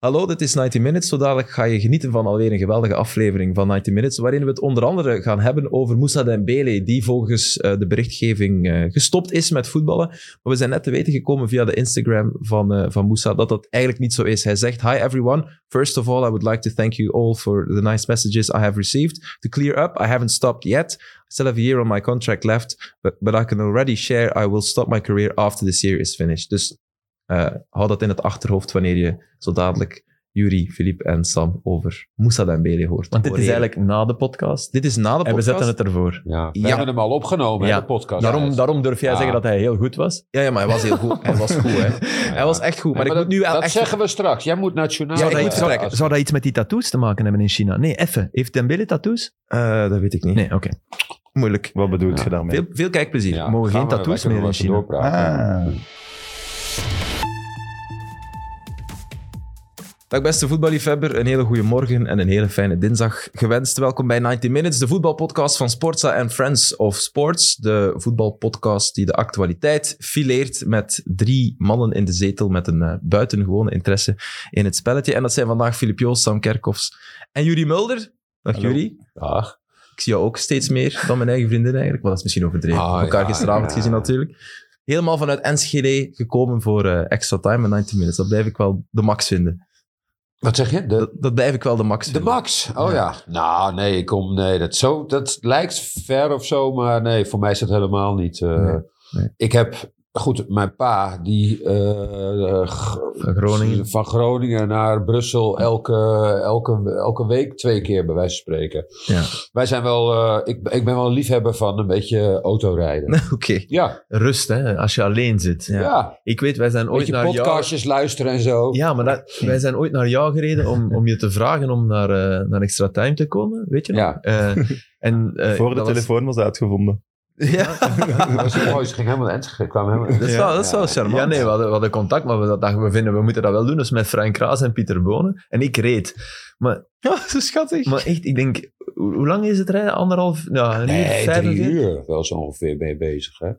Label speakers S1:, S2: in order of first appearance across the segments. S1: Hallo, dit is 90 Minutes. Zo dadelijk ga je genieten van alweer een geweldige aflevering van 90 Minutes, waarin we het onder andere gaan hebben over Moussa Dembele, die volgens eh, de berichtgeving eh, gestopt is met voetballen. Maar we zijn net te weten gekomen via de Instagram van, eh, van Moussa dat dat eigenlijk niet zo is. Hij zegt, hi everyone, first of all I would like to thank you all for the nice messages I have received. To clear up, I haven't stopped yet. I still have a year on my contract left, but, but I can already share I will stop my career after this year is finished. Dus eh, hou dat in het achterhoofd wanneer je zo dadelijk Yuri, Filip en Sam over Moussa Dembele hoort.
S2: Want dit is
S1: Horen.
S2: eigenlijk na de podcast.
S1: Dit is na de
S2: En we
S1: podcast.
S2: zetten het ervoor.
S3: Ja, we
S1: Ja.
S3: hebben hem al opgenomen, hè,
S2: Ja.
S3: de podcast.
S2: Daarom, daarom durf jij
S3: Ja.
S2: zeggen dat hij heel goed was.
S1: ja, ja, maar hij was heel goed. Hij was goed, hè. Hij was echt goed. Maar,
S3: Nee,
S1: ik moet nu wel
S3: dat
S1: echt...
S3: zeggen we straks. Jij moet nationaal...
S1: Ja,
S2: zou,
S1: ik
S2: dat
S1: moet
S2: iets,
S1: vertrekken.
S2: zou, zou dat iets met die tattoos te maken hebben in China? Nee, effe. Heeft Dembele tattoos?
S1: Eh, dat weet ik niet.
S2: Nee, oké.
S1: Moeilijk.
S4: Wat bedoelt
S3: Ja.
S4: je daarmee?
S1: Veel, veel kijkplezier.
S2: mogen geen tattoos meer in China.
S4: Ah.
S1: Dag beste voetballiefhebber, een hele goede morgen en een hele fijne dinsdag gewenst. Welkom bij 90 Minutes, de voetbalpodcast van Sportza en Friends of Sports. De voetbalpodcast die de actualiteit fileert met drie mannen in de zetel met een eh, buitengewone interesse in het spelletje. En dat zijn vandaag Filip Joos, Sam Kerkhoffs en Jurie Mulder. Dag
S4: Hallo.
S1: Jurie. Ik zie jou ook steeds meer dan mijn eigen vriendin eigenlijk. Maar dat is misschien overdreven.
S3: Ah,
S1: Ik heb elkaar
S3: ja,
S1: gisteravond
S3: ja.
S1: gezien natuurlijk. Helemaal vanuit Enschede gekomen voor eh, extra time en 90 minutes. Dat blijf ik wel de max vinden.
S3: Wat zeg je? De,
S1: Dat, dat blijf ik wel de max
S3: de
S1: vinden.
S3: Max? Oh ja. Nou, nee, ik kom... Nee, dat, zo, dat lijkt ver of zo, maar nee, voor mij is dat helemaal niet... eh,
S1: Nee, nee.
S3: Ik heb... Goed, mijn pa, die eh, g-
S1: Van Groningen.
S3: Dus van Groningen naar Brussel elke, elke, elke week twee keer, bij wijze van spreken.
S1: Ja.
S3: Wij zijn wel... eh, ik, ik ben wel een liefhebber van een beetje autorijden.
S1: Oké. Eh,
S3: Ja,
S2: Rust, hè, als je alleen zit.
S1: Ja.
S3: ja.
S2: Ik weet, wij zijn
S3: Een
S2: ooit
S3: beetje
S2: naar jou...
S3: podcastjes luisteren en zo.
S2: Ja, maar dat, wij zijn ooit naar jou gereden om, om je te vragen om naar, eh, naar Extra Time te komen, weet je nog?
S3: Ja.
S2: Eh, en, eh,
S4: Voor de
S2: dat was-
S4: telefoon was uitgevonden.
S1: Ja,
S3: Dat was mooi. Ze ging helemaal Enschede. kwam helemaal...
S1: dat is
S2: Ja.
S1: wel, dat is wel charmant.
S2: Ja, nee, we hadden, we hadden contact, maar we dachten, we vinden, we moeten dat wel doen. Dus met Frank Kraas en Pieter Bonen. En ik reed. Maar,
S1: zo schattig.
S2: maar echt, ik denk, hoe, hoe lang is het rijden? Anderhalf, nou, een uur,
S3: Nee,
S2: vijf
S3: drie
S2: of zo?
S3: uur wel zo ongeveer ben je bezig. Hè?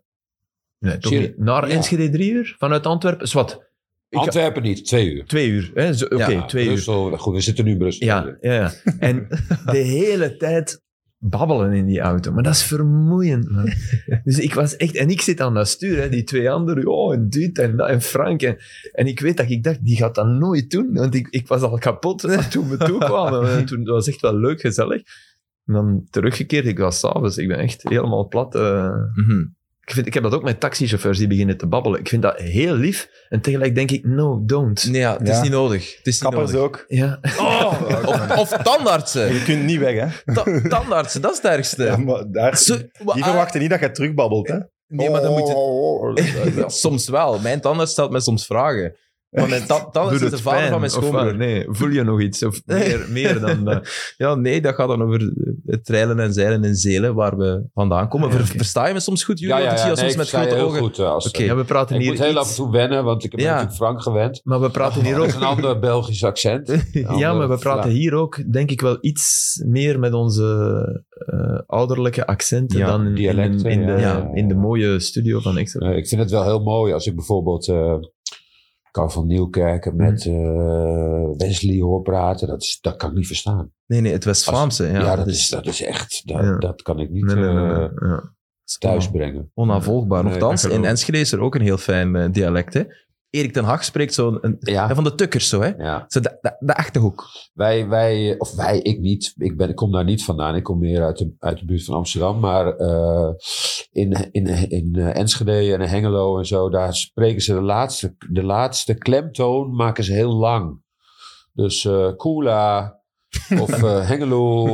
S2: Nee, toch
S3: Zie je-
S2: niet. Naar
S3: Ja.
S2: Enschede drie uur? Vanuit Antwerpen? Zwat, ga-
S3: Antwerpen niet, twee uur.
S2: twee uur. hè? Zo- Oké,
S3: Ja,
S2: twee uur.
S3: Brussel, Goed, we zitten nu in Brussel.
S2: Ja, ja, ja. En de hele tijd babbelen in die auto. Maar dat is vermoeiend, man. Dus ik was echt... En ik zit aan dat stuur, hè. Die twee anderen, oh, en dit en dat, en Frank. En, en ik weet dat ik dacht, die gaat dat nooit doen. Want ik, ik was al kapot hè, toen we toekwamen. En toen, dat was echt wel leuk, gezellig. En dan teruggekeerd, ik was s'avonds. Ik ben echt helemaal plat. eh.
S1: Mhm.
S2: Ik, vind, ik heb dat ook met taxichauffeurs die beginnen te babbelen. Ik vind dat heel lief. En tegelijk denk ik, no, don't.
S1: Nee, ja, het is
S4: Ja.
S1: niet nodig. Het is niet
S4: Kappers
S1: nodig.
S4: ook. Oh.
S2: Ja.
S1: Of, of tandartsen.
S4: Je kunt niet weg, hè?
S1: Ta- tandartsen, dat is het ergste.
S4: Ja, maar daar,
S1: Zo-
S4: die verwachten niet dat je terugbabbelt, hè? Oh,
S1: Nee, maar dan moet je...
S4: je...
S1: Soms wel. Mijn tandarts stelt mij soms vragen. Maar mijn ta- tandarts is de vader van mijn schoonbroer.
S2: Nee, voel je nog iets? Of meer, meer dan eh, dat?
S1: Ja, nee, dat gaat dan over het treilen en zeilen in Zelen, waar we vandaan komen.
S2: Ah, ja,
S1: Ver-
S2: oké.
S1: Versta je me soms goed,
S3: ja,
S1: jullie?
S3: ja,
S1: Want
S3: ja,
S1: ik zie jou
S3: nee,
S1: soms
S3: ik
S1: met
S3: sta je
S1: grote
S3: heel
S1: ogen.
S3: goed. eh, als
S1: Oké.
S2: Ja, we praten
S3: Ik
S2: hier
S3: moet heel
S2: iets-
S3: af en toe wennen, want ik heb
S1: Ja.
S3: natuurlijk Frank gewend.
S2: Maar we praten hier
S3: Dat
S2: ook...
S3: is een ander Belgisch accent. Eh, Een
S2: Ja,
S3: ander
S2: maar we praten
S3: vlak.
S2: hier ook, denk ik wel, iets meer met onze eh, ouderlijke accenten
S1: Ja,
S2: dan in, in de-
S3: dialecten,
S2: in, de,
S3: ja, ja.
S2: in de mooie studio van Extra.
S3: Nee, ik vind het wel heel mooi als ik bijvoorbeeld eh Carl van Nieuwkerken met eh, Wesley hoor praten. Dat, is, dat kan ik niet verstaan.
S1: Nee, nee, het West-Vlaamse. Ja,
S3: Ja, dat, is, dat is echt, dat,
S2: Ja.
S3: dat kan ik niet
S2: Nee, nee, nee, nee,
S3: eh,
S2: ja.
S3: thuis brengen.
S1: Onafvolgbaar.
S3: Nee,
S1: Nochtans,
S2: dat
S1: in
S2: geloof ik.
S1: Enschede is er ook een heel fijn eh, dialect. Hè? Erik ten Hag spreekt zo'n... een-
S3: Ja,
S1: ja, van de tukkers zo, hè?
S3: ja.
S1: Zo de, de, de achterhoek.
S3: Wij, wij, of wij, ik niet. Ik, ben, ik kom daar niet vandaan. Ik kom meer uit de, uit de buurt van Amsterdam. Maar eh, in, in, in eh, Enschede en Hengelo en zo, daar spreken ze de laatste, de laatste klemtoon maken ze heel lang. Dus eh Kula of eh, Hengelo.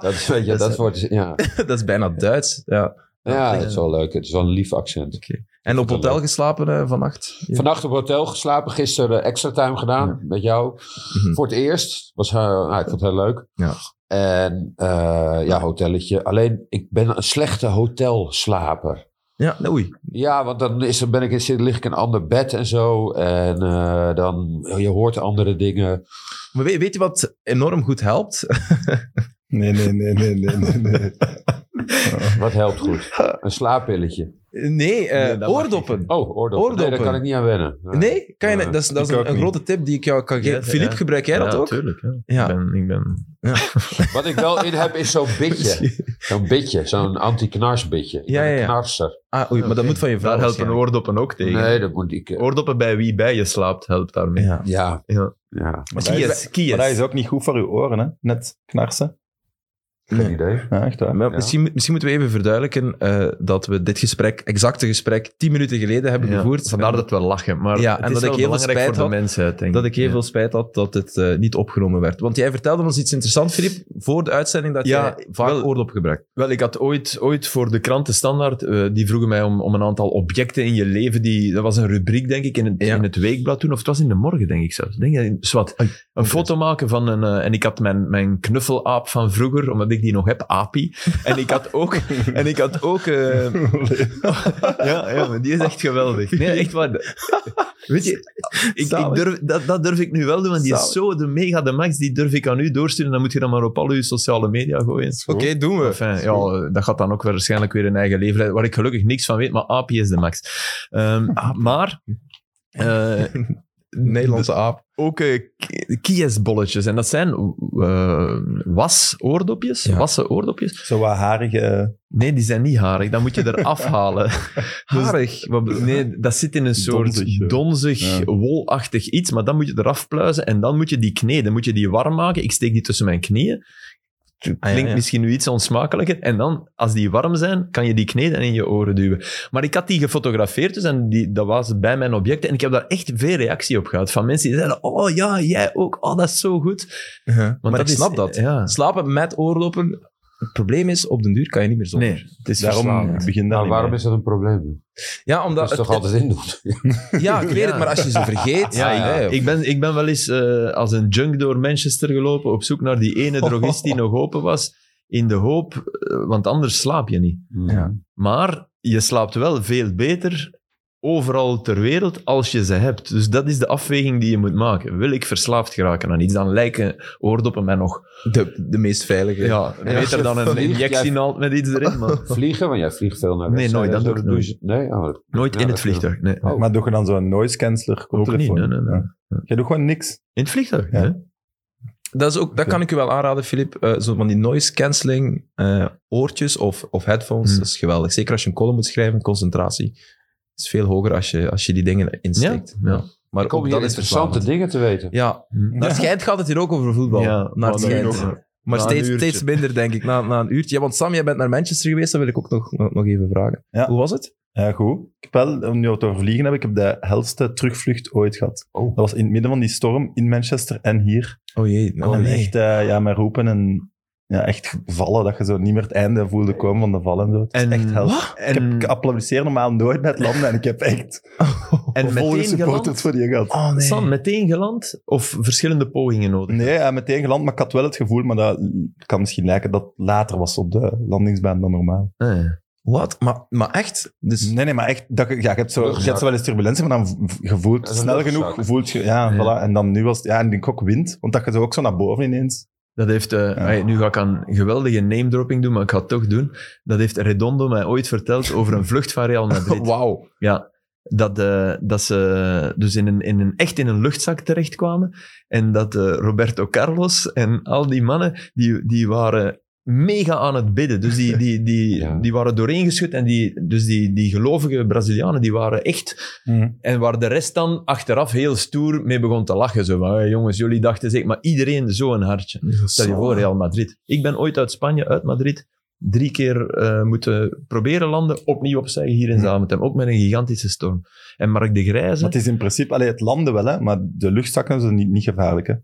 S3: dat, is- weet je,
S1: Dat is-
S3: dat wordt, ja.
S1: dat is bijna Duits. Ja.
S3: ja, dat is wel leuk. Het is wel een lief accent.
S1: En op
S3: wel
S1: hotel
S3: leuk.
S1: geslapen eh, vannacht? Ja.
S3: Vannacht op hotel geslapen, gisteren extra time gedaan met jou.
S1: Mhm.
S3: Voor het eerst. Was, eh, nou, ik vond het heel leuk.
S1: Ja.
S3: En eh, ja, hotelletje. Alleen, ik ben een slechte hotelslaper.
S1: Ja, oei.
S3: Ja, want dan, is, er- ben ik, zit, lig ik in een ander bed en zo. En eh, dan, je hoort andere dingen.
S1: Maar weet, weet je wat enorm goed helpt?
S4: Nee, nee, nee, nee, nee, nee. nee.
S3: Wat helpt goed? Een slaappilletje.
S1: Nee, eh,
S2: Nee, dat mag
S1: oordoppen.
S3: Oh, oordoppen. Nee,
S1: Oordoppen.
S3: daar kan ik niet aan wennen.
S1: Nee, kan je,
S3: Ja.
S1: dat is, dat is
S4: Ik ook
S1: een, een
S4: niet.
S1: grote tip die ik jou kan
S2: Ja,
S1: geven.
S2: ja.
S1: Filip, gebruik jij dat
S2: ja,
S1: ook?
S2: Tuurlijk, ja.
S1: Ja.
S2: Ik ben, ik ben...
S3: Wat ik wel in heb, is zo'n bitje. Zo'n bitje, zo'n anti-knarsbitje. Ik
S1: Ja,
S3: ben
S1: ja,
S3: een
S1: ja.
S3: Knarser.
S1: Ah, oei, maar dat moet van je vrouw
S2: Daar helpen
S1: waarschijnlijk.
S2: oordoppen ook tegen.
S3: Nee, dat moet ik... eh,
S2: Oordoppen bij wie bij je slaapt, helpt daarmee.
S1: Ja.
S3: Ja,
S2: Ja.
S3: ja.
S4: Maar dat, is,
S2: Kies, kies.
S4: maar dat is ook niet goed voor uw oren, hè? Net knarsen.
S3: Geen idee.
S4: Ja, echt waar.
S1: Maar
S3: Ja.
S1: misschien, misschien moeten we even verduidelijken eh, dat we dit gesprek, exacte gesprek, tien minuten geleden hebben
S2: Ja,
S1: gevoerd.
S2: Vandaar
S1: En
S2: dat we lachen, maar
S1: Ja,
S2: het
S1: en
S2: is
S1: dat
S2: wel
S1: ik heel veel
S2: belangrijk
S1: spijt
S2: voor
S1: had
S2: de mensheid, denk ik.
S1: dat ik heel
S2: Ja.
S1: veel spijt had dat het eh, niet opgenomen werd. Want jij vertelde ons iets interessants, Filip, voor de uitzending dat
S2: Ja,
S1: jij vaak
S2: wel-
S1: oordop gebruikt.
S2: Wel, ik had ooit, ooit voor de krantenstandaard, eh die vroegen mij om, om een aantal objecten in je leven. Die, dat was een rubriek, denk ik, in het,
S1: Ja.
S2: in het weekblad toen, of het was in de morgen, denk ik zelfs. Denk je, zwart. Een foto maken van een... eh, en ik had mijn, mijn knuffelaap van vroeger, omdat ik die nog heb, api. En ik had ook... en ik had ook eh, ja, ja, maar die is echt geweldig. Nee, echt waar. Weet je, ik, ik
S1: Zalig.
S2: durf, dat, dat durf ik nu wel doen, want die is
S1: Zalig.
S2: zo de mega de max. Die durf ik aan u doorsturen. Dan moet je dat maar op al uw sociale media gooien.
S1: Oké, doen we.
S2: Enfin, ja, dat gaat dan ook waarschijnlijk weer een eigen leven leiden, waar ik gelukkig niks van weet, maar API is de max. Ehm, maar... eh,
S1: Nederlandse aap.
S2: ook eh, k- kiesbolletjes. En dat zijn eh, was-oordopjes.
S1: Ja.
S2: Wassen oordopjes.
S4: Zo wat harige...
S2: Nee, die zijn niet harig. Dan moet je er afhalen.
S1: Harig. Wat be-
S2: Nee, dat zit in een soort
S4: Donzig,
S2: donzig,
S4: ja. Ja.
S2: wolachtig iets. Maar dan moet je eraf pluizen en dan moet je die kneden. Moet je die warm maken. Ik steek die tussen mijn knieën.
S1: Ah, ja,
S2: Klinkt
S1: ja.
S2: misschien nu iets onsmakelijker. En dan, als die warm zijn, kan je die kneden en in je oren duwen. Maar ik had die gefotografeerd, dus en die, dat was bij mijn objecten. En ik heb daar echt veel reactie op gehad. Van mensen die zeiden, oh ja, jij ook. Oh, dat is zo goed.
S1: Maar
S2: Want
S1: ik snap
S2: is-
S1: dat.
S2: Ja.
S1: Slapen met oordoppen. Het probleem is, op den duur kan je niet meer zonder.
S2: Nee, het is
S4: Daarom
S2: verslavend.
S4: begin dat
S3: Nou,
S4: niet
S3: waarom
S4: mee.
S3: is dat een probleem?
S1: Ja, omdat...
S3: Dat is
S1: Nou, het-
S3: toch altijd in doen?
S1: Ja, ik weet
S2: Ja.
S1: het, maar als je ze vergeet...
S2: Ja,
S1: Ah,
S2: ik, ik, ben, ik ben wel eens eh, als een junk door Manchester gelopen op zoek naar die ene drogist die nog open was, in de hoop, eh, want anders slaap je niet.
S3: Hmm.
S1: Ja.
S2: Maar je slaapt wel veel beter overal ter wereld als je ze hebt. Dus dat is de afweging die je moet maken. Wil ik verslaafd geraken aan iets, dan lijken oordoppen mij nog
S1: de, de meest veilige.
S2: ja,
S3: als
S2: beter
S3: je
S2: dan een
S3: vliegt,
S2: injectie
S3: jij-
S2: naald met iets erin. Maar
S3: Vliegen, want jij vliegt veel naar
S2: Nee,
S3: wedstrijden.
S2: nooit, dat
S3: Zo
S2: doe ik nooit.
S3: je- Nee, oh,
S2: nooit
S3: Ja,
S2: in het
S3: dat is wel-
S2: vliegtuig. Nee.
S3: Oh.
S4: Maar doe je dan zo'n noise canceller
S2: Ook niet, nee, nee, nee.
S4: Ja. Je doet gewoon niks.
S2: In het vliegtuig,
S4: Ja.
S2: hè?
S1: Dat, is ook, dat kan ik u wel aanraden, Filip. Eh, zo van die noise cancelling eh, oortjes of, of headphones,
S2: Hmm.
S1: dat is geweldig. Zeker als je een column moet schrijven, concentratie is veel hoger als je, als je die dingen insteekt.
S2: Ja, ja.
S1: Maar
S3: Kom
S1: ook
S3: hier
S1: dat is
S3: interessante
S1: verslavend.
S3: dingen te weten.
S1: Ja, naar het schijnt gaat het hier ook over voetbal.
S2: Ja,
S1: naar
S2: maar
S1: het
S2: nu
S1: schijnt.
S2: nog-
S1: Maar
S2: na een
S1: steeds,
S2: uurtje.
S1: steeds minder, denk ik, na, na een uurtje. Ja, want Sam, jij bent naar Manchester geweest, dat wil ik ook nog, nog nog even vragen.
S4: Ja.
S1: Hoe was het?
S4: Ja, goed. Ik heb wel, om nu het over vliegen heb, ik heb de helste terugvlucht ooit gehad.
S3: Oh.
S4: Dat was in het midden van die storm in Manchester en hier.
S1: Oh jee, nou,
S4: en
S1: nee.
S4: echt, eh, ja, met roepen en ja, echt vallen, dat je zo niet meer het einde voelde komen van de vallen. en Zo. Het is
S2: En-
S4: echt hel.
S2: Wat?
S4: Ik, heb,
S2: En-
S4: ik applaudisseer normaal nooit bij het landen en ik heb echt
S2: En
S4: volle
S2: meteen geland?
S4: supporters voor die gehad.
S1: Oh nee.
S2: Sam, meteen geland of verschillende pogingen nodig?
S4: Nee, ja, meteen geland, maar ik had wel het gevoel, maar dat kan misschien lijken dat het later was op de landingsbaan dan normaal.
S2: Ah, ja.
S1: Wat? Maar, maar echt? Dus
S4: Nee, nee, maar echt, dat, je- ja, je, hebt zo, je hebt zo wel eens turbulentie, maar dan v- je voelt
S3: Dat is een
S4: snel
S3: luchtzaak.
S4: genoeg, voelt je, ja,
S2: Ja.
S4: Voilà, en dan nu was het, ja, en ik ook wind, want dat je zo ook zo naar boven ineens.
S2: Dat heeft, eh, ai, nu ga ik een geweldige name dropping doen, maar ik ga het toch doen. Dat heeft Redondo mij ooit verteld over een vlucht van Real Madrid.
S1: Wauw.
S2: Ja, dat, eh, dat ze dus in een, in een, echt in een luchtzak terechtkwamen. En dat eh, Roberto Carlos en al die mannen, die, die waren mega aan het bidden. Dus die, die, die,
S3: Ja.
S2: die waren doorheen geschud. En die, dus die, die gelovige Brazilianen, die waren echt
S1: Mhm.
S2: En waar de rest dan achteraf heel stoer mee begon te lachen. Zo van, "Hey, jongens, jullie dachten zeker, maar iedereen zo'n hartje. Stel je voor, Real Madrid. Ik ben ooit uit Spanje, uit Madrid, drie keer eh, moeten proberen landen, opnieuw opzeggen hier in
S4: Hmm.
S2: Zaventem. Ook met een gigantische storm. En Mark de Grijze...
S4: Maar het is in principe, allee, het landen wel, hè, maar de luchtzakken zijn niet, niet gevaarlijk. Hè.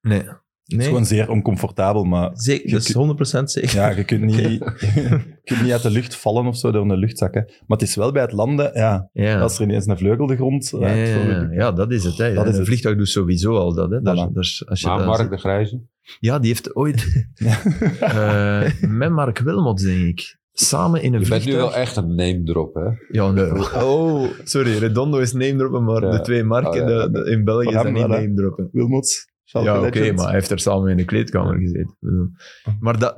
S2: Nee.
S4: Het is
S1: Nee,
S4: gewoon zeer oncomfortabel, maar
S1: zeker, dat is 100% zeker.
S4: ja, je kunt niet, je kunt niet uit de lucht vallen of zo door een luchtzak. Hè. Maar het is wel bij het landen, ja,
S2: Ja.
S4: als er ineens een vleugel de grond eh,
S2: Ja,
S4: raakt,
S2: ja,
S4: zo-
S2: ja. Ja, dat is het. Hè.
S4: Dat is
S2: een
S4: het.
S2: vliegtuig doet sowieso al dat. Hè. Daar,
S4: Voilà.
S2: daar- als je
S3: Maar
S2: daar
S3: Mark
S2: zit-
S3: de Grijze?
S2: Ja, die heeft ooit... eh, met Mark Wilmots, denk ik. Samen in een
S3: Je bent nu
S2: vliegtuig...
S3: wel echt een name drop, hè?
S2: Ja, nee. Oh, sorry, Redondo is name droppen, maar
S3: Ja.
S2: de twee marken
S3: Oh, ja.
S2: de- de- in België
S4: Voor hem
S2: zijn niet
S4: wel, hè.
S2: name droppen.
S4: Wilmots,
S2: Ja,
S4: Schalke
S2: oké,
S4: legend.
S2: maar hij heeft er samen in de kleedkamer gezeten. Ik bedoel. Maar dat,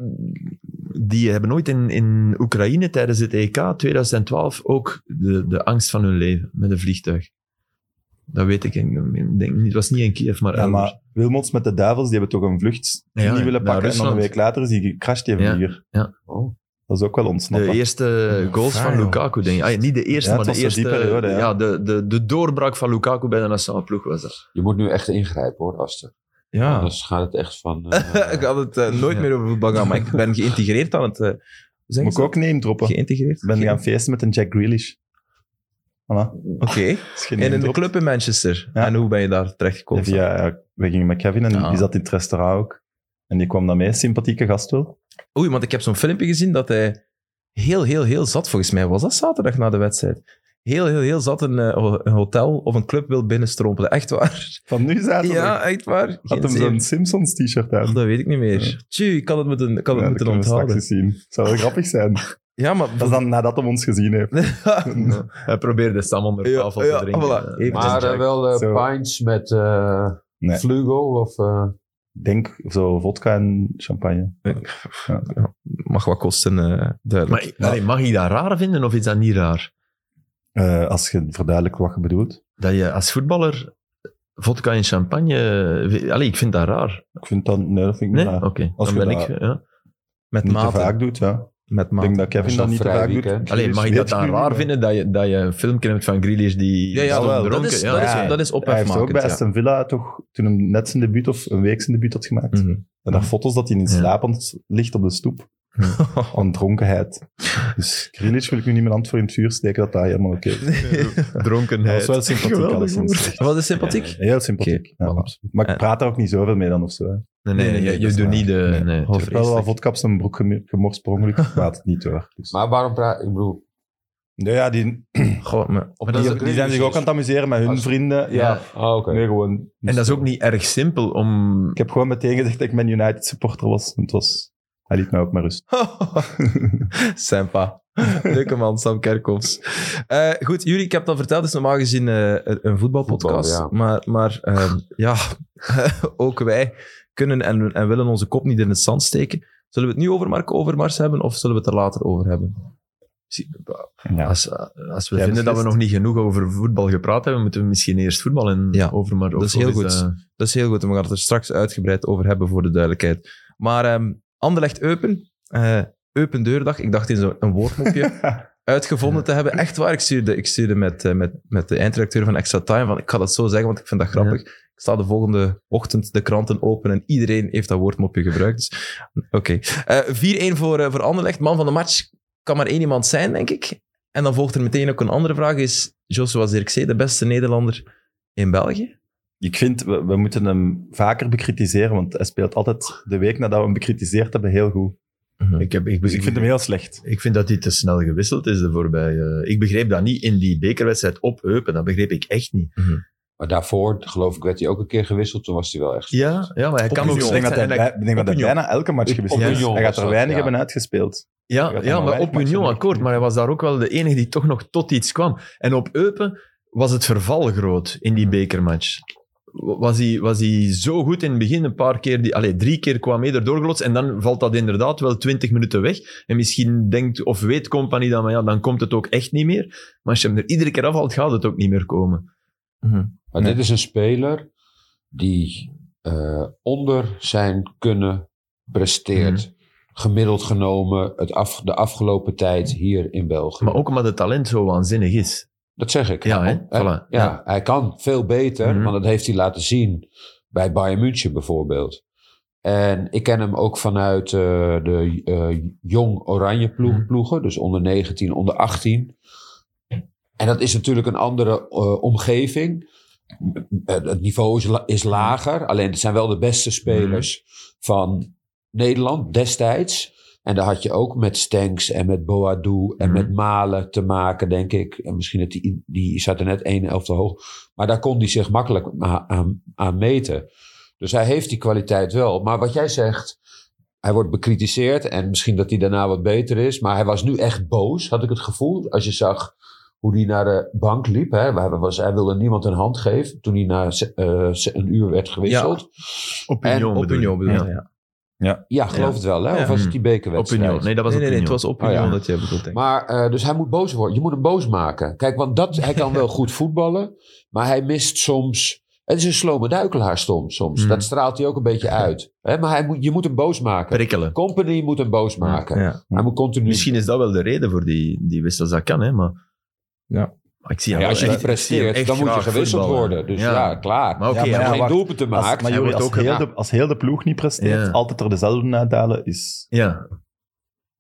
S2: die hebben nooit in, in Oekraïne tijdens het E EK 2012 ook de, de angst van hun leven met een vliegtuig. Dat weet ik. Ik denk, niet- het was niet in Kiev, maar,
S4: Ja,
S2: elders.
S4: maar Wilmots met de duivels, die hebben toch een vlucht die
S2: Ja,
S4: niet willen
S2: naar
S4: pakken. En dan een
S2: Rusland.
S4: week later is die gecrashed, die
S2: Ja,
S4: vlieger.
S2: ja.
S4: Oh, dat is ook wel ontsnappen.
S2: De eerste goals
S1: fijn,
S2: van
S1: joh.
S2: Lukaku, denk ik. Ah, niet de eerste,
S4: Ja, het
S2: maar de
S4: was
S2: eerste.
S4: zo die periode, ja.
S2: de, de, de doorbraak van Lukaku bij de nationale ploeg was dat.
S3: Je moet nu echt ingrijpen hoor, Aster.
S1: Ja.
S3: Anders gaat het echt van... eh,
S1: Ik had het eh, nooit
S2: Ja.
S1: meer over voetbal gaan, maar ik ben geïntegreerd aan het... eh, hoe zeggen
S4: Moet
S1: ze
S4: ik ook name droppen?
S1: dat? Geïntegreerd?
S4: Ik ben
S1: Ge-
S4: gaan feesten met een Jack Grealish. Voilà.
S1: Oké.
S4: Is
S1: En in
S4: geen
S1: de
S4: drop.
S1: club in Manchester.
S4: Ja.
S1: En hoe ben je daar terechtgekomen?
S4: Via, eh, ja, we gingen met Kevin en
S1: Ja.
S4: die zat in het restaurant ook. En die kwam dan mee, sympathieke gast wel.
S1: Oei, want ik heb zo'n filmpje gezien dat hij heel, heel, heel zat, volgens mij was dat zaterdag na de wedstrijd, heel, heel, heel zat een, eh, ho- een hotel of een club wil binnenstrompelen. Echt waar.
S4: Van nu zaten
S1: Ja, echt waar.
S4: Had
S1: Geen
S4: hem
S1: zeer.
S4: zo'n Simpsons t-shirt
S1: Oh,
S4: aan.
S1: dat weet ik niet meer.
S4: Ja.
S1: Tjie, ik kan het moeten, ik kan het
S4: Ja,
S1: moeten
S4: dat kunnen we straks
S1: onthouden.
S4: eens zien. Zou wel grappig zijn.
S1: Ja, maar...
S4: Dat is dan nadat hem ons gezien heeft.
S2: Hij probeerde Sam onder
S1: Ja,
S2: tafel
S1: ja,
S2: te drinken.
S1: voilà.
S2: Eh,
S1: Even-
S3: maar eh, wel eh,
S4: Zo.
S3: pints met eh
S4: Nee.
S3: Vlugel of... eh,
S4: Ik denk zo vodka en champagne.
S1: Mag wat kosten, eh, duidelijk.
S2: Maar, allee, mag je dat raar vinden of is dat niet raar?
S4: Eh, als je verduidelijkt wat je bedoelt.
S2: Dat je als voetballer vodka en champagne... eh, Allee, ik vind dat raar.
S4: Ik vind dat... Nee, dat vind ik
S2: Nee?
S4: niet
S2: Oké,
S4: raar. Als
S2: dan
S4: je
S2: ben
S4: dat-
S2: ik... Ja.
S1: met
S4: Niet te
S1: maten.
S4: vaak doet, ja.
S1: Met
S4: Ik
S1: maten.
S4: denk dat Kevin
S3: is
S4: dat,
S3: dan
S4: niet te
S3: vrij
S4: vaak
S3: week,
S4: doet.
S3: hè?
S2: Allee,
S4: Dus
S2: mag je
S4: weet
S2: dat dan
S4: nu
S2: raar
S4: niet,
S2: vinden dat je, dat je een filmpje hebt van Grealish die...
S1: Ja, ja,
S2: die
S4: dat wel.
S1: dat
S2: dronken-
S1: is,
S2: ja,
S1: dat is,
S2: oké.
S1: dat is
S4: Hij
S1: ophef
S4: heeft ook
S1: maken.
S4: bij
S1: ja.
S4: Aston Villa toch, toen hij net zijn debuut of een week zijn debuut had gemaakt,
S1: Mhm.
S4: en daar foto's dat hij in
S2: Ja.
S4: slapend ligt op de stoep. Aan dronkenheid. Dus Grealish wil ik nu niet mijn hand voor in het vuur steken dat dat helemaal oké is. Dat
S2: Dronkenheid.
S4: was wel sympathiek
S2: Geweldig,
S4: alleszins.
S1: Wat is sympathiek?
S4: Heel sympathiek. ja,
S1: voilà.
S4: absoluut. Maar ik
S1: En-
S4: praat daar ook niet zoveel mee dan of zo. hè.
S2: Nee, nee,
S1: Nee, nee,
S2: je,
S1: dat
S2: je
S1: is
S2: doet
S1: waar.
S2: niet de...
S1: Nee.
S2: Nee,
S1: Oh,
S4: Ik heb wel wat
S1: Vreselijk.
S4: vodka op zijn broek gem- gemorst per ongeluk, maar het niet hoor. Dus.
S3: Maar waarom praat... Ik bedoel...
S4: Nee, ja, die,
S1: Goh, maar-
S2: Maar
S3: Op
S2: dat is-
S4: die zijn zich ook aan het amuseren met hun
S3: Als-
S4: vrienden. Ja.
S2: Ja.
S3: Oh, oké.
S4: Nee, gewoon.
S2: En dat is ook niet erg simpel om...
S4: Ik heb gewoon meteen gezegd dat ik mijn United supporter was. Het was... Hij liet mij ook maar rust.
S1: Sempa. Leuke man, Sam Kerkhoffs. Eh, goed, jullie, ik heb dat verteld, het is normaal gezien eh, een voetbalpodcast.
S3: Voetbal,
S1: Maar, maar ehm, ja, ook wij kunnen en, en willen onze kop niet in het zand steken. Zullen we het nu over Marco Overmars hebben of zullen we het er later over hebben?
S4: Ja.
S2: Als, als we
S4: Ja,
S2: vinden dat we
S4: beslist.
S2: nog niet genoeg over voetbal gepraat hebben, moeten we misschien eerst voetbal en
S1: Ja,
S2: over maar
S1: dat is heel goed. Dat is heel goed, en we gaan het er straks uitgebreid over hebben voor de duidelijkheid. Maar ehm Anderlecht Eupen, eh Eupen Deurdag, ik dacht in zo'n een woordmopje. uitgevonden te hebben. Echt waar, ik stuurde, ik stuurde met, eh, met, met de eindredacteur van Extra Time van ik ga dat zo zeggen, want ik vind dat grappig. Ik sta de volgende ochtend de kranten open en iedereen heeft dat woordmopje gebruikt. Dus, Oké. Eh, 4-1 voor, eh, voor Anderlecht. Man van de match kan maar één iemand zijn, denk ik. En dan volgt er meteen ook een andere vraag. Is Joshua Zirkzee de beste Nederlander in België?
S4: Ik vind, we, we moeten hem vaker bekritiseren, want hij speelt altijd de week nadat we hem bekritiseerd hebben heel goed.
S2: eh, Ik, heb, ik,
S4: Dus ik vind hem heel slecht.
S2: ik vind dat die te snel gewisseld is de voorbije. Ik begreep dat niet in die bekerwedstrijd op Eupen. Dat begreep ik echt niet.
S3: Maar daarvoor, geloof ik, werd hij ook een keer gewisseld. Toen was hij wel echt...
S2: Ja, ja maar hij kan ook
S4: ik denk
S2: slecht
S4: dat hij,
S2: zijn. En
S4: bij- ik denk dat hij
S2: Opinion.
S4: bijna elke match gewisseld
S3: Opinion
S4: is. Hij gaat
S3: was dat,
S4: er weinig
S3: ja.
S4: hebben uitgespeeld.
S2: Ja,
S4: Hij gaat
S2: ja
S4: maar
S2: maar op
S4: weinig
S2: Union
S4: matchen
S2: akkoord.
S4: doen.
S2: Maar hij was daar ook wel de enige die toch nog tot iets kwam. En op Eupen was het verval groot in die bekermatch. Was hij, was hij zo goed in het begin, een paar keer, die, allee, drie keer kwam hij erdoor gelotst. En dan valt dat inderdaad wel twintig minuten weg. En misschien denkt of weet Company dan, maar ja, dan komt het ook echt niet meer. Maar als je hem er iedere keer afvalt, gaat het ook niet meer komen.
S3: Maar
S4: Nee.
S3: dit is een speler die eh, onder zijn kunnen presteert.
S2: Mhm.
S3: Gemiddeld genomen het af, de afgelopen tijd hier in België.
S2: Maar ook omdat het talent zo waanzinnig is.
S3: dat zeg ik.
S2: Ja, hè?
S3: Hè?
S2: Voilà.
S3: Ja, hij kan veel beter,
S2: Mhm.
S3: want dat heeft hij laten zien bij Bayern München bijvoorbeeld. En ik ken hem ook vanuit eh, de eh, jong oranje ploeg-
S2: Mhm.
S3: ploegen, dus onder 19, onder 18. En dat is natuurlijk een andere eh, omgeving. Eh, Het niveau is, la- is lager, alleen het zijn wel de beste spelers
S2: Mhm.
S3: van Nederland destijds. En daar had je ook met Stenks en met Boadu en
S2: Mhm.
S3: met Malen te maken, denk ik. En misschien dat die, die zat er net één elf te hoog. Maar daar kon hij zich makkelijk ma- aan, aan meten. Dus hij heeft die kwaliteit wel. Maar wat jij zegt, hij wordt bekritiseerd. En misschien dat hij daarna wat beter is. Maar hij was nu echt boos, had ik het gevoel. Als je zag hoe hij naar de bank liep. Hè. Hij, was, hij wilde niemand een hand geven toen hij na ze- eh, ze- een uur werd gewisseld.
S2: Op
S3: En
S2: Union
S1: Op
S2: bedoel
S1: Union
S2: je.
S1: bedoel
S2: Ja.
S1: ik, ja.
S4: Ja.
S3: Ja, geloof
S2: Ja.
S3: het wel. Hè? Of
S1: Ja.
S3: was het die bekerwedstrijd?
S2: Opinion. Nee, dat was
S1: nee, nee, nee,
S2: opinion.
S1: het was opinion
S3: Oh, ja.
S1: dat je bedoelt, denk ik.
S3: Maar, eh, dus hij moet boos worden. Je moet hem boos maken. Kijk, want dat, hij kan wel goed voetballen, maar hij mist soms... Het is een slome duikelaar stom, soms.
S2: Mm.
S3: Dat straalt hij ook een beetje uit. Hè? Maar hij moet, je moet hem boos maken.
S2: prikkelen.
S3: Company moet hem boos maken.
S1: Ja.
S3: Hij moet continu...
S1: Hmm.
S2: Misschien is dat wel de reden voor die, die wissels. Dat kan, hè, maar...
S1: Ja.
S2: Maar ik zie hem
S3: Ja,
S2: wel
S3: als je
S2: echt-
S3: niet
S2: ik zie hem
S3: presteert,
S2: echt
S3: dan moet je
S2: graag
S3: gewisseld
S2: voetballen.
S3: worden. Dus ja, klaar.
S2: Maar oké,
S4: Ja,
S3: als
S4: maar ja,
S3: je geen
S4: wacht.
S3: doelpunten maakt...
S4: Als, maar Jori,
S2: wordt
S4: als,
S2: ook
S4: heel
S3: gedaan.
S4: de, als heel de ploeg niet presteert,
S2: Ja.
S4: altijd er dezelfde nadelen is.
S2: Ja,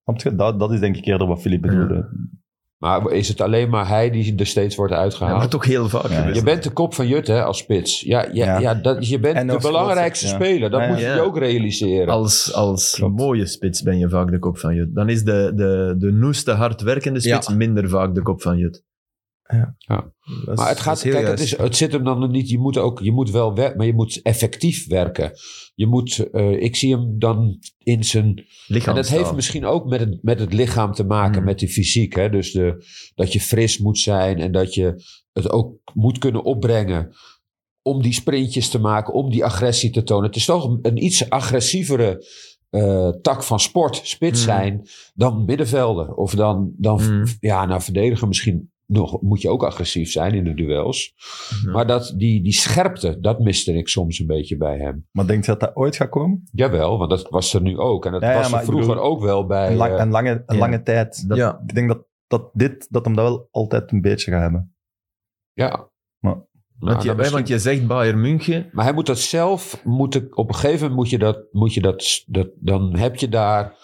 S4: Snap je? Dat, dat is denk ik eerder wat Filip bedoelde.
S3: Maar is het alleen maar hij die er steeds wordt
S2: hij
S3: uitgehaald?
S2: wordt ook heel vaak
S4: Ja.
S2: gewisseld.
S3: Je bent de kop van Jut hè, als spits. Ja, ja, ja.
S4: Ja.
S3: dat, je bent
S4: En
S3: de
S4: als-
S3: belangrijkste
S4: ja.
S3: speler. Dat
S4: Ja, ja.
S3: moet je je ook realiseren.
S2: Als, als
S4: Klopt.
S2: mooie spits ben je vaak de kop van Jut. Dan is de, de, de noeste, hardwerkende spits
S1: Ja.
S2: minder vaak de kop van Jut.
S1: Dat is-
S3: maar het,
S1: dat
S3: gaat,
S1: is heel
S3: kijk, het,
S1: juist.
S3: is, het zit hem dan niet. Je moet, ook, je moet wel werken, maar je moet effectief werken. Je moet, eh, ik zie hem dan in zijn. En
S2: Lichaam
S3: dat heeft misschien ook met het, met het lichaam te maken,
S4: Hmm.
S2: Mm.
S3: met die fysiek. Hè? Dus de, dat je fris moet zijn en dat je het ook moet kunnen opbrengen. Om die sprintjes te maken, om die agressie te tonen. Het is toch een, een iets agressievere eh, tak van sport, spits
S2: Mm.
S4: Hmm.
S3: zijn, dan middenvelder. Of dan, dan
S2: Mm.
S3: ja, nou verdedigen misschien nog, moet je ook agressief zijn in de duels.
S4: Mhm.
S3: Maar dat, die, die scherpte, dat miste ik soms een beetje bij hem.
S4: Maar denk je dat dat ooit gaat komen?
S3: Jawel, want dat was er nu ook. En dat
S4: Ja, ja,
S3: was
S4: maar
S3: er
S4: ik
S3: vroeger
S4: bedoel-
S3: ook wel bij...
S4: Een, lang-
S3: eh,
S4: een lange, een
S2: ja.
S4: lange tijd.
S2: dat-
S1: ja.
S4: Ik denk dat, dat dit dat hem dat wel altijd een beetje gaat hebben.
S3: ja.
S4: Maar-
S3: Nou,
S2: want, je,
S3: dat
S2: hè,
S3: misschien-
S2: want je zegt Bayern München.
S3: Maar hij moet dat zelf, moet ik- op een gegeven moment moet je dat, moet je dat, dat, dan heb je daar,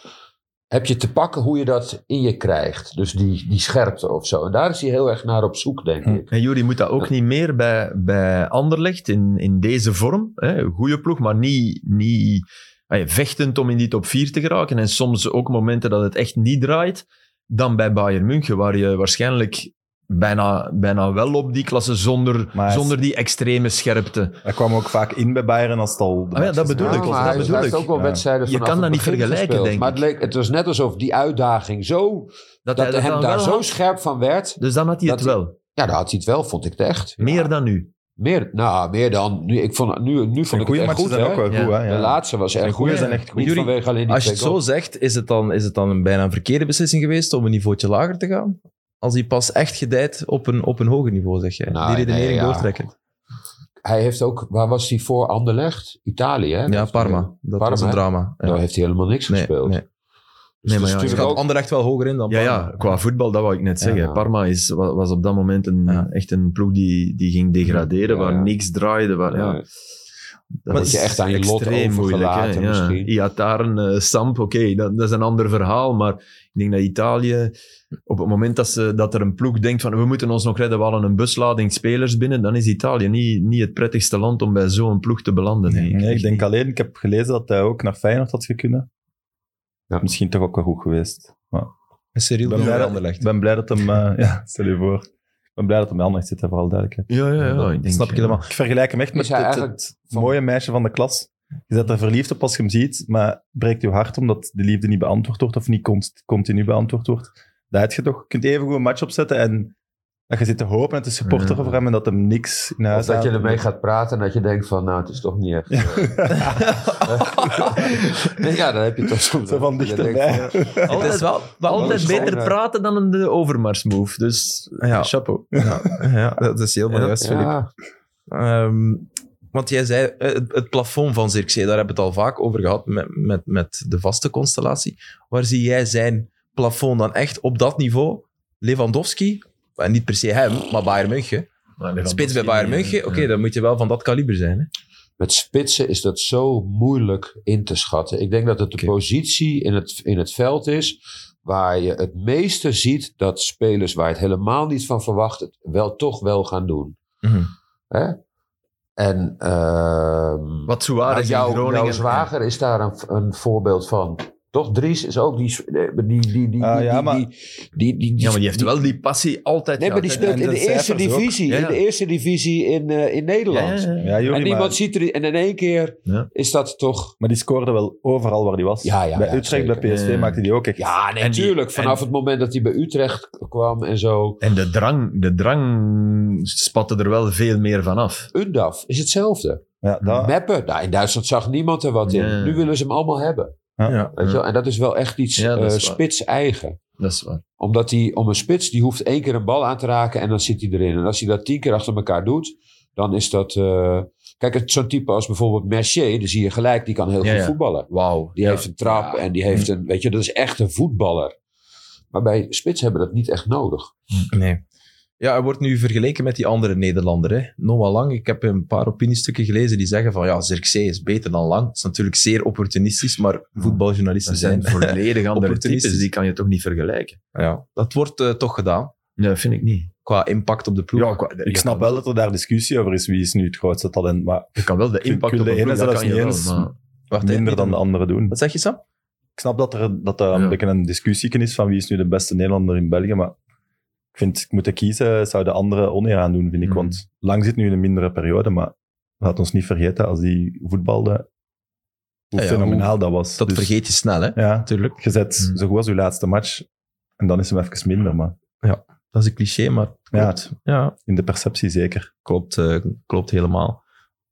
S3: heb je te pakken hoe je dat in je krijgt. Dus die, die scherpte of zo. En daar is hij heel erg naar op zoek, denk
S4: Hm.
S3: ik.
S2: En Juri moet dat ook niet meer bij, bij Anderlecht in, in deze vorm. Hè? Goede ploeg, maar niet, niet ah, vechtend om in die top 4 te geraken. En soms ook momenten dat het echt niet draait. Dan bij Bayern München, waar je waarschijnlijk bijna, bijna wel op die klasse zonder,
S4: Maar hij is-
S2: zonder die extreme scherpte.
S4: Hij kwam ook vaak in bij Bayern als het al... de
S2: Ah ja,
S4: match
S2: dat
S4: was.
S2: bedoel ik,
S3: Ja, maar
S2: dat
S3: hij
S2: bedoel
S3: heeft
S2: ik.
S3: ook wel
S4: Ja.
S3: wedstrijden
S2: Je
S3: vanaf
S2: kan
S3: het
S2: dat niet
S3: begin
S2: vergelijken,
S3: gespeeld.
S2: denk
S3: Maar
S2: ik.
S3: het, leek, het was net alsof die uitdaging zo... Dat,
S2: hij
S3: hem
S2: dan
S3: daar
S2: wel
S3: zo
S2: had.
S3: scherp van werd.
S2: Dus dan had hij
S3: dat
S2: het
S3: hij-
S2: wel.
S3: Ja, daar had hij het wel, vond ik het echt. Ja.
S2: Meer dan nu.
S3: Meer, nou, meer dan... Nu, ik vond, nu, nu vond
S4: Zijn
S3: ik het
S4: goede
S3: echt
S4: matchen
S3: goed,
S4: zijn
S3: hè.
S4: ook wel
S2: Ja.
S4: goed. Hè? Ja.
S3: De laatste was echt
S4: Zijn goeie
S3: goed.
S4: zijn echt goed.
S3: Niet
S1: Jullie,
S3: vanwege alleen die
S1: Als je het
S3: twee
S1: zo
S3: goals.
S1: zegt, is het, dan, is het dan een bijna een verkeerde beslissing geweest om een niveautje lager te gaan? Als die pas echt gedijt op een, op een hoger niveau, zeg jij.
S3: Nee,
S1: die redenering
S3: nee, ja.
S1: doortrekken. Dus
S3: Hij heeft ook... Waar was hij voor Anderlecht? Italië, hè?
S1: Ja,
S3: Dat-
S1: Parma. Dat
S3: Parma,
S1: was een
S3: hè?
S1: drama. Ja.
S3: Daar heeft hij helemaal niks
S1: nee,
S3: gespeeld.
S1: nee.
S3: Dus
S2: Nee,
S3: het
S2: maar ja,
S3: is
S2: je
S3: natuurlijk
S1: Gaat
S3: ook-
S1: Anderlecht wel hoger in dan
S2: Ja,
S1: Parma.
S2: ja, qua voetbal, dat wou ik net zeggen.
S3: Ja.
S2: Parma is, wa- was op dat moment een,
S1: Ja.
S2: echt een ploeg die, die ging degraderen,
S3: Ja,
S2: waar
S3: ja.
S2: niks draaide. Waar, ja,
S3: Nee.
S2: dat
S3: word je
S2: is
S3: echt aan je lot
S2: extreem moeilijk, hè,
S3: overgelaten misschien.
S2: Iataren, eh, Samp, oké, dat, dat is een ander verhaal. Maar ik denk dat Italië, op het moment dat, ze, dat er een ploeg denkt van we moeten ons nog redden, we halen een buslading spelers binnen, dan is Italië niet, niet het prettigste land om bij zo'n ploeg te belanden.
S1: Nee,
S2: denk ik.
S4: Nee, ik
S2: Echt
S4: denk
S2: niet.
S4: alleen, ik heb gelezen dat hij ook naar Feyenoord had gekunnen.
S3: Ja.
S4: Misschien toch ook wel goed geweest.
S1: En Cyril
S4: ben
S1: doet
S4: blij
S1: bij
S4: dat-
S1: Anderlecht.
S4: Ik ben blij dat hem... eh, ja, stel je voor. Ik ben blij dat hem bij Anderlecht zit, hè, vooral duidelijk.
S2: Ja, ja, ja.
S1: Dat
S2: ik denk,
S1: snap ik helemaal.
S4: Ik vergelijk hem echt met
S3: Is hij
S4: het,
S3: eigenlijk
S4: het
S3: van-
S4: mooie meisje van de klas. Je zet er verliefd op als je hem ziet, maar breekt je hart omdat de liefde niet beantwoord wordt of niet const- continu beantwoord wordt. Dat heb je toch. Je kunt even goed een match opzetten en dat je zit te hopen en te supporteren
S2: Ja.
S4: voor hem en dat hem niks in
S3: Of Dus
S4: huis
S3: dat je
S4: haalt.
S3: ermee gaat praten en dat je denkt van, nou, het is toch niet echt. Nee, ja, dan heb je toch soms.
S4: Zo van
S3: dat je denkt
S4: dichterbij.
S3: van,
S2: Het is wel, altijd
S3: Alles
S2: beter
S3: gewoon, eh.
S2: praten dan een de overmars-move. Dus
S1: Ja.
S2: chapeau.
S1: Ja, ja, dat is helemaal
S2: Ja.
S1: juist,
S3: ja,
S1: Filip.
S3: ja,
S1: Ehm, want jij zei, eh, het, het plafond van Zirkzee, daar hebben we het al vaak over gehad met, met, met de vaste constellatie. Waar zie jij zijn plafond dan echt op dat niveau? Lewandowski, en niet per se hem, maar Bayern München. Spits bij Bayern München, oké, dan moet je wel van dat kaliber zijn. Hè?
S3: Met spitsen is dat zo moeilijk in te schatten. Ik denk dat het de
S1: Oké.
S3: positie in het, in het veld is waar je het meeste ziet dat spelers waar je het helemaal niet van verwacht, het wel toch wel gaan doen.
S1: Mhm.
S3: Hè? En ehm
S2: eh, Wat Suarez
S3: nou, jouw,
S2: in Groningen.
S3: jouw zwager is daar een, een voorbeeld van. Toch, Dries is ook die... eh, Die, die, die, die,
S4: Ah, ja,
S3: die-
S4: maar-
S3: die, die, die- die-
S2: Ja, maar die heeft wel die passie altijd
S3: Nee, maar die
S2: gehad, hè.
S3: speelt in
S4: de
S3: de eerste
S4: cijfers ook.
S3: divisie.
S2: dus Ja,
S3: In
S2: ja.
S3: de eerste divisie in, eh, in Nederland.
S2: Ja, ja, ja.
S4: Ja,
S3: En
S4: Juri,
S3: niemand
S4: maar,
S3: ziet er... En in één keer
S2: Ja.
S3: is dat toch...
S4: maar die scoorde wel overal waar hij was.
S3: Ja, ja,
S4: bij
S3: ja,
S4: Utrecht,
S3: zeker. Eh,
S4: bij PSV
S2: Ja.
S4: maakte hij ook echt.
S3: Ja,
S2: En die-
S3: natuurlijk. Vanaf het moment dat hij bij Utrecht kwam en zo.
S2: En de drang, de drang spatte er wel veel meer van af.
S3: Undaf is hetzelfde.
S4: Ja, dat-
S3: Meppen. Nou, in Duitsland zag niemand er wat in.
S2: Ah. Ja.
S3: Nu willen ze hem allemaal hebben.
S4: ja.
S3: Weet je wel? En dat is wel echt iets
S2: Ja, dat
S3: eh,
S2: is waar.
S3: spits eigen.
S2: Dat is waar.
S3: Omdat hij om een spits, die hoeft één keer een bal aan te raken en dan zit hij erin. En als hij dat tien keer achter elkaar doet, dan is dat... eh, Kijk, het- zo'n type als bijvoorbeeld Mercier, dan zie je gelijk, die kan heel
S2: Ja,
S3: goed
S2: ja.
S3: voetballen.
S2: Wauw.
S3: Die
S2: Ja.
S3: heeft een trap en die heeft een... Weet je, dat is echt een voetballer. Maar bij spits hebben dat niet echt nodig.
S1: Nee. Ja, hij wordt nu vergeleken met die andere Nederlander. Hè. Noah Lang, ik heb een paar opiniestukken gelezen die zeggen van ja, Zirkzee is beter dan Lang. Dat is natuurlijk zeer opportunistisch, maar voetbaljournalisten
S2: Dat
S1: zijn...
S2: zijn volledig andere
S1: Opportunistisch.
S2: types, die kan je toch niet vergelijken?
S1: Ja, dat wordt eh, toch gedaan,
S2: Nee, dat vind ik niet.
S1: qua impact op de ploeg.
S2: Ja, qua-
S4: Ik snap wel dat er daar discussie over is wie is nu het grootste talent, maar
S2: Je kan wel de
S4: Ik
S2: impact
S4: wil
S2: op
S4: de
S2: de
S4: ene
S2: ploeg, dat
S4: zelfs
S2: kan je
S4: niet
S2: wel,
S4: eens-
S2: maar...
S1: Wacht, hè,
S4: minder dan de anderen doen.
S1: Wat zeg je, Sam?
S4: Ik snap dat er, dat er een
S2: Ja.
S4: beetje een discussie is van wie is nu de beste Nederlander in België, maar ik vind, ik moet er kiezen, zou de andere oneer aan doen, vind ik.
S2: Mm.
S4: Want Lang zit nu in een mindere periode, maar laat ons niet vergeten, als die voetbalde, hoe
S1: Ja,
S3: Ah
S1: ja,
S4: fenomenaal dat was.
S1: Dat
S4: Dus,
S1: vergeet je snel, hè?
S4: Ja,
S1: Natuurlijk.
S4: je zet
S2: Mm.
S4: zo goed als je laatste match en dan is hem even minder, maar
S1: Dat is een cliché, maar het
S4: Ja.
S1: klopt. ja,
S4: in de perceptie zeker.
S1: klopt, eh, klopt helemaal.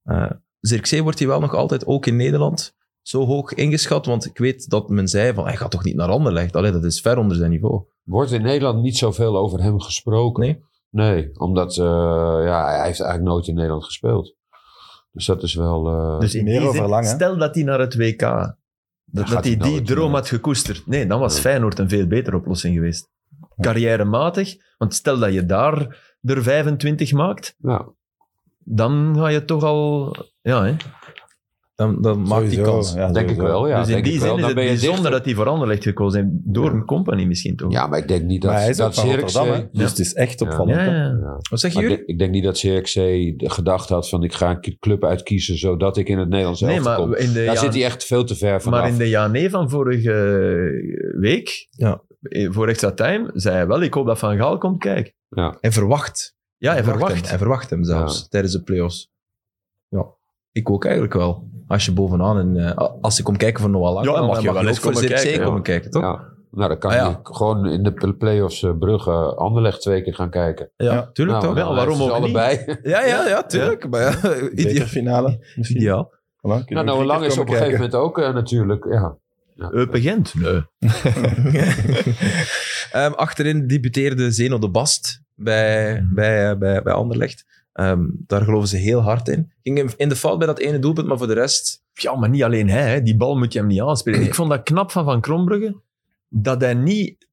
S1: Eh Zirkzee wordt hij wel nog altijd, ook in Nederland, zo hoog ingeschat. Want ik weet dat men zei van, hij gaat toch niet naar Anderlecht? Allee, dat is ver onder zijn niveau.
S3: wordt in Nederland niet zoveel over hem gesproken.
S1: Nee?
S3: Nee, omdat eh, ja, hij heeft eigenlijk nooit in Nederland gespeeld. Dus dat is wel... eh,
S2: Dus in
S4: Meer
S2: die
S4: over
S2: zin,
S4: Lang, hè?
S2: stel dat hij naar het WK, dat, dat
S3: gaat
S2: hij
S3: hij nou
S2: die
S3: nooit,
S2: droom
S3: nee.
S2: had gekoesterd. Nee, dan was
S3: Nee.
S2: Feyenoord een veel betere oplossing geweest. Carrièrematig, want stel dat je daar er 25 maakt,
S3: nou,
S2: dan ga je toch al... Ja, hè?
S1: Dan, dan maakt hij
S4: Sowieso,
S1: kans.
S4: ja,
S3: denk ik
S4: sowieso.
S3: wel, ja.
S2: dus in
S3: denk
S2: die
S3: ik
S2: zin
S3: wel.
S2: is
S3: Dan
S2: het
S3: ben je
S2: bijzonder
S3: dichter.
S2: dat hij voor Anderlecht gekozen zijn. Door een company misschien toch?
S3: Ja, maar ik denk niet dat...
S4: maar hij is
S3: dat
S4: ook van Rotterdam, hè?
S3: Zirkzee-
S4: dus het is echt
S3: Ja.
S4: opvallend.
S2: ja,
S4: hè?
S2: ja.
S3: Ja.
S1: Wat zeggen
S3: Maar
S1: jullie?
S3: ik, denk- ik denk niet dat Zirkzee de gedachte had van ik ga een club uitkiezen zodat ik in het Nederlands
S2: Nee,
S3: elftal kom.
S2: maar in de
S3: Daar
S2: ja-
S3: zit hij echt veel te ver vanaf.
S2: Maar in de ja nee van vorige week,
S1: Ja.
S2: eh, voor extra time, zei hij wel, ik hoop dat Van Gaal komt kijken.
S1: Hij verwacht.
S2: Ja, hij
S1: Hem.
S2: verwacht.
S1: Hij verwacht hem zelfs, tijdens de play-offs. Ja, ik ook eigenlijk wel. Als je bovenaan, en, eh, als ik kom kijken voor Noah Lang,
S2: Ja, dan mag je wel
S1: ook
S2: eens
S1: voor
S2: komen
S1: Zirkzee
S2: kijken,
S1: komen
S3: ja.
S1: kijken, toch?
S3: Ja. Nou, dan kan
S1: Ah, ja.
S3: ik gewoon in de pl- play-offs eh, Brugge Anderlecht twee keer gaan kijken.
S1: Ja,
S4: Ja.
S1: tuurlijk
S3: nou,
S1: toch?
S2: wel,
S3: dan
S2: waarom
S3: hebben ze
S2: ook niet?
S3: allebei.
S1: Ja, ja, ja, tuurlijk. Maar ja, ideaal.
S4: Bekerfinale misschien.
S1: ideaal.
S4: Voilà, kunnen we
S3: Nou, nou,
S4: drie
S3: Lang
S4: keer
S3: is op
S4: komen
S3: een gegeven
S4: kijken.
S3: moment ook eh, natuurlijk... Ja.
S2: Eupen Gent? Nee.
S1: Ehm, achterin debuteerde Zeno de Bast bij,
S2: Mhm.
S1: bij, eh, bij, bij Anderlecht. Ehm, daar geloven ze heel hard in. Ging in- in de fout bij dat ene doelpunt, maar voor de rest...
S2: Ja, maar niet alleen hij. Hè. Die bal moet je hem niet aanspelen. Ik vond dat knap van Van Krombrugge, dat hij niet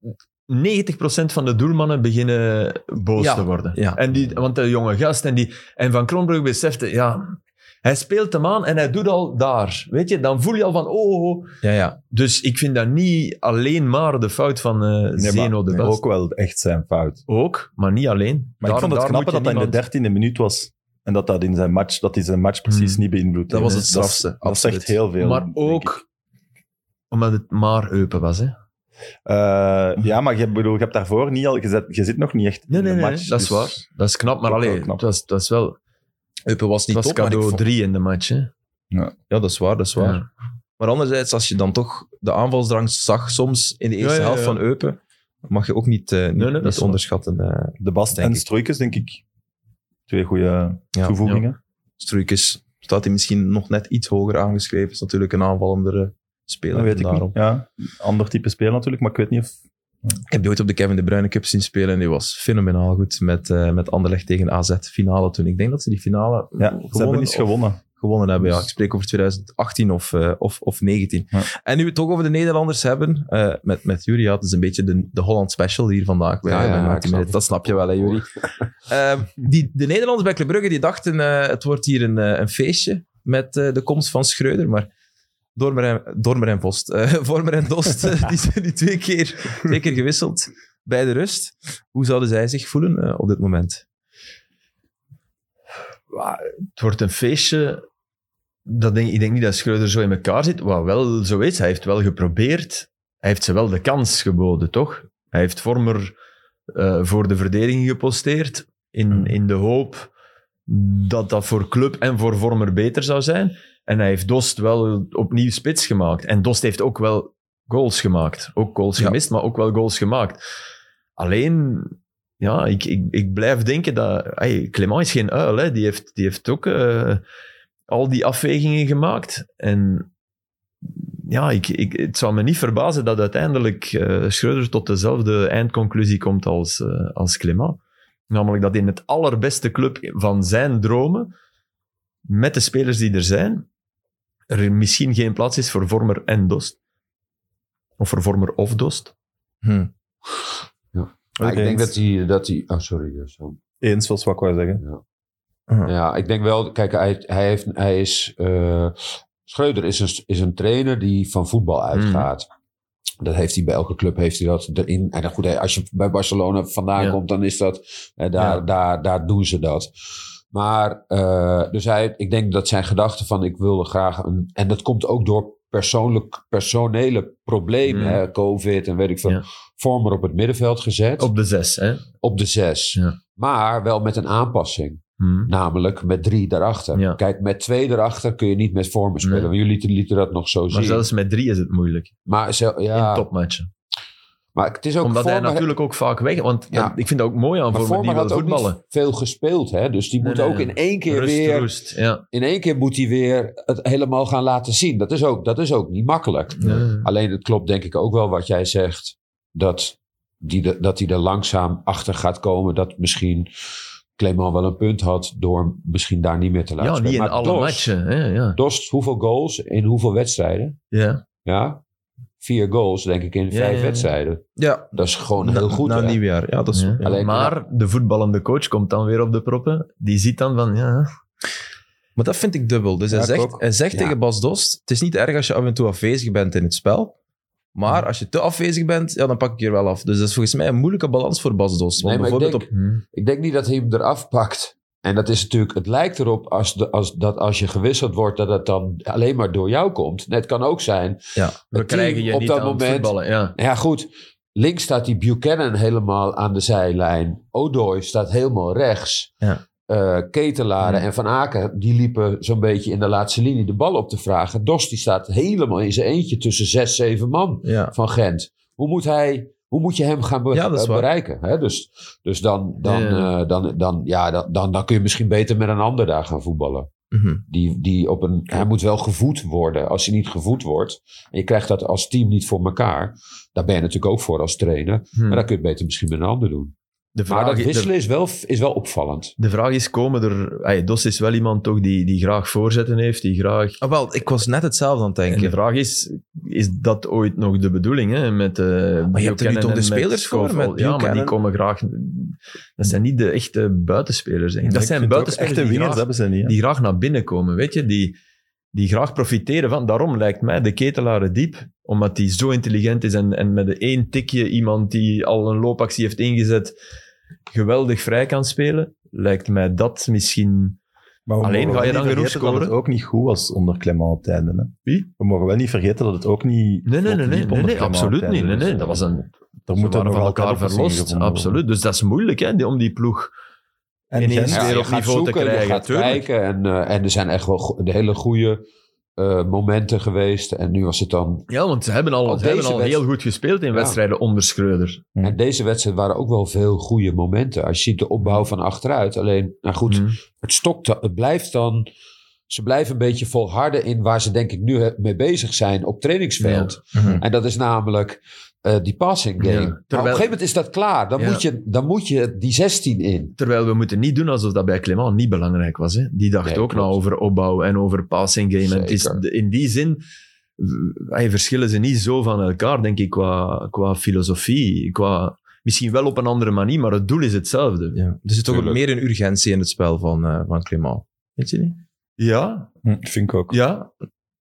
S2: 90% van de doelmannen beginnen boos
S1: Ja,
S2: te worden.
S1: ja.
S2: En die, want de jonge gast en, die, en Van Krombrugge besefte, ja, hij speelt hem aan en hij doet al daar. Weet je, dan voel je al van, oh, oh.
S1: Ja, ja.
S2: Dus ik vind dat niet alleen maar de fout van eh
S4: Nee, maar
S2: Zeno de Best.
S4: Ook wel echt zijn fout.
S2: Ook, maar niet alleen.
S4: Maar ik vond het knapper dat dat in de dertiende minuut was. En dat dat in zijn match, dat hij zijn match precies
S2: Hmm.
S4: niet beïnvloedt.
S1: Dat was het
S4: is-
S1: strafste,
S4: Dat,
S1: absoluut.
S4: zegt heel veel.
S2: Maar
S4: denk ik.
S2: ook omdat het maar open was, hè?
S4: Eh, ja, maar je, bedoel, je hebt daarvoor niet al gezet. Je zit nog niet echt
S2: Nee,
S4: in
S2: nee,
S4: de
S2: nee,
S4: match.
S2: dat is
S4: dus-
S2: waar. Dat is knap, maar
S4: Dat is
S2: alleen,
S4: wel knap.
S2: dat was, dat is wel...
S1: Eupen was
S2: Het
S1: niet
S2: was
S1: top, maar ik
S2: cadeau
S1: vond-
S2: 3 in de match, hè?
S1: Ja, dat is waar, dat is waar.
S2: Ja.
S1: Maar anderzijds, als je dan toch de aanvalsdrang zag soms in de eerste
S2: Ja, ja, ja.
S1: helft van Eupen, mag je ook niet, eh, niet,
S2: nee, dat
S1: niet
S2: is waar.
S1: onderschatten. eh
S4: De Bast
S1: Denk
S4: en
S1: ik.
S4: Struikens, denk ik. Twee goede
S1: Ja,
S4: toevoegingen.
S1: Struikens staat hij misschien nog net iets hoger aangeschreven. Is natuurlijk een aanvallendere speler.
S4: Dat weet ik
S1: daarom.
S4: niet. Ja, ander type speler natuurlijk, maar ik weet niet of...
S1: Ik heb die ooit op de Kevin De Bruyne Cup zien spelen en die was fenomenaal goed met, eh met Anderlecht tegen AZ. Finale toen. Ik denk dat ze die finale
S4: Ja, ze hebben
S1: gewonnen
S4: niet
S1: of-
S4: gewonnen.
S1: gewonnen hebben. Ja,
S4: Dus-
S1: ik spreek over 2018 of, eh, of, of 19.
S4: Ja.
S1: En nu we het toch over de Nederlanders hebben, eh, met, met Jury had dus een beetje de, de Holland special hier vandaag. Bij,
S3: Ja,
S1: bij
S3: ja,
S1: Martin
S3: ja, ik snap
S1: Minit. dat snap je wel, hè, Jury. Ehm, die, de Nederlanders bij Club Brugge die dachten, eh, het wordt hier een, eh, een feestje met eh, de komst van Schreuder, maar Dormer en, Dormer en Vost, eh, Vormer en Dost, eh, die zijn die twee keer, twee keer gewisseld bij de rust. Hoe zouden zij zich voelen eh, op dit moment?
S2: Wa- Het wordt een feestje dat denk, ik denk niet dat Schreuder zo in elkaar zit. Wat wel zo is, hij heeft wel geprobeerd. Hij heeft ze wel de kans geboden, toch? Hij heeft Vormer eh, voor de verdediging geposteerd. In, in de hoop dat dat voor club en voor Vormer beter zou zijn. En hij heeft Dost wel opnieuw spits gemaakt. En Dost heeft ook wel goals gemaakt. Ook goals
S1: Ja.
S2: gemist, maar ook wel goals gemaakt. Alleen, ja, ik, ik, ik blijf denken dat... Hey, Clement is geen uil, hè. Die heeft, die heeft ook eh, al die afwegingen gemaakt. En ja, ik, ik, het zou me niet verbazen dat uiteindelijk eh Schreuder tot dezelfde eindconclusie komt als, eh als Clement. Namelijk dat in het allerbeste club van zijn dromen, met de spelers die er zijn, er misschien geen plaats is voor Vormer en Dost. Of voor Vormer of Dost.
S4: Hm.
S3: Maar
S4: Oké.
S3: ik denk dat hij... Dat hij oh, sorry. eh, Sam.
S4: Eens zoals wat ik wou zeggen.
S3: Ja, ik denk wel, kijk, hij, hij, heeft, hij is. eh Schreuder is een, is een trainer die van voetbal
S2: Hmm.
S3: uitgaat. Dat heeft hij bij elke club, heeft hij dat erin. En dan goed, hè, als je bij Barcelona vandaan
S2: Ja.
S3: komt, dan is dat. eh, daar,
S2: Ja.
S3: daar, daar doen ze dat. Maar, eh, dus hij, ik denk dat zijn gedachte van ik wilde graag een. En dat komt ook door persoonlijk, personele problemen,
S2: Mm.
S3: hè, COVID en weet ik veel.
S2: Ja.
S3: Vormer op het middenveld gezet, op,
S2: Op de zes, hè.
S3: de zes.
S2: Ja.
S3: Maar wel met een aanpassing.
S2: Hm.
S3: Namelijk met drie daarachter.
S2: Ja.
S3: Kijk, met twee daarachter kun je niet met vormen spelen.
S2: Nee.
S3: Want jullie lieten, lieten dat nog zo
S2: Maar
S3: zien.
S2: zelfs met drie is het moeilijk.
S3: maar, ze- ja,
S2: In topmatchen.
S3: maar het is ook
S2: Omdat hij
S3: Vormer-
S2: natuurlijk ook vaak weg... Want
S3: Ja.
S2: eh, ik vind dat ook mooi aan
S3: maar
S2: Vormer, die
S3: Vormer
S2: wil
S3: had ook
S2: voetballen.
S3: niet veel gespeeld. Hè? Dus die
S2: Nee,
S3: moet
S2: nee,
S3: ook
S2: nee.
S3: in één keer
S2: rust,
S3: weer...
S2: rust. Ja.
S3: In één keer moet hij weer het helemaal gaan laten zien. Dat is ook, dat is ook niet makkelijk.
S2: Ja.
S3: Alleen het klopt denk ik ook wel wat jij zegt. Dat die, de- dat die er langzaam achter gaat komen. Dat misschien Clement wel een punt had door misschien daar niet meer te laten
S2: Ja,
S3: spelen.
S2: niet in
S3: Maar
S2: alle
S3: Dost-
S2: matchen. Hè? Ja.
S3: Dost, hoeveel goals in hoeveel wedstrijden?
S2: Ja.
S3: Ja, vier goals denk ik in
S2: Ja,
S3: vijf
S2: ja, nou, ja.
S3: wedstrijden.
S1: Ja,
S3: Dat is gewoon heel goed.
S1: na
S3: hè?
S1: nieuwjaar. Ja, dat is,
S2: Ja.
S1: ja.
S3: Alleen-
S2: Maar de voetballende coach komt dan weer op de proppen. Die ziet dan van, ja...
S1: Maar dat vind ik dubbel. Dus
S4: Ja,
S1: hij
S4: ik
S1: zegt,
S4: ook.
S1: hij zegt
S3: Ja.
S1: tegen Bas Dost, het is niet erg als je af en toe afwezig bent in het spel. Maar als je te afwezig bent, ja, dan pak ik je er wel af. Dus dat is volgens mij een moeilijke balans voor Bas Dost. Want
S3: Nee, maar ik
S1: bijvoorbeeld
S3: denk-
S1: op...
S2: Hm.
S3: Ik denk niet dat hij hem eraf pakt. En dat is natuurlijk, het lijkt erop als de, als, dat als je gewisseld wordt, dat het dan alleen maar door jou komt. Nee, het kan ook zijn.
S1: Ja.
S2: We
S3: Het
S2: krijgen
S3: team
S2: je
S3: op
S2: niet
S3: dat
S2: aan het
S3: moment-
S2: voetballen. Ja.
S3: Nou Ja, goed. Links staat die Buchanan helemaal aan de zijlijn. Odoi staat helemaal rechts.
S1: Ja.
S3: Eh, Ketelaren
S1: Ja.
S3: en Van Aken die liepen zo'n beetje in de laatste linie de bal op te vragen. Dost die staat helemaal in zijn eentje tussen zes, zeven man.
S1: Ja.
S3: van Gent. Hoe moet, hij, hoe moet je hem gaan be-
S1: Ja, dat is
S3: eh,
S1: waar.
S3: bereiken? Hè? Dus, dus dan, dan,
S2: Ja.
S3: eh, dan, dan, ja, dan, dan, dan kun je misschien beter met een ander daar gaan voetballen.
S1: Mhm.
S3: Die, die op een, hij moet wel gevoed worden. Als hij niet gevoed wordt en je krijgt dat als team niet voor elkaar, daar ben je natuurlijk ook voor als trainer.
S2: Hm.
S3: Maar dan kun je het beter misschien met een ander doen.
S2: De
S3: Maar dat
S2: is- de-
S3: wisselen is wel, is wel opvallend.
S2: De vraag is, komen er... Hey, Dos is wel iemand toch die, die graag voorzetten heeft, die graag...
S1: Ah, wel, ik was net hetzelfde aan het
S2: En de
S1: denken.
S2: vraag is, is dat ooit nog de bedoeling? Hè? Met, eh
S1: Maar je hebt er nu
S2: Buchanan
S1: toch de
S2: en met
S1: spelers voor,
S2: Koval?
S1: met
S2: Ja, maar die
S1: Buchanan?
S2: komen graag... Dat zijn niet de echte buitenspelers. Denk ik. Dat
S4: Ik
S2: zijn
S4: vind ook
S2: buitenspelers
S4: Echte
S2: die
S4: wingers
S2: graag-
S4: hebben ze niet. hè.
S2: die graag naar binnen komen, weet je, die, die graag profiteren van. Daarom lijkt mij de ketelaren diep, omdat hij zo intelligent is en, en met de één tikje iemand die al een loopactie heeft ingezet, geweldig vrij kan spelen. Lijkt mij dat misschien.
S4: Maar we
S2: Alleen
S4: mogen
S2: ga
S4: wel
S2: je
S4: niet
S2: dan genoeg
S4: vergeten dat het
S2: scoren?
S4: ook niet goed was onder Clement op het einde. Hè?
S2: Wie?
S4: We mogen wel niet vergeten dat het ook niet...
S2: Nee, nee, nee,
S4: vlot
S2: nee,
S4: liep
S2: nee,
S4: onder
S2: nee,
S4: Clement op het
S2: absoluut
S4: einde.
S2: niet. Nee,
S4: Dus,
S2: nee,
S4: eh,
S2: dat was een.
S4: Er
S2: Ze
S4: moeten
S2: waren
S4: nog
S2: van elkaar
S4: oplossingen
S2: verlost.
S4: gevonden worden.
S2: Absoluut. Dus dat is moeilijk, hè, die- om die ploeg.
S4: En
S2: Ineens
S4: Gent-
S2: weer
S3: je
S2: op
S3: gaat
S2: niveau te
S3: zoeken,
S2: krijgen,
S3: Je gaat
S2: tuurlijk.
S3: kijken en, eh, en er zijn echt wel go- de hele goede eh, momenten geweest. En nu was het dan
S2: Ja, want ze hebben al,
S3: Ook
S2: ze hebben
S3: deze
S2: al
S3: wedst-
S2: heel goed gespeeld in
S3: Ja.
S2: wedstrijden onder Schreuder.
S3: En deze wedstrijd waren ook wel veel goede momenten. Als je ziet de
S2: Hm.
S3: opbouw van achteruit. Alleen, nou goed,
S2: Mm.
S3: het stokt, da- het blijft dan... Ze blijven een beetje volharden in waar ze denk ik nu he- mee bezig zijn op trainingsveld.
S4: Mhm.
S3: En dat is namelijk eh, die passing game.
S2: Ja.
S3: Maar op een
S2: Terwijl-
S3: gegeven moment is dat klaar. Dan,
S2: Ja.
S3: moet je, dan moet je die 16 in.
S2: Terwijl we moeten niet doen alsof dat bij Clement niet belangrijk was. Hè? Die dacht
S3: Nee,
S2: ook
S3: klopt.
S2: nou over opbouw en over passing game. En het is
S3: Zeker.
S2: de- in die zin w- hey, verschillen ze niet zo van elkaar, denk ik, qua, qua filosofie. Qua, misschien wel op een andere manier, maar het doel is hetzelfde.
S1: Ja.
S4: Dus
S1: Er zit toch ook
S3: Tuurlijk.
S1: meer een urgentie in het spel van, eh van Clément. Weet je niet?
S2: Ja,
S4: Hm, Vind ik ook.
S2: ja.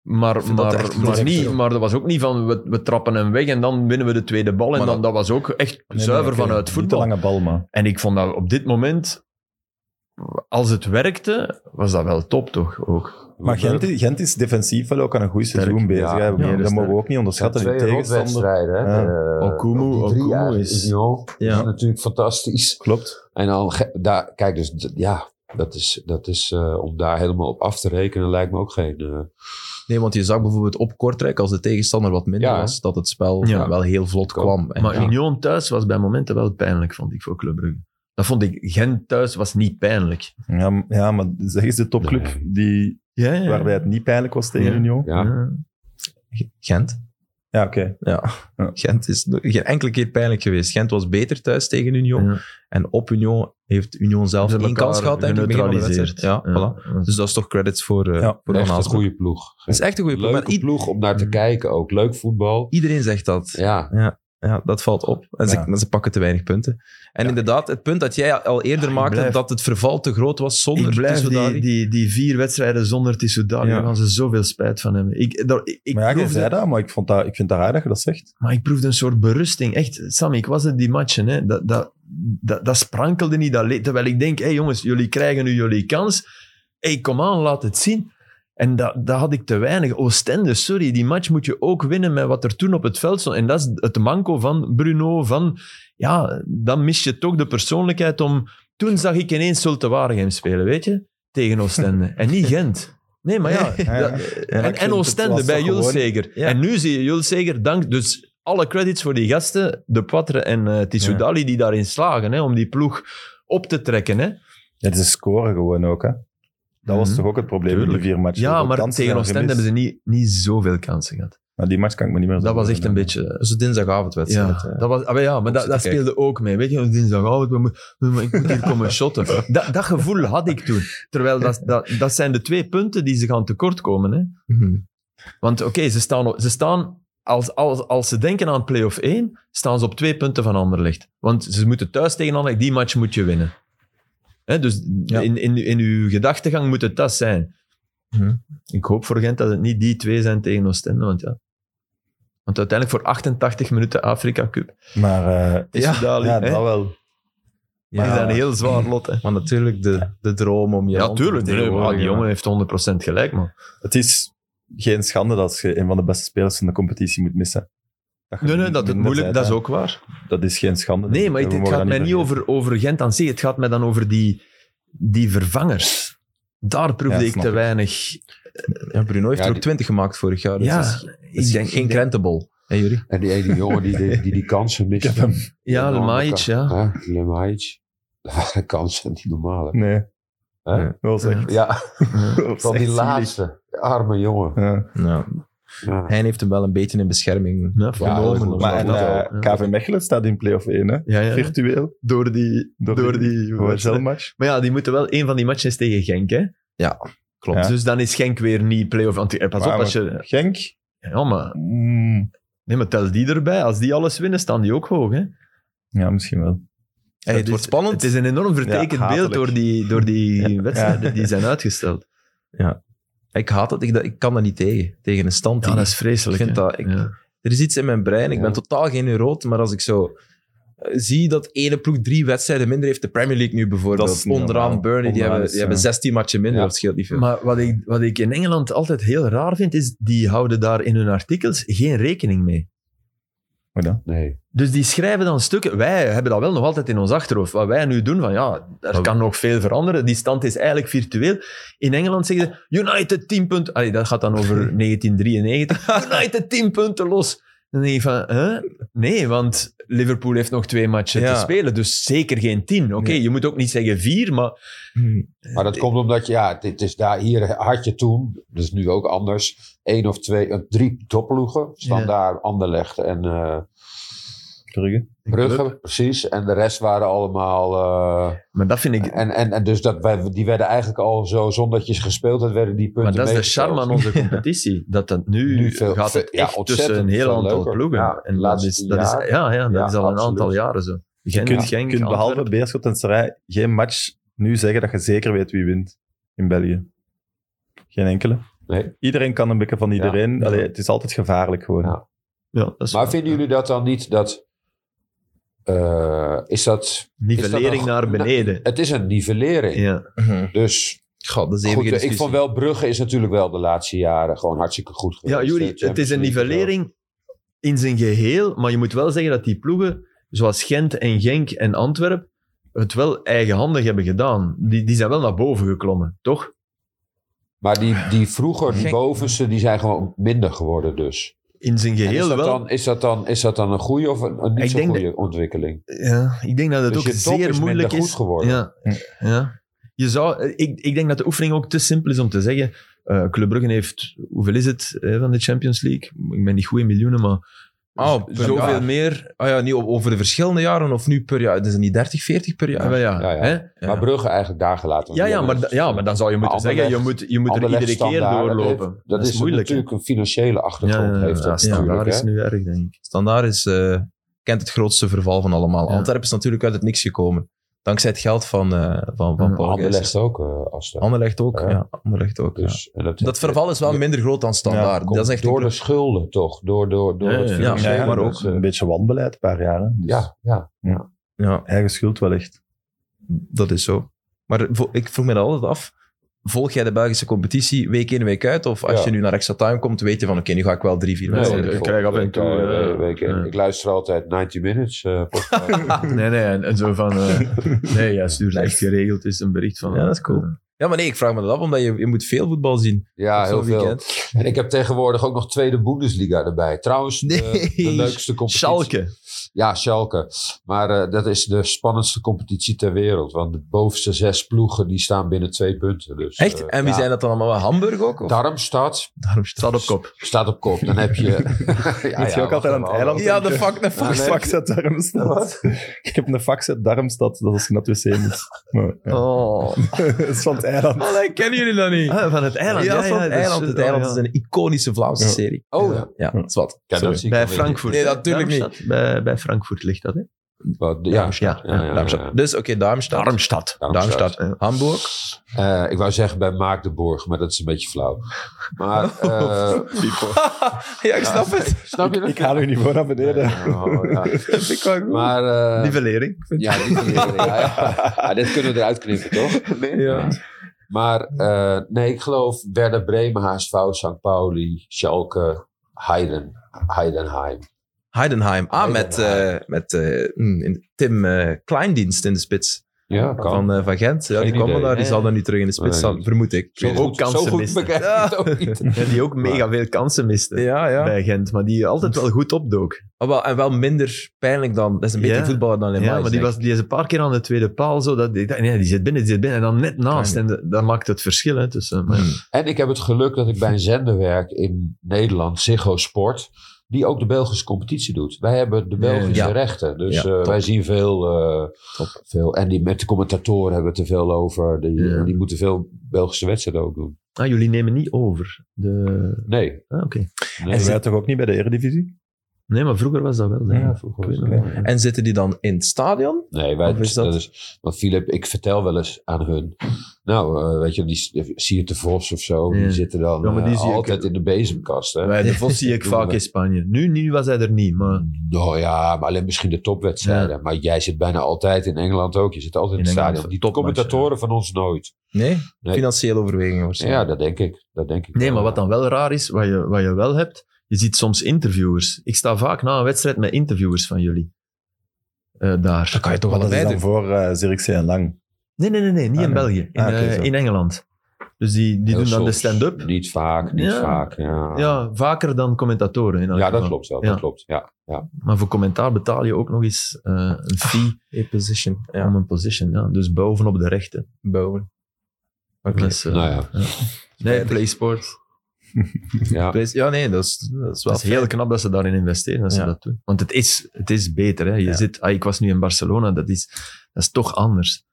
S1: Ik
S2: Maar,
S1: vind dat
S2: maar,
S1: echt
S2: maar,
S1: goed.
S2: niet, maar dat was ook niet van we, we trappen hem weg en dan winnen we de tweede bal. En
S1: Maar
S2: dan, dat was ook echt
S4: Nee, nee,
S2: zuiver
S4: oké,
S2: vanuit
S4: Niet te
S2: voetbal.
S4: lange bal, maar...
S2: En ik vond dat op dit moment, als het werkte, was dat wel top toch ook.
S4: Maar Gent, is- Gent is defensief wel ook aan een goed seizoen bezig.
S3: Ja,
S4: hè.
S3: ja,
S4: dat
S2: sterk.
S4: mogen we ook niet
S3: Twee
S4: onderschatten. Die tegenstander.
S3: rotwedstrijden. hè. Eh,
S2: Okumu-
S3: op die drie
S2: Okumu
S3: eigenlijk
S2: is-
S3: Union.
S1: Ja.
S2: Dus-
S3: is natuurlijk fantastisch.
S4: Klopt.
S3: En dan, ge- daar, kijk, dus d- ja, dat is, dat is eh, om daar helemaal op af te rekenen lijkt me ook geen... eh,
S1: Nee, want je zag bijvoorbeeld op Kortrijk, als de tegenstander wat minder
S3: Ja, hè?
S1: was, dat het spel
S2: Ja.
S1: wel heel vlot
S3: Kom.
S1: kwam. En
S2: Maar
S1: ja.
S2: Union thuis was bij momenten wel pijnlijk, vond ik, voor Club Brugge. Dat vond ik, Gent thuis was niet pijnlijk.
S4: Ja, m- ja, maar zeg eens de topclub
S3: Nee.
S4: die,
S2: Ja, ja.
S4: waarbij het niet pijnlijk was tegen
S2: Ja.
S4: Union.
S3: ja.
S1: Gent.
S4: Ja, oké.
S1: Ja.
S4: Ja.
S1: Gent is no- geen enkele keer pijnlijk geweest. Gent was beter thuis tegen Union.
S2: Ja.
S1: En op Union heeft Union zelf één kans gehad. denk ik, begin van de wedstrijd. Ja, voilà. Dus dat is toch credit voor, eh
S4: Ja,
S1: voor
S3: Echt
S1: Van
S3: een
S1: Aanspraak.
S3: goede ploeg.
S1: Dat is echt een goede ploeg.
S3: Leuke
S1: maar i-
S3: ploeg om naar te
S2: Mm.
S3: kijken ook. Leuk voetbal.
S1: iedereen zegt dat. Ja.
S3: Ja,
S1: dat valt op. En ze,
S4: Ja.
S1: ze pakken te weinig punten. En inderdaad, het punt dat jij al eerder
S2: ik
S1: maakte,
S2: blijf-
S1: dat het verval te groot was zonder
S2: Ik blijf
S1: Tissoudali.
S2: die, die, die vier wedstrijden zonder Tissoudali,
S4: Ja.
S2: daar gaan ze zoveel spijt van hebben. Ik, daar- ik, ik
S4: maar ja, jij
S2: proefde-
S4: zei dat, maar ik, vond dat, ik vind dat raar dat je dat zegt.
S2: Maar ik proefde een soort berusting. Echt, Sam, ik was in die matchen. Hè. Dat, dat, dat, dat sprankelde niet. Dat leed. terwijl ik denk, hé jongens, jullie krijgen nu jullie kans. Hé, kom aan, laat het zien. En dat, dat had ik te weinig. Oostende, sorry, die match moet je ook winnen met wat er toen op het veld stond. En dat is het manco van Bruno. Van, ja, dan mis je toch de persoonlijkheid om... Toen zag ik ineens Zulte Waregem spelen, weet je? Tegen Oostende. en niet Gent. Nee, maar ja,
S4: Ja, ja.
S2: dat- en, en Oostende bij Jules Seger.
S1: Ja.
S2: En nu zie je Jules Seger, dank dus alle credits voor die gasten, De Poitre en eh Tissoudali, die daarin slagen hè, om die ploeg op te trekken. Hè.
S4: Het is scoren gewoon ook, hè. Dat was
S2: Mhm.
S4: toch ook het probleem in
S2: Tuurlijk.
S4: die vier matchen.
S2: Ja,
S4: Hoeveel
S2: maar
S4: kansen
S2: tegen
S4: zijn er
S2: Oostende hebben ze
S4: gemist?
S2: niet, niet zoveel kansen gehad.
S4: Nou, die match kan ik me niet meer
S2: Dat was echt een
S4: herinneren.
S2: beetje...
S1: Dat is een dinsdagavondwedstrijd.
S2: Ja,
S1: hè.
S2: dat was, ah, maar ja, maar dat, dat
S1: kijken.
S2: speelde ook mee. Weet je, op dinsdagavond, we moet- we moet- ik moet hier komen shotten. Dat, dat gevoel had ik toen. Terwijl dat, dat, dat zijn de twee punten die ze gaan tekortkomen. Hè.
S1: Mhm.
S2: Want oké, ze staan, ze staan als, als, als ze denken aan play-off 1, staan ze op twee punten van Anderlecht. Want ze moeten thuis tegen Anderlecht, die match moet je winnen. Hè, dus
S1: Ja.
S2: in, in, in uw gedachtegang moet het dat zijn.
S1: Mhm.
S2: Ik hoop voor Gent dat het niet die twee zijn tegen Oostende, want ja. Want uiteindelijk voor 88 minuten Afrika Cup
S4: Maar eh,
S2: is ja,
S4: ja,
S2: dat
S4: dat wel.
S1: Ja.
S2: is dat een heel zwaar lot. Hè.
S1: Maar natuurlijk de, de droom om je
S2: Ja,
S1: land te
S2: tuurlijk. nee, maar die
S1: vertegenwoordigen.
S2: jongen heeft 100% gelijk, man.
S4: Het is geen schande dat je een van de beste spelers van de competitie moet missen. je
S2: Nee, nee, dat is
S4: minder
S2: moeilijk,
S4: bent,
S2: dat is
S4: hè.
S2: ook waar.
S4: Dat is geen schande.
S2: Nee, maar
S4: We
S2: het, het
S4: mogen
S2: gaat
S4: dat
S2: mij niet
S4: vergeten.
S2: over, over Gent aan zich. Het gaat mij dan over die, die vervangers. Daar proefde
S4: Ja,
S2: ik
S4: snap
S2: te
S4: ik.
S2: weinig.
S1: Ja, Bruno heeft
S3: Ja,
S1: er ook
S3: die-
S1: 20 gemaakt vorig jaar. Dus
S2: Ja,
S1: dat is, dat is
S2: ik denk-
S1: geen
S2: ik denk-
S1: krentenbol. Hé, jullie?
S3: en die ene jongen die die, die, die kansen mist.
S4: Ik heb hem.
S2: Ja, Lemajic, ja.
S3: Hè, Lemaic. Dat waren kansen niet normaal.
S4: Nee,
S3: Hè?
S1: Ja.
S4: dat was echt...
S3: Ja,
S4: dat was
S3: van
S4: echt
S3: die
S4: zielig.
S3: laatste. Arme jongen.
S4: Ja.
S1: Ja.
S3: Ja.
S1: Hij heeft hem wel een beetje in bescherming
S2: Ja,
S1: genomen.
S3: dat is
S4: Maar en,
S3: wel
S4: eh,
S2: Ja.
S4: KV Mechelen staat in play-off 1, hè?
S2: Ja, ja.
S4: Virtueel.
S2: Door die... Door,
S4: Door
S2: die
S4: OSL-match.
S2: maar ja, die moeten wel... Een van die matches tegen Genk, hè?
S1: klopt.
S4: Ja.
S2: Dus dan is Genk weer niet play-off. Want, eh, pas
S4: Maar-
S2: op als je...
S4: Genk.
S2: Ja, maar...
S4: Mm.
S2: Nee, maar tel die erbij. Als die alles winnen, staan die ook hoog, hè?
S4: Ja, misschien wel.
S1: Hey, het
S2: Dat
S1: wordt
S2: is-
S1: spannend.
S2: Het is een enorm vertekend beeld
S4: hatelijk.
S2: door die, door die wedstrijden die zijn uitgesteld.
S1: Ik haat het. Ik, dat- ik kan er niet tegen. Tegen een stand.
S2: Ja,
S1: die-
S2: dat is vreselijk,
S1: Ik vind
S2: hè.
S1: dat- ik-
S2: Ja.
S1: Er is iets in mijn brein. Ik
S3: Ja.
S1: ben totaal geen neuroot. Maar als ik zo eh, zie dat ene ploeg drie wedstrijden minder heeft. De Premier League nu
S4: Dat
S1: bijvoorbeeld.
S4: is niet
S1: Onderaan
S4: normaal.
S1: Burnley. Die,
S4: Onderaan
S1: hebben,
S4: is,
S1: die hebben
S4: eh,
S1: 16 matchen minder.
S3: ja.
S1: Dat scheelt niet veel.
S2: Maar wat ik, wat ik in Engeland altijd heel raar vind, is die houden daar in hun artikels geen rekening mee.
S4: Hoe dan?
S3: Nee.
S2: Dus die schrijven dan stukken. Wij hebben dat wel nog altijd in ons achterhoofd. Wat wij nu doen, van ja, er
S1: Maar-
S2: kan nog veel veranderen. Die stand is eigenlijk virtueel. In Engeland zeggen ze, United 10 punten... Allee, dat gaat dan over 1993. United 10 punten los. Dan denk je van, hè? nee, want Liverpool heeft nog twee matchen
S1: Ja.
S2: te spelen. Dus zeker geen 10. Oké,
S1: Nee.
S2: je moet ook niet zeggen 4, maar...
S1: Hm.
S3: Maar dat komt omdat, je- ja, dit is daar, hier had je toen, dat is nu ook anders, één of twee, eh, drie topploegen. Standaard, Anderlecht en eh,
S4: Brugge.
S3: Brugge, precies. En de rest waren allemaal... eh,
S2: Maar dat vind ik...
S3: En, en, en dus dat wij, die werden eigenlijk al zo, zonder dat je ze gespeeld had, werden die punten
S2: Maar dat is de
S3: meegeteld.
S2: charme aan onze competitie. Dat dat nu,
S3: Nu veel-
S2: gaat het
S3: veel- ja,
S2: echt
S3: ontzettend
S2: tussen een heel
S3: veel
S2: aantal
S3: leuker.
S2: ploegen.
S3: Ja, de
S2: en dat
S3: laatste
S2: is, dat is, ja,
S3: jaren.
S2: ja, dat
S3: Ja,
S2: is al een
S3: absoluut.
S2: aantal jaren zo.
S4: Je
S2: Gent,
S4: kunt,
S2: Genk,
S4: kunt behalve
S2: Antwerpen.
S4: Beerschot en Serij geen match nu zeggen dat je zeker weet wie wint in België. Geen enkele.
S3: Nee.
S4: Iedereen kan een beetje van iedereen.
S2: Ja.
S4: Allee, het is altijd gevaarlijk gewoon.
S3: Ja.
S2: Ja, dat is
S3: Maar vinden jullie dat dan niet dat... eh, is dat...
S2: nivellering
S3: is dat
S2: naar
S3: nog-
S2: beneden.
S3: Het is een nivellering.
S2: Ja.
S1: Mhm.
S3: Dus
S1: God, dat is
S3: Goed,
S1: eeuwige
S3: eh, ik
S1: discussie.
S3: vond wel Brugge is natuurlijk wel de laatste jaren gewoon hartstikke goed geweest. Eh,
S2: Ja, Juri,
S3: Champions
S2: het is een
S3: League en zo.
S2: nivellering in zijn geheel, maar je moet wel zeggen dat die ploegen, zoals Gent en Genk en Antwerp, het wel eigenhandig hebben gedaan. Die, die zijn wel naar boven geklommen, toch?
S3: Maar die, die vroeger, die
S1: Gek.
S3: bovenste, die zijn gewoon minder geworden dus.
S2: In zijn
S3: En is,
S2: geheel
S3: dat
S2: wel.
S3: dan, is, dat dan, is dat dan een goede of een, een niet
S2: Ik
S3: zo
S2: denk
S3: goede ontwikkeling?
S2: Ja, ik denk dat het
S3: Dus
S2: ook
S3: je top
S2: zeer
S3: is
S2: moeilijk
S3: minder
S2: is.
S3: goed geworden.
S2: Ja,
S1: Hm.
S2: ja. Je zou, eh, ik, ik denk dat de oefening ook te simpel is om te zeggen. eh Club Brugge heeft, hoeveel is het eh, van de Champions League? Ik ben niet goed in miljoenen, maar Dus-
S1: Oh, per
S2: zoveel
S1: jaar.
S2: meer.
S1: Ah ja, niet o- over de verschillende jaren of nu per jaar. Het is niet 30, 40 per
S2: Ja,
S1: jaar.
S2: maar ja,
S3: Ja, ja.
S2: Hè?
S3: Maar Brugge eigenlijk daar gelaten. want
S2: Ja,
S3: die
S2: ja,
S3: hebben
S2: maar, da-
S3: het-
S2: ja, maar dan zou je moeten zeggen, je
S3: Anderlecht-
S2: moet, je moet er
S3: Anderlecht,
S2: iedere keer
S3: Standaard, dat
S2: doorlopen.
S3: heeft- Dat, is,
S2: moeilijk. hè?
S3: natuurlijk een financiële
S2: ja,
S3: achtergrond. heeft dat
S2: ja,
S3: natuurlijk,
S2: daar is
S3: hè.
S2: nu erg, denk ik.
S1: Ah, Standaard is, eh, kent het grootste verval van allemaal.
S2: Ja.
S1: Antwerpen is natuurlijk uit het niks gekomen. Dankzij het geld van, eh van, van
S2: Ja,
S1: Paul
S3: Anderlecht
S1: Gijsens.
S3: ook, eh als dat.
S1: Anderlecht ook,
S3: Ja.
S1: ja. Anderlecht ook, ja.
S3: Dus, en
S1: Dat verval is wel
S3: Ja,
S1: minder groot dan standaard.
S3: komt
S1: dat is echt een
S3: door de
S1: club-
S3: schulden toch? Door, door, door
S2: Ja,
S3: het
S2: ja,
S1: ja,
S3: financiële.
S1: maar ook-
S3: dat ze-
S4: Een beetje wanbeleid, een paar jaren. Dus
S3: ja, ja.
S1: ja,
S4: Eigen schuld wel echt.
S1: dat is zo. Maar vo- ik vroeg me dat altijd af. Volg jij de Belgische competitie week in, week uit? Of als
S3: Ja.
S1: je nu naar extra time komt, weet je van oké, nu ga ik wel drie, vier
S2: Nee,
S1: wedstrijden.
S2: ik
S3: volg
S2: krijg af en
S3: het,
S2: toe,
S3: eh,
S2: eh,
S3: week in.
S2: ja.
S3: Ik luister altijd 90 Minutes. eh, podcast.
S2: Nee, nee, en, en zo van... eh, nee, ja, stuur
S1: Nee.
S2: echt geregeld is een bericht van...
S1: Ja, dat is cool.
S2: eh,
S1: Ja, maar nee, ik vraag me dat af, omdat je, je moet veel voetbal zien.
S3: ja,
S1: op zo'n
S3: heel veel.
S1: weekend.
S3: En ik heb tegenwoordig ook nog tweede Bundesliga erbij. Trouwens, de- de,
S1: Nee.
S3: leukste competitie.
S2: Schalke.
S3: Ja, Schalke. Maar eh, dat is de spannendste competitie ter wereld. Want de bovenste zes ploegen die staan binnen twee punten. Dus,
S1: Echt?
S3: eh,
S1: En wie
S3: ja.
S1: zijn dat dan allemaal? Hamburg ook? Of?
S3: Darmstad
S1: Daarom
S2: Staat op kop.
S3: staat op kop. Dan heb je... ja,
S4: Moet je ook altijd aan het eiland
S1: Ja, de
S4: denken?
S1: fuck, de
S4: Een
S1: fuck.
S4: fax uit Darmstad. Ik heb een fax uit Darmstad, dat als je naar het wc moet. Maar, ja.
S2: Oh.
S4: Het is van het eiland.
S1: Allee, kennen jullie dat niet?
S2: Ah, van het
S1: Ja,
S2: eiland. Ja,
S1: dat is van
S2: ja,
S1: het
S2: dat is-
S1: eiland. Het
S2: oh,
S1: eiland
S2: ja.
S1: is een iconische Vlaamse
S4: Ja.
S1: serie.
S3: Oh ja.
S1: Ja, dat is wat.
S3: Ja,
S1: Sorry.
S3: dat zie ik
S2: Bij
S3: wel weer.
S2: Frankfurt.
S1: Nee,
S2: hè?
S1: natuurlijk niet.
S2: Darmstadt? Bij, bij Frankfurt ligt dat, hè?
S3: Wat- Ja,
S2: Ja, ah, ja,
S3: ja,
S1: Darmstadt.
S3: ja.
S1: Dus oké, Darmstadt.
S2: Darmstadt.
S3: Darmstadt.
S1: Darmstadt. Hamburg.
S3: Eh, ik wou zeggen bij Maagdenborg, maar dat is een beetje flauw. Maar, eh,
S1: ja, ik snap het.
S3: snap je dat?
S4: Oh, Ik haal uw niveau naar beneden.
S3: Oh, ja.
S4: Dat vind ik wel goed.
S3: Maar, eh,
S2: Nivellering.
S3: ja, die- ja, ja. Ja, dit kunnen we eruit knippen, toch?
S2: Ja.
S3: Maar, eh, nee, ik geloof Werder Bremen, HSV, St. Pauli, Schalke, Heiden, Heidenheim.
S1: Heidenheim. Ah, met,
S3: Heidenheim.
S1: eh, met eh, mm, in- Tim eh, Kleindienst in de spits
S3: Ja, kan.
S1: van, eh, van Gent. Ja,
S3: Geen
S1: die kwam
S3: idee.
S1: wel daar. Die
S2: Ja.
S1: zal dan nu terug in de spits
S3: Nee.
S1: staan, vermoed ik.
S3: zo
S2: ook
S3: goed, zo
S2: kansen
S3: goed
S2: missen.
S3: bekijk ik het ook niet.
S2: Ja, die ook mega veel kansen miste
S1: Ja, ja.
S2: bij Gent, maar die altijd wel goed opdook.
S1: Maar Ah, wel, en wel minder pijnlijk dan... Dat is een
S2: Ja.
S1: beetje voetballer dan in
S2: Ja, maar die, was, die is een paar keer aan de tweede paal. Zo, dat, ik dacht, nee, die zit binnen, die zit binnen. En dan net naast. En de- dat maakt het verschil. Hè, tussen, eh, maar, ja.
S3: En ik heb het geluk dat ik bij een zender werk in Nederland, Ziggo Sport, die ook de Belgische competitie doet. Wij hebben de Belgische
S1: Ja.
S3: rechten, dus
S1: Ja,
S3: eh,
S1: top.
S3: wij zien veel, eh,
S1: Top.
S3: veel. En die, met de commentatoren hebben we het er veel over. Die,
S2: Ja.
S3: die moeten veel Belgische wedstrijden ook doen.
S2: ah, jullie nemen niet over. De,
S3: Nee.
S2: ah, oké.
S3: nee.
S4: En wij toch ook niet bij de Eredivisie?
S2: Nee, maar vroeger was dat wel. hè.
S4: Ja,
S2: Ik weet nog
S4: was het,
S2: wel.
S1: En zitten die dan in het stadion?
S3: Nee, wij,
S1: Of is dat-
S3: dat is, want Filip, ik vertel wel eens aan hun. Nou, eh, weet je, die Siert de Vos of zo,
S2: Ja.
S3: die zitten dan
S2: Ja, maar die
S3: eh,
S2: zie ik-
S3: altijd in de bezemkast. Hè?
S2: Wij, de Vos zie ik vaak in Spanje. Nu, nu was hij er niet, maar
S3: Nou ja, maar alleen misschien de topwedstrijden. Maar jij zit bijna altijd in Engeland ook. Je zit altijd in,
S2: In
S3: het
S2: Engeland,
S3: stadion. Die
S2: topmatchen,
S3: commentatoren van ons nooit.
S1: Nee?
S3: Nee.
S1: Financiële overwegingen waarschijnlijk.
S3: Ja, dat denk ik. Dat denk ik
S2: Nee,
S3: wel.
S2: maar wat dan wel raar is, wat je, wat je wel hebt, je ziet soms interviewers. Ik sta vaak na een wedstrijd met interviewers van jullie. Eh, daar.
S1: Dan kan je toch
S4: Maar dat is
S1: allebei
S4: dan
S1: doen.
S4: voor eh Zirkzee en Lang.
S2: Nee, nee, nee, nee niet
S4: Ah,
S2: in
S4: nee.
S2: België. In,
S4: Ah, oké,
S2: eh,
S4: zo.
S2: in Engeland. Dus die, die
S3: Heel
S2: doen dan de
S3: soms.
S2: stand-up.
S3: Niet vaak, niet
S2: Ja.
S3: vaak. Ja, ja,
S2: Ja, vaker dan commentatoren. In elk
S3: ah. dat
S2: geval.
S3: klopt wel.
S2: Ja.
S3: Dat klopt. Ja.
S2: Maar voor commentaar betaal je ook nog eens eh, een fee
S1: In position. Ja,
S2: om een position. Ja. Dus bovenop de rechten.
S1: bouwen. Oké.
S2: Dat is, eh,
S3: Nou ja.
S2: Nee, PlaySport.
S3: ja.
S1: Ja, nee, dat is, dat is wel
S2: Dat is heel knap dat ze daarin investeren, dat ze
S1: Ja.
S2: dat doen. Want het is, het is beter. Hè. Je
S1: Ja.
S2: zit, ah, ik was nu in Barcelona, dat is, dat is toch anders.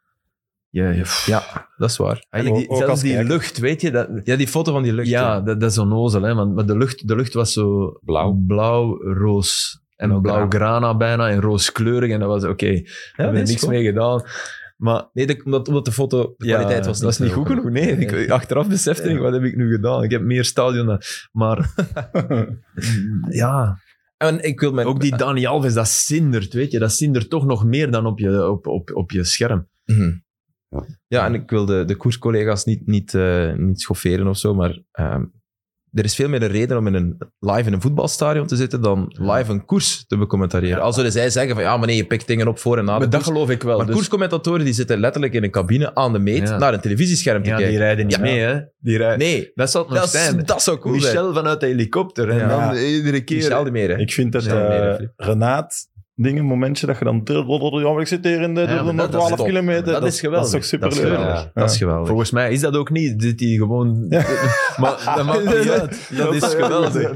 S2: Je, je- pff,
S1: Ja, dat is waar.
S2: eigenlijk die-
S4: ook- ook
S2: zelfs
S4: als
S2: die
S4: kijker.
S2: lucht, weet je. Dat,
S1: Ja, die foto van die lucht.
S2: ja, dat, dat is onnozel. Hè. Want, maar de lucht, de lucht was zo
S3: Blauw.
S2: blauw roos. En blauw grana bijna en rooskleurig. En dat was oké. daar
S1: dat
S2: hebben we
S1: is
S2: niks
S1: goed.
S2: mee gedaan. Maar
S1: Nee, de- omdat, omdat de foto, de kwaliteit was niet,
S2: dat is niet goed genoeg. Nee, ik, achteraf besefte ik,
S1: Ja.
S2: wat heb ik nu gedaan? Ik heb meer stadion dan... Maar ja,
S1: En ik wil mijn...
S2: ook die Dani Alves, dat zindert, weet je. Dat zindert toch nog meer dan op je, op, op, op je scherm.
S1: Mhm. Ja, en ik wil de, de koerscollega's niet, niet, eh, niet schofferen of zo, maar ehm, er is veel meer een reden om in een, live in een voetbalstadion te zitten dan live een koers te becommentariëren. Al zullen zij zeggen van ja, maar nee, je pikt dingen op voor en na de
S2: Maar dat
S1: koers.
S2: geloof ik wel.
S1: Maar
S2: dus-
S1: koerscommentatoren die zitten letterlijk in een cabine aan de meet
S2: Ja.
S1: naar een televisiescherm te
S2: ja, die
S1: kijken.
S2: rijden niet
S1: Ja.
S2: mee, hè. Die rijden.
S1: Nee,
S2: Dat zal het nog
S1: dat, is-
S2: zijn.
S1: dat zou cool zijn.
S2: Michel vanuit de helikopter. En
S1: Ja.
S2: dan eh, iedere keer...
S1: Michel de Meer, hè.
S4: Ik vind dat
S1: Ja, nee,
S4: eh,
S1: dat vind
S4: Renaat ding, een momentje dat je dan... Ja, maar ik zit hier in de,
S2: Ja, maar
S4: de- de
S2: dat is
S4: 12
S1: top.
S4: kilometer.
S2: Dat is geweldig.
S4: Dat is toch
S1: Dat is
S4: superleuk.
S1: geweldig.
S3: Ja.
S1: Dat is geweldig.
S2: Volgens mij is dat ook niet. Dit die gewoon... maar dat maakt niet uit. Dat is geweldig.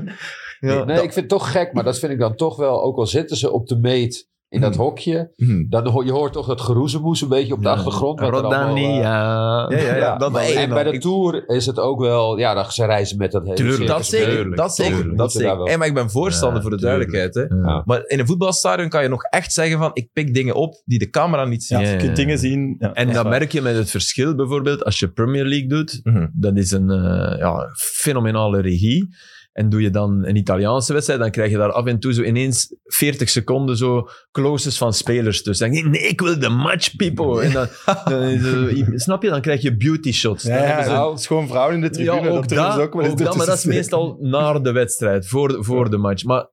S2: Ja.
S3: Nee, ik vind het toch gek, maar dat vind ik dan toch wel, ook al zitten ze op de meet in
S2: Mm.
S3: dat hokje,
S1: Mhm.
S3: dan hoor, je hoort toch dat geroezemoes een beetje op de achtergrond. wat er allemaal, eh,
S2: Rodani, ja.
S1: Ja, ja, ja.
S3: Ja,
S1: Dat
S3: maar
S1: alleen
S3: en
S1: al.
S3: bij de
S1: Ik-
S3: Tour is het ook wel... Ja, dat ze reizen met dat hele
S1: Tuurlijk,
S3: circus
S1: dat zeker.
S3: mee.
S1: Dat zeker.
S3: Tuurlijk,
S1: Dat
S3: moeten daar
S1: zeker.
S3: wel.
S1: En maar ik ben voorstander
S2: Ja,
S1: voor de
S2: tuurlijk.
S1: duidelijkheid. Hè.
S2: Ja.
S1: Maar in een voetbalstadion kan je nog echt zeggen van ik pik dingen op die de camera niet ziet.
S4: Ja,
S2: Ja,
S4: je
S2: ja, ja.
S4: kunt dingen zien. Ja,
S2: En
S4: is
S2: dat
S4: waar.
S2: merk je met het verschil bijvoorbeeld als je Premier League doet.
S1: Mhm.
S2: Dat is een eh, ja, fenomenale regie. En doe je dan een Italiaanse wedstrijd, dan krijg je daar af en toe zo ineens 40 seconden zo closes van spelers tussen. Dan denk je, nee, ik wil de match, people. En dan, dan is het- snap je? Dan krijg je beauty shots. Dan
S4: Ja, ja,
S2: hebben ze-
S4: nou, schoon vrouwen in de tribune.
S2: ja, ook dat,
S4: durven ze wel eens
S2: ook dat, dus- maar dat is
S4: ertussen steken.
S2: meestal na de wedstrijd, voor, voor de match. Maar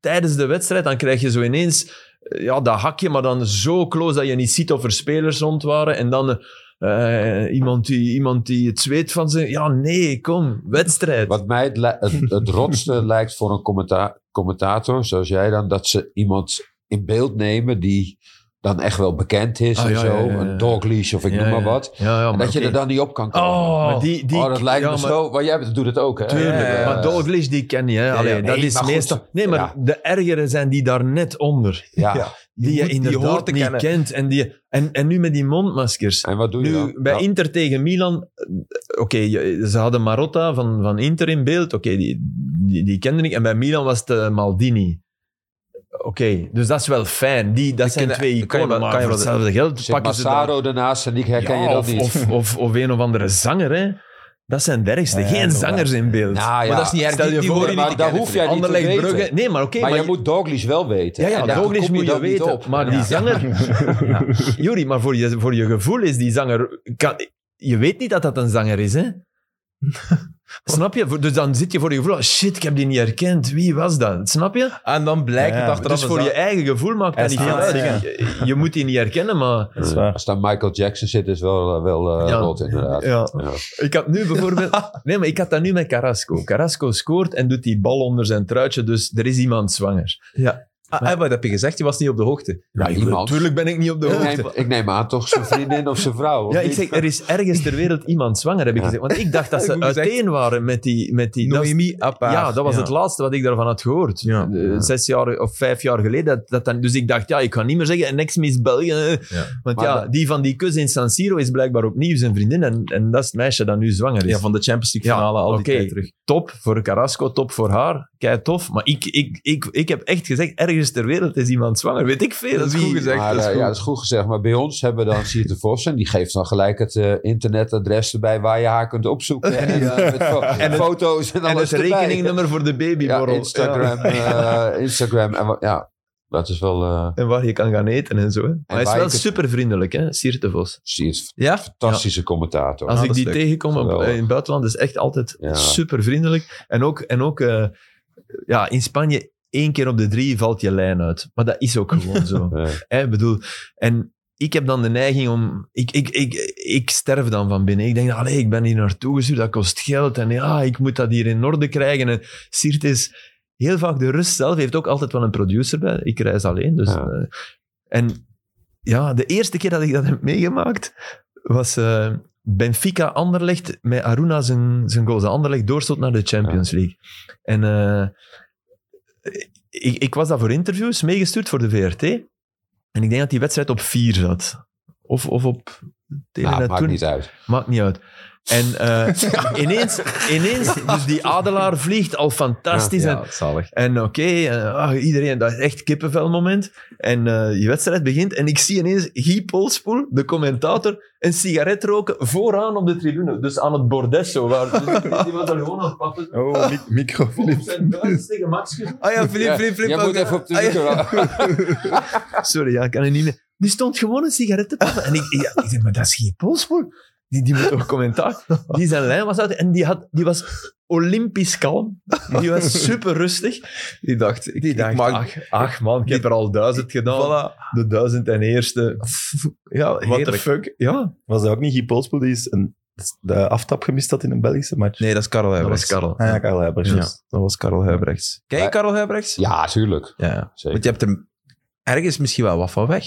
S2: tijdens de wedstrijd, dan krijg je zo ineens eh, ja, dat hakje, maar dan zo close dat je niet ziet of er spelers rond waren. En dan eh, eh, iemand, die, iemand die het zweet van zijn... Ja, nee, kom, wedstrijd.
S3: Wat mij het, li- het, het rotste lijkt voor een commenta- commentator, zoals jij dan, dat ze iemand in beeld nemen die dan echt wel bekend is
S2: Ah,
S3: en
S2: ja,
S3: zo.
S2: ja, ja, ja.
S3: Een dogleash of ik
S2: Ja,
S3: noem maar
S2: ja.
S3: wat.
S2: Ja, ja,
S3: En
S2: maar
S3: dat je
S2: oké.
S3: er dan niet op kan komen.
S2: Oh, maar die, die,
S3: oh, dat lijkt
S2: ja,
S3: me
S2: maar-
S3: zo. Maar jij doet het ook, hè?
S2: Tuurlijk,
S3: Eh,
S2: maar Dalglish die ken je. Hè?
S3: ja,
S2: Allee,
S3: ja,
S2: dat
S3: nee,
S2: is
S3: maar goed.
S2: meestal... Nee, maar
S3: Ja.
S2: de ergeren zijn die daar net onder.
S3: Ja.
S2: Die je
S1: moet- die
S2: inderdaad
S1: hoort te
S2: niet
S1: kennen.
S2: kent. En, die, en, en nu met die mondmaskers.
S3: En wat doe je
S2: Nu,
S3: dan? Nou,
S2: bij
S3: Ja.
S2: Inter tegen Milan... eh, Oké, je- ze hadden Marotta van, van Inter in beeld. Oké, die, die, die kende ik. En bij Milan was het eh, Maldini. Oké, dus dat is wel fijn. Die, dat zijn
S1: ken-
S2: twee
S1: kan je
S2: iconen,
S1: wel-
S2: maar
S1: kan je
S2: voor
S1: wel-
S2: hetzelfde geld
S3: Zit
S2: pakken ze daar...
S3: Massaro ernaast en die herken je
S2: Ja,
S3: dan
S2: of,
S3: niet.
S2: Of, of, of een of andere zanger, hè. Dat zijn de ergste.
S4: Ja, ja,
S2: Geen
S4: inderdaad.
S2: zangers in beeld.
S3: Nou ja,
S1: Maar dat is niet erg.
S2: Stel je
S1: die, die
S2: voor,
S1: horen
S3: maar
S1: niet te
S3: daar
S1: kennen.
S3: hoef jij niet te
S2: Anderlecht,
S3: weten.
S2: Brugge... Nee, maar oké.
S3: maar,
S2: maar
S3: je moet Doglish wel weten.
S2: Ja, ja,
S3: En daar
S2: Doglish
S3: kom
S2: moet je
S3: dan niet
S2: weten.
S3: op.
S2: Maar die
S3: Ja.
S2: zanger... Ja. Jori, maar voor je, voor je gevoel is die zanger... Kan, je weet niet dat dat een zanger is, hè? Snap je? Voor- Dus dan zit je voor je gevoel... Shit, ik heb die niet herkend. Wie was dat? Snap je?
S1: En dan blijkt
S4: Ja,
S1: het
S4: ja,
S1: achteraf...
S2: Dus voor
S1: een
S2: je
S1: za-
S2: eigen gevoel maakt
S4: Hij
S2: dat niet
S4: is
S2: veel
S4: aan het
S2: uit. Je, je moet die niet herkennen, maar...
S4: Dat is waar.
S3: Als daar Michael Jackson zit, is wel, eh, wel eh,
S2: Ja.
S3: rot inderdaad.
S2: Ja.
S3: Ja.
S2: Ik had nu bijvoorbeeld... Nee, maar ik had dat nu met Carrasco. Carrasco scoort en doet die bal onder zijn truitje, dus er is iemand zwanger.
S1: Ah, ah, wat heb je gezegd? Je was niet op de hoogte.
S3: Ja, iemand.
S2: Tuurlijk ben ik niet op de
S3: Ik
S2: hoogte.
S3: neem, ik neem aan toch zijn vriendin of zijn vrouw. of
S2: Ja, ik
S3: niet?
S2: zeg, er is ergens ter wereld iemand zwanger, heb ik
S3: Ja.
S2: gezegd. Want ik dacht dat ze
S1: Goed gezegd.
S2: uiteen waren met die... Met die dat-
S1: Noemi Appaar.
S2: ja, dat was
S1: Ja.
S2: het laatste wat ik daarvan had gehoord.
S1: Ja.
S2: Eh, Zes jaar of vijf jaar geleden. Dat, dat dan, dus ik dacht, ja, ik ga niet meer zeggen, niks mis België. eh. Want
S3: Maar
S2: ja,
S3: dat-
S2: die van die kus in San Siro is blijkbaar opnieuw zijn vriendin. En, en dat is het meisje dat nu zwanger is.
S1: Ja, van de Champions League
S2: Ja,
S1: finale al die
S2: oké.
S1: tijd terug.
S2: Top voor Carrasco, top voor haar. Kei tof. Maar ik, ik, ik, ik heb echt gezegd, ergens ter wereld is iemand zwanger. Weet ik veel.
S1: Dat is goed
S2: wie.
S1: gezegd.
S3: Maar,
S1: dat is
S3: eh,
S1: goed.
S3: Ja, dat is goed gezegd. Maar bij ons hebben we dan Siert de Vos. En die geeft dan gelijk het eh, internetadres erbij waar je haar kunt opzoeken. En, eh, met fo- foto's en
S2: En
S3: alles
S2: het
S3: erbij.
S2: rekeningnummer voor de
S3: Ja,
S2: babyborrel.
S3: Instagram. eh, Instagram. En, wa- ja, dat is wel... eh
S2: En waar je kan gaan eten en zo. Hè. Maar hij is
S3: waar
S2: wel
S3: je kunt-
S2: super vriendelijk, hè, Siert de Vos.
S3: Siert,
S1: Ja?
S3: fantastische commentator.
S2: Als
S1: dat
S2: ik
S1: is
S2: die
S1: leuk.
S2: tegenkom op-
S3: Geweldig.
S2: in het buitenland, is echt altijd
S3: Ja.
S2: super vriendelijk. En ook, en ook eh, ja, in Spanje, één keer op de drie valt je lijn uit. Maar dat is ook gewoon zo.
S3: Eh,
S2: Hè, bedoel, en ik heb dan de neiging om... Ik, ik, ik, ik sterf dan van binnen. Ik denk, allee, ik ben hier naartoe gestuurd, dat kost geld. En ja, ik moet dat hier in orde krijgen. En Siert is heel vaak de rust zelf. heeft ook altijd wel een producer bij. Ik reis alleen, dus...
S3: Ja.
S2: eh, en ja, de eerste keer dat ik dat heb meegemaakt, was eh, Benfica Anderlecht met Aruna zijn, zijn goals. Anderlecht doorstoot naar de Champions League. En... eh, ik, ik was daar voor interviews meegestuurd voor de VRT. En ik denk dat die wedstrijd op 4 zat. Of, of op
S3: nou,
S2: Telenet
S3: maakt
S2: toen.
S3: niet uit.
S2: Maakt niet uit. En eh, ineens, ineens, dus die adelaar vliegt al fantastisch. en-
S1: Ja, zalig.
S2: En oké, eh, ah, iedereen, dat is echt kippenvelmoment. En eh die wedstrijd begint en ik zie ineens Guy Polspoel, de commentator, een sigaret roken vooraan op de tribune. Dus aan het bordes zo. Waar, dus die was daar gewoon aan het pappen. zo.
S4: Oh, mic micro,
S2: Op
S4: Philips.
S2: zijn buis tegen Max
S1: Ah ja, flip,
S3: Ja,
S1: flip, flip.
S3: Jij moet even op de micro.
S2: Sorry, ja, ik kan het niet meer. Die stond gewoon een sigaret te pakken. En ik, ik, ik zeg, maar dat is geen Poolspoor. Die, die moet toch commentaar. Die zijn lijn was uit en die, had, die was olympisch kalm. Die was super rustig.
S1: Die dacht, ik,
S2: Die
S1: ik
S2: dacht,
S1: mag...
S2: ach, ach man, ik heb er al duizend gedaan.
S1: Voilà.
S2: De duizend en eerste.
S1: Ja,
S4: What the
S1: heerlijk.
S4: fuck?
S2: Ja,
S4: Was dat ook niet Guy Polspoel die is een, de aftap gemist had in een Belgische match?
S1: Nee, dat is Karel
S2: dat
S1: Huibrechts.
S2: was Karel.
S4: Ah, ja, Karel Heijbers,
S1: Ja,
S4: juist.
S1: dat was Karel Huibrechts. Ken je
S3: Maar-
S1: Karel Huibrechts?
S3: Ja, tuurlijk.
S1: ja. Want
S3: Zeker.
S1: je hebt er ergens misschien wel wat van weg.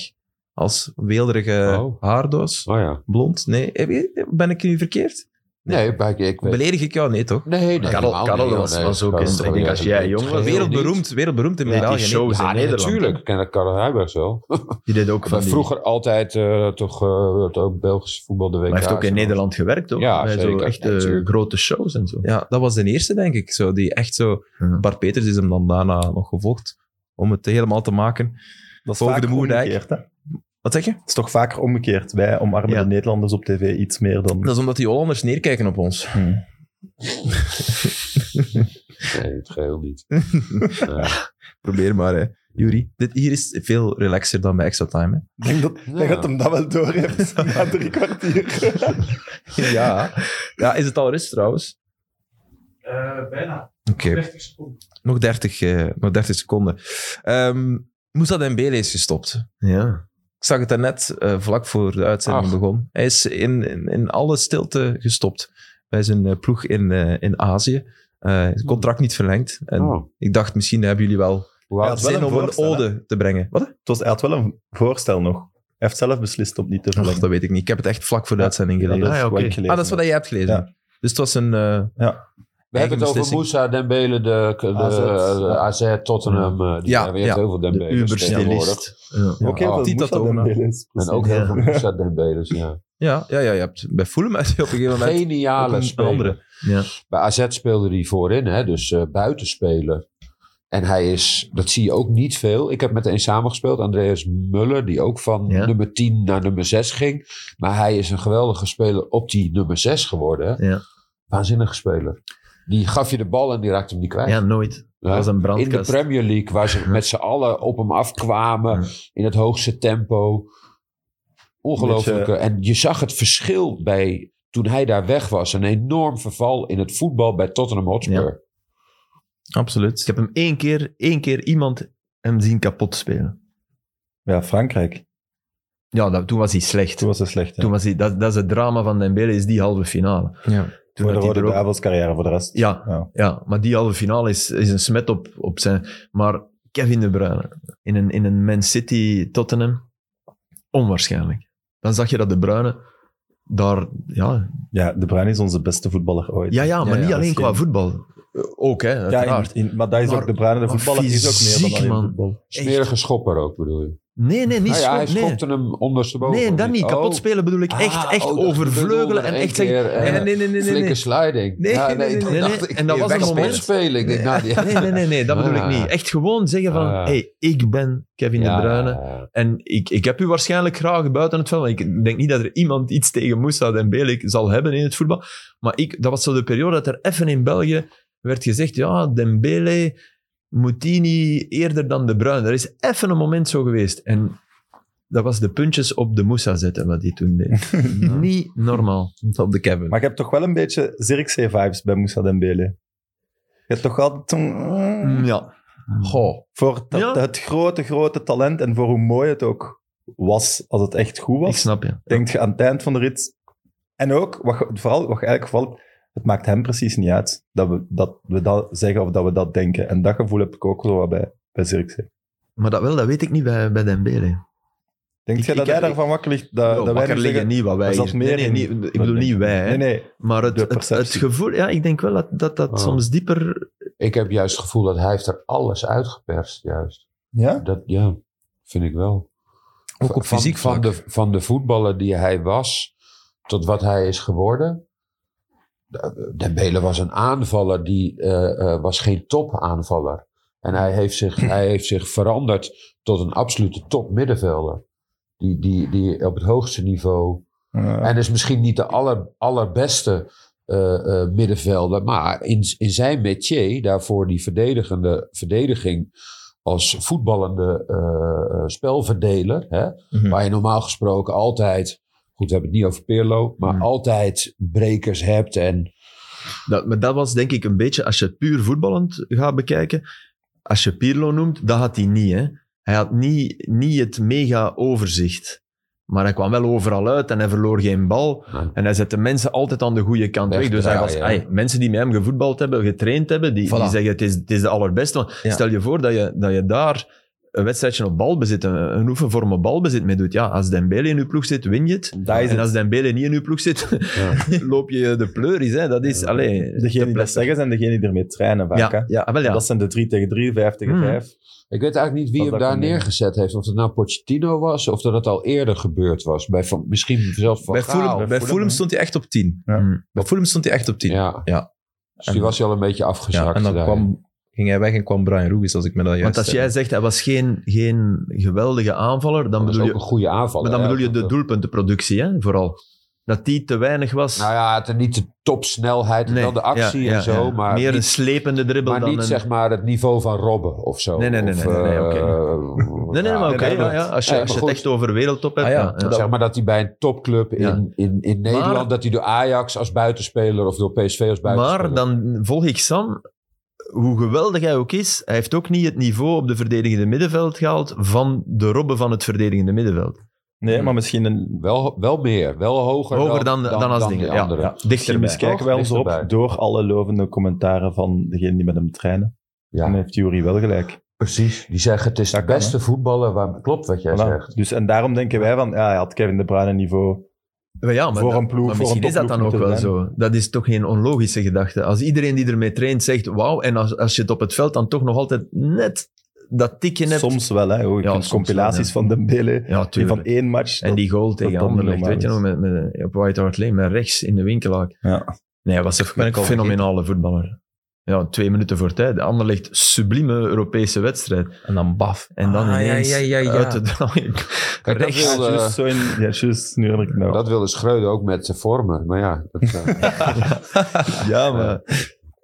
S1: Als weelderige
S3: Oh.
S1: haardoos.
S3: Oh ja.
S1: Blond. Nee, Heb je- ben ik nu verkeerd?
S3: Nee, maar ik, ik weet...
S1: Beledig ik jou? Nee, toch?
S3: Nee, nee.
S2: Karel-
S3: helemaal
S2: Karel
S3: niet, joh,
S2: was-
S3: nee.
S2: was ook
S3: Karel-
S2: eens- ik denk, als jij jong was,
S3: Geheel
S1: Wereldberoemd,
S3: niet.
S1: wereldberoemd in
S2: Met die
S1: België. nee.
S2: shows
S3: Ja,
S2: in
S3: nee,
S2: Nederland.
S3: natuurlijk. Ik ken dat Karel Huibers wel.
S2: Die deed ook van die-
S3: Vroeger altijd eh, toch eh, het Belgische voetbal de WK.
S2: Maar hij heeft ook in
S3: zo.
S2: Nederland gewerkt, toch?
S3: Ja,
S2: Bij zo
S3: zeker.
S2: echt
S3: Ja,
S2: eh,
S3: tuurlijk.
S2: grote shows en zo.
S1: Ja, dat was de eerste, denk ik. Zo, die echt zo...
S2: Ja.
S1: Bart Peters is hem dan daarna nog gevolgd. Om het helemaal te maken.
S4: Dat is
S1: Boven
S4: vaak
S1: de Moerdijk.
S4: omgekeerd, hè?
S1: Wat zeg je?
S4: Het is toch vaker omgekeerd. Wij omarmen
S2: Ja.
S4: de Nederlanders op tv iets meer dan...
S1: Dat is omdat die Hollanders neerkijken op ons.
S4: Hmm.
S3: Nee, in het geheel niet.
S1: Probeer maar, hè. Juri, dit hier is veel relaxer dan bij Extra Time, hè.
S4: Ik denk dat,
S3: Ja.
S4: dat het hem dat wel door heeft na drie kwartier.
S1: Ja. ja, is het al rust trouwens?
S5: Eh, bijna.
S1: Oké,
S5: 30 seconden.
S1: nog, 30, eh, nog 30 seconden. Ehm Moussa Dembele is gestopt.
S2: Ja.
S1: Ik zag het daarnet, net vlak voor de uitzending
S3: Ach.
S1: begon. Hij is in, in, in alle stilte gestopt bij zijn eh, ploeg in, eh, in Azië. Eh, het contract niet verlengd. En
S3: Oh,
S1: ik dacht, misschien hebben jullie wel
S3: hoe oud-
S4: Ja, het is wel
S1: zin
S4: een
S1: om een
S4: voorstel, hè?
S1: ode te brengen. Wat?
S4: Het was, hij had wel een voorstel nog. Hij heeft zelf beslist om niet te
S1: Ach,
S4: verlengen.
S1: dat weet ik niet. Ik heb het echt vlak voor de
S4: Ja,
S1: uitzending
S4: Ja,
S1: gelezen.
S4: dat is
S2: Ah, ja,
S4: wat
S2: oké.
S4: ik gelezen
S1: ah, dat is wat jij hebt gelezen.
S4: Ja.
S1: Dus het was een... eh,
S3: We hebben het over
S1: beslissing.
S3: Moussa Dembele, de, de
S4: AZ,
S3: eh,
S4: ja.
S3: AZ, Tottenham. eh, die
S1: Ja,
S3: hebben weer
S1: ja.
S3: heel veel
S2: De
S3: Dembele's tegenwoordig.
S2: Uber-stylist. Ja.
S4: Ook heel
S3: Oh,
S4: veel
S1: Tita
S4: Moussa
S1: Tona.
S4: Dembele's.
S3: En ook heel
S2: Ja.
S3: veel Moussa Dembele's, ja.
S1: ja, ja, ja, je hebt bij Fulham had je op een gegeven moment... ook
S3: Geniale
S1: een- een
S2: eh,
S3: speler.
S1: andere.
S2: Ja.
S3: Bij AZ speelde hij voorin, hè, dus eh buitenspelen. En hij is, dat zie je ook niet veel. Ik heb met een samengespeeld, Andreas Muller, die ook van
S2: Ja.
S3: nummer 10 naar nummer 6 ging. Maar hij is een geweldige speler op die nummer 6 geworden. hè.
S2: Ja.
S3: Waanzinnige speler. Die gaf je de bal en die raakte hem niet kwijt.
S2: Ja, nooit. Dat
S3: Ja.
S2: was een
S3: In de
S2: brandkast.
S3: Premier League, waar ze
S2: Ja.
S3: met z'n allen op hem afkwamen.
S2: Ja.
S3: In het hoogste tempo. Ongelooflijk.
S4: Beetje-
S3: En je zag het verschil bij, toen hij daar weg was. Een enorm verval in het voetbal bij Tottenham Hotspur.
S2: Ik
S1: Absoluut.
S2: heb hem één keer, één keer iemand hem zien kapot spelen.
S4: Ja, Frankrijk.
S2: Ja, dat, toen was hij slecht.
S4: Toen was hij slecht. hè.
S2: Toen was hij, dat, dat is het drama van Dembele, is die halve finale.
S1: Ja.
S2: Toen
S4: voor de
S2: had hij
S4: Rode
S2: er ook-
S4: Duivels carrière, voor de rest.
S2: Ja,
S4: Ja.
S2: ja. maar die halve finale is, is een smet op, op zijn... Maar Kevin De Bruyne, in een, in een Man City Tottenham, onwaarschijnlijk. Dan zag je dat De Bruyne daar... Ja,
S4: Ja, De Bruyne is onze beste voetballer ooit.
S2: ja, ja maar
S1: ja,
S2: niet
S4: dat is
S2: alleen qua
S4: geen-
S2: voetbal. Eh, Ook, hè,
S4: Ja, in-
S2: uiteraard.
S4: in- maar dat is
S2: Maar-
S4: ook De Bruyne, de
S2: maar
S4: voetballer is ook meer
S2: fysiek,
S4: dan alleen
S2: man.
S4: voetbal.
S2: Echt.
S3: Smerige schopper ook, bedoel je.
S2: Nee, nee, niet
S3: Nou ja, hij
S2: schop- nee.
S3: schopte hem ondersteboven.
S2: Nee, dat niet. Kapot spelen bedoel ik.
S3: Ah,
S2: Echt, echt
S3: oh, dat bedoelde
S2: overvleugelen en
S3: één
S2: echt zeggen...
S3: keer, eh,
S2: nee,
S1: Nee,
S2: nee,
S1: nee, nee, nee. nee,
S3: Flinke
S1: nee.
S3: sliding.
S1: Nee,
S3: Ja,
S1: nee, nee,
S3: toen
S1: nee,
S2: nee.
S3: dacht ik,
S2: En dat was een
S3: wegspelen,
S2: moment-
S3: spelen. Ik denk, nou, die-
S2: Nee, nee, nee, nee, dat bedoel ik
S3: Ah.
S2: niet. Echt gewoon zeggen van,
S3: Ah.
S2: hey, ik ben Kevin
S3: Ja,
S2: De Bruyne en ik, ik heb u waarschijnlijk graag buiten het veld, want ik denk niet dat er iemand iets tegen Moussa Dembele zal hebben in het voetbal. Maar ik, dat was zo de periode dat er even in België werd gezegd, ja, Dembele, Moutini eerder dan De Bruyne. Er is even een moment zo geweest. En dat was de puntjes op de Moussa zetten, wat hij toen deed. niet normaal.
S1: Op de Kevin.
S4: Maar je hebt toch wel een beetje Zirkzee-vibes bij Moussa Dembele. Je hebt toch altijd zo'n-
S2: Ja.
S1: Goh.
S4: Voor dat,
S2: Mm. Ja.
S4: het grote, grote talent en voor hoe mooi het ook was, als het echt goed
S2: Ik
S4: was,
S2: snap je.
S4: denk je aan het eind van de rit. En ook, wat, ge- vooral wat je eigenlijk valt, het maakt hem precies niet uit dat we, dat we dat zeggen of dat we dat denken. En dat gevoel heb ik ook zo wat bij, bij Zirkzee.
S2: Maar dat wel, dat weet ik niet bij, bij Dembele.
S4: Denk
S2: Ik-
S4: je dat
S2: ik heb-
S4: wij daarvan wakker ligt? Eh, Dat, dat wij nu
S2: wakker liggen
S4: zeggen,
S2: niet wat wij
S4: er zat
S2: hier-
S4: meer
S2: nee, nee,
S4: in.
S2: niet- Ik bedoel
S4: Dat
S2: niet wij, hè.
S4: nee, nee,
S2: maar het,
S4: de
S2: het, het
S4: perceptie.
S2: gevoel... Ja, ik denk wel dat dat, dat
S3: Oh.
S2: soms dieper...
S3: Ik heb juist het gevoel dat hij heeft er alles uitgeperst, juist.
S4: Ja?
S3: Dat, ja, vind ik wel.
S1: Ook op
S3: van,
S1: fysiek
S3: van
S1: vlak.
S3: de, van de voetballer die hij was, tot wat hij is geworden. Dembele was een aanvaller, die eh, eh, was geen topaanvaller. En hij heeft, zich, hij heeft zich veranderd tot een absolute topmiddenvelder. Die, die, die op het hoogste niveau
S4: Ja.
S3: en is misschien niet de aller, allerbeste eh, eh, middenvelder. Maar in, in zijn métier, daarvoor die verdedigende verdediging als voetballende eh, eh, spelverdeler, hè,
S1: Mhm.
S3: waar je normaal gesproken altijd, goed, we hebben het niet over Pirlo, maar
S1: Mhm.
S3: altijd brekers hebt en
S2: Dat, maar dat was denk ik een beetje, als je het puur voetballend gaat bekijken, als je Pirlo noemt, dat had hij niet. Hè? Hij had niet, niet het mega overzicht. Maar hij kwam wel overal uit en hij verloor geen bal.
S3: Nee.
S2: En hij zette mensen altijd aan de goede kant weg. Dus hij was,
S3: Wegdraaien,
S2: ai, mensen die met hem gevoetbald hebben, getraind hebben, die, die
S1: Voilà.
S2: zeggen het is, het is de allerbeste. Want
S1: Ja.
S2: Stel je voor dat je, dat je daar een wedstrijdje op balbezit, een, een oefenvorm op balbezit mee doet. Ja, als Dembele in uw ploeg zit, win je het.
S4: Dat is
S2: en
S4: het.
S2: als Dembele niet in uw ploeg zit, loop je de pleuris. Hè. Dat is, allee,
S4: Degene die dat zeggen zijn degene die ermee trainen vaak. hè.
S2: ja, ja, ah, wel ja.
S4: Dat zijn de 3 tegen 3, 5 tegen
S2: Hmm.
S4: 5.
S3: Ik weet eigenlijk niet wie
S4: Dat
S3: hem
S4: dat
S3: daar
S4: kan doen.
S3: neergezet heeft. Of het nou Pochettino was, of dat het al eerder gebeurd was. Bij van, misschien zelfs van
S1: Bij
S3: Gaal.
S1: Fulham, bij
S4: Bij
S1: Fulham,
S4: Fulham, hè?
S1: stond hij echt op 10.
S4: Ja.
S1: Mm. Bij Fulham stond hij echt op 10. Ja.
S3: Ja. Dus die was hij al een beetje afgezakt.
S1: en dan
S3: daar.
S1: kwam, ging hij weg en kwam Brian Ruiz, als ik me dat juist
S2: Want als jij zegt hij was geen, geen geweldige aanvaller, dan
S3: Dat is
S2: bedoel
S3: ook
S2: je,
S3: een goede aanval.
S2: maar dan bedoel je de
S3: doel.
S2: doelpuntenproductie, hè, vooral. Dat die te weinig was.
S3: Nou ja, het, niet de topsnelheid en
S2: Nee,
S3: wel de actie
S2: ja, ja,
S3: en zo.
S2: ja.
S3: Maar
S2: Meer een
S3: niet,
S2: slepende dribbel
S3: maar
S2: dan
S3: niet
S2: een...
S3: zeg maar het niveau van Robben of zo.
S2: Nee, nee, nee,
S3: Of,
S2: nee, nee, nee,
S3: eh,
S2: oké. Nee, nee, maar oké.
S4: Nee,
S2: ja,
S4: dat-
S2: ja, als je,
S3: Nee,
S2: als je
S3: maar
S2: het echt over wereldtop hebt.
S1: Ah, ja,
S2: ja, ja.
S1: dat-
S3: Zeg maar dat hij bij een topclub in,
S2: Ja.
S3: in, in Nederland,
S2: Maar-
S3: dat hij door Ajax als buitenspeler of door PSV als buitenspeler.
S2: Maar dan volg ik Sam, hoe geweldig hij ook is, hij heeft ook niet het niveau op de verdedigende middenveld gehaald van de Robben van het verdedigende middenveld.
S4: Nee, maar misschien een...
S3: wel, wel meer, wel hoger,
S2: Hoger dan, dan, als
S3: die
S2: dingen. Ja,
S3: anderen.
S2: ja,
S4: Misschien
S2: dichterbij.
S4: kijken wij ons
S3: Dichterbij.
S4: op door alle lovende commentaren van degene die met hem trainen.
S3: Ja.
S4: Dan heeft Jury wel gelijk.
S3: Precies. Die zeggen het is
S4: Dat
S3: de
S4: kan,
S3: beste voetballer. Waar... Klopt wat jij
S4: Voilà.
S3: zegt.
S4: Dus, en daarom denken wij van, ja, hij had Kevin De Bruyne niveau.
S2: Maar ja, maar
S4: Voor
S2: dat-
S4: een ploeg,
S2: maar
S4: voor
S2: misschien
S4: een
S2: is dat dan
S4: topploeg
S2: ook wel
S4: moeten
S2: zo. Dat is toch geen onlogische gedachte. Als iedereen die ermee traint zegt, wauw, en als, als je het op het veld dan toch nog altijd net dat tikje hebt.
S4: Soms wel, hè. Je
S2: Ja,
S4: kunt
S2: soms
S4: compilaties
S2: wel, ja.
S4: van Dembele,
S2: ja,
S4: die
S2: tuurlijk.
S4: van één match.
S2: en die goal tegen
S4: dat
S2: Anderlecht,
S4: normaal
S2: weet je
S4: is.
S2: nog, met, met, op White Hart Lane, met rechts in de winkelaar.
S4: Ja.
S2: Nee, hij was echt
S1: Ben
S2: een
S1: ik al
S2: fenomenale voetballer. Ja, twee minuten voor tijd. Anderlecht, sublieme Europese wedstrijd.
S1: En dan baf.
S2: En dan
S1: Ah, ja,
S2: ineens
S1: ja, ja, ja.
S2: uit te draaien.
S3: Kijk, dat
S2: Rechts.
S4: Ja,
S3: wilde,
S4: juist, zo in, ja, juist, nu heb ik het nou.
S3: eh, dat wilde Schreuder ook met de vormen. Maar ja, dat, eh,
S4: ja,
S2: Ja,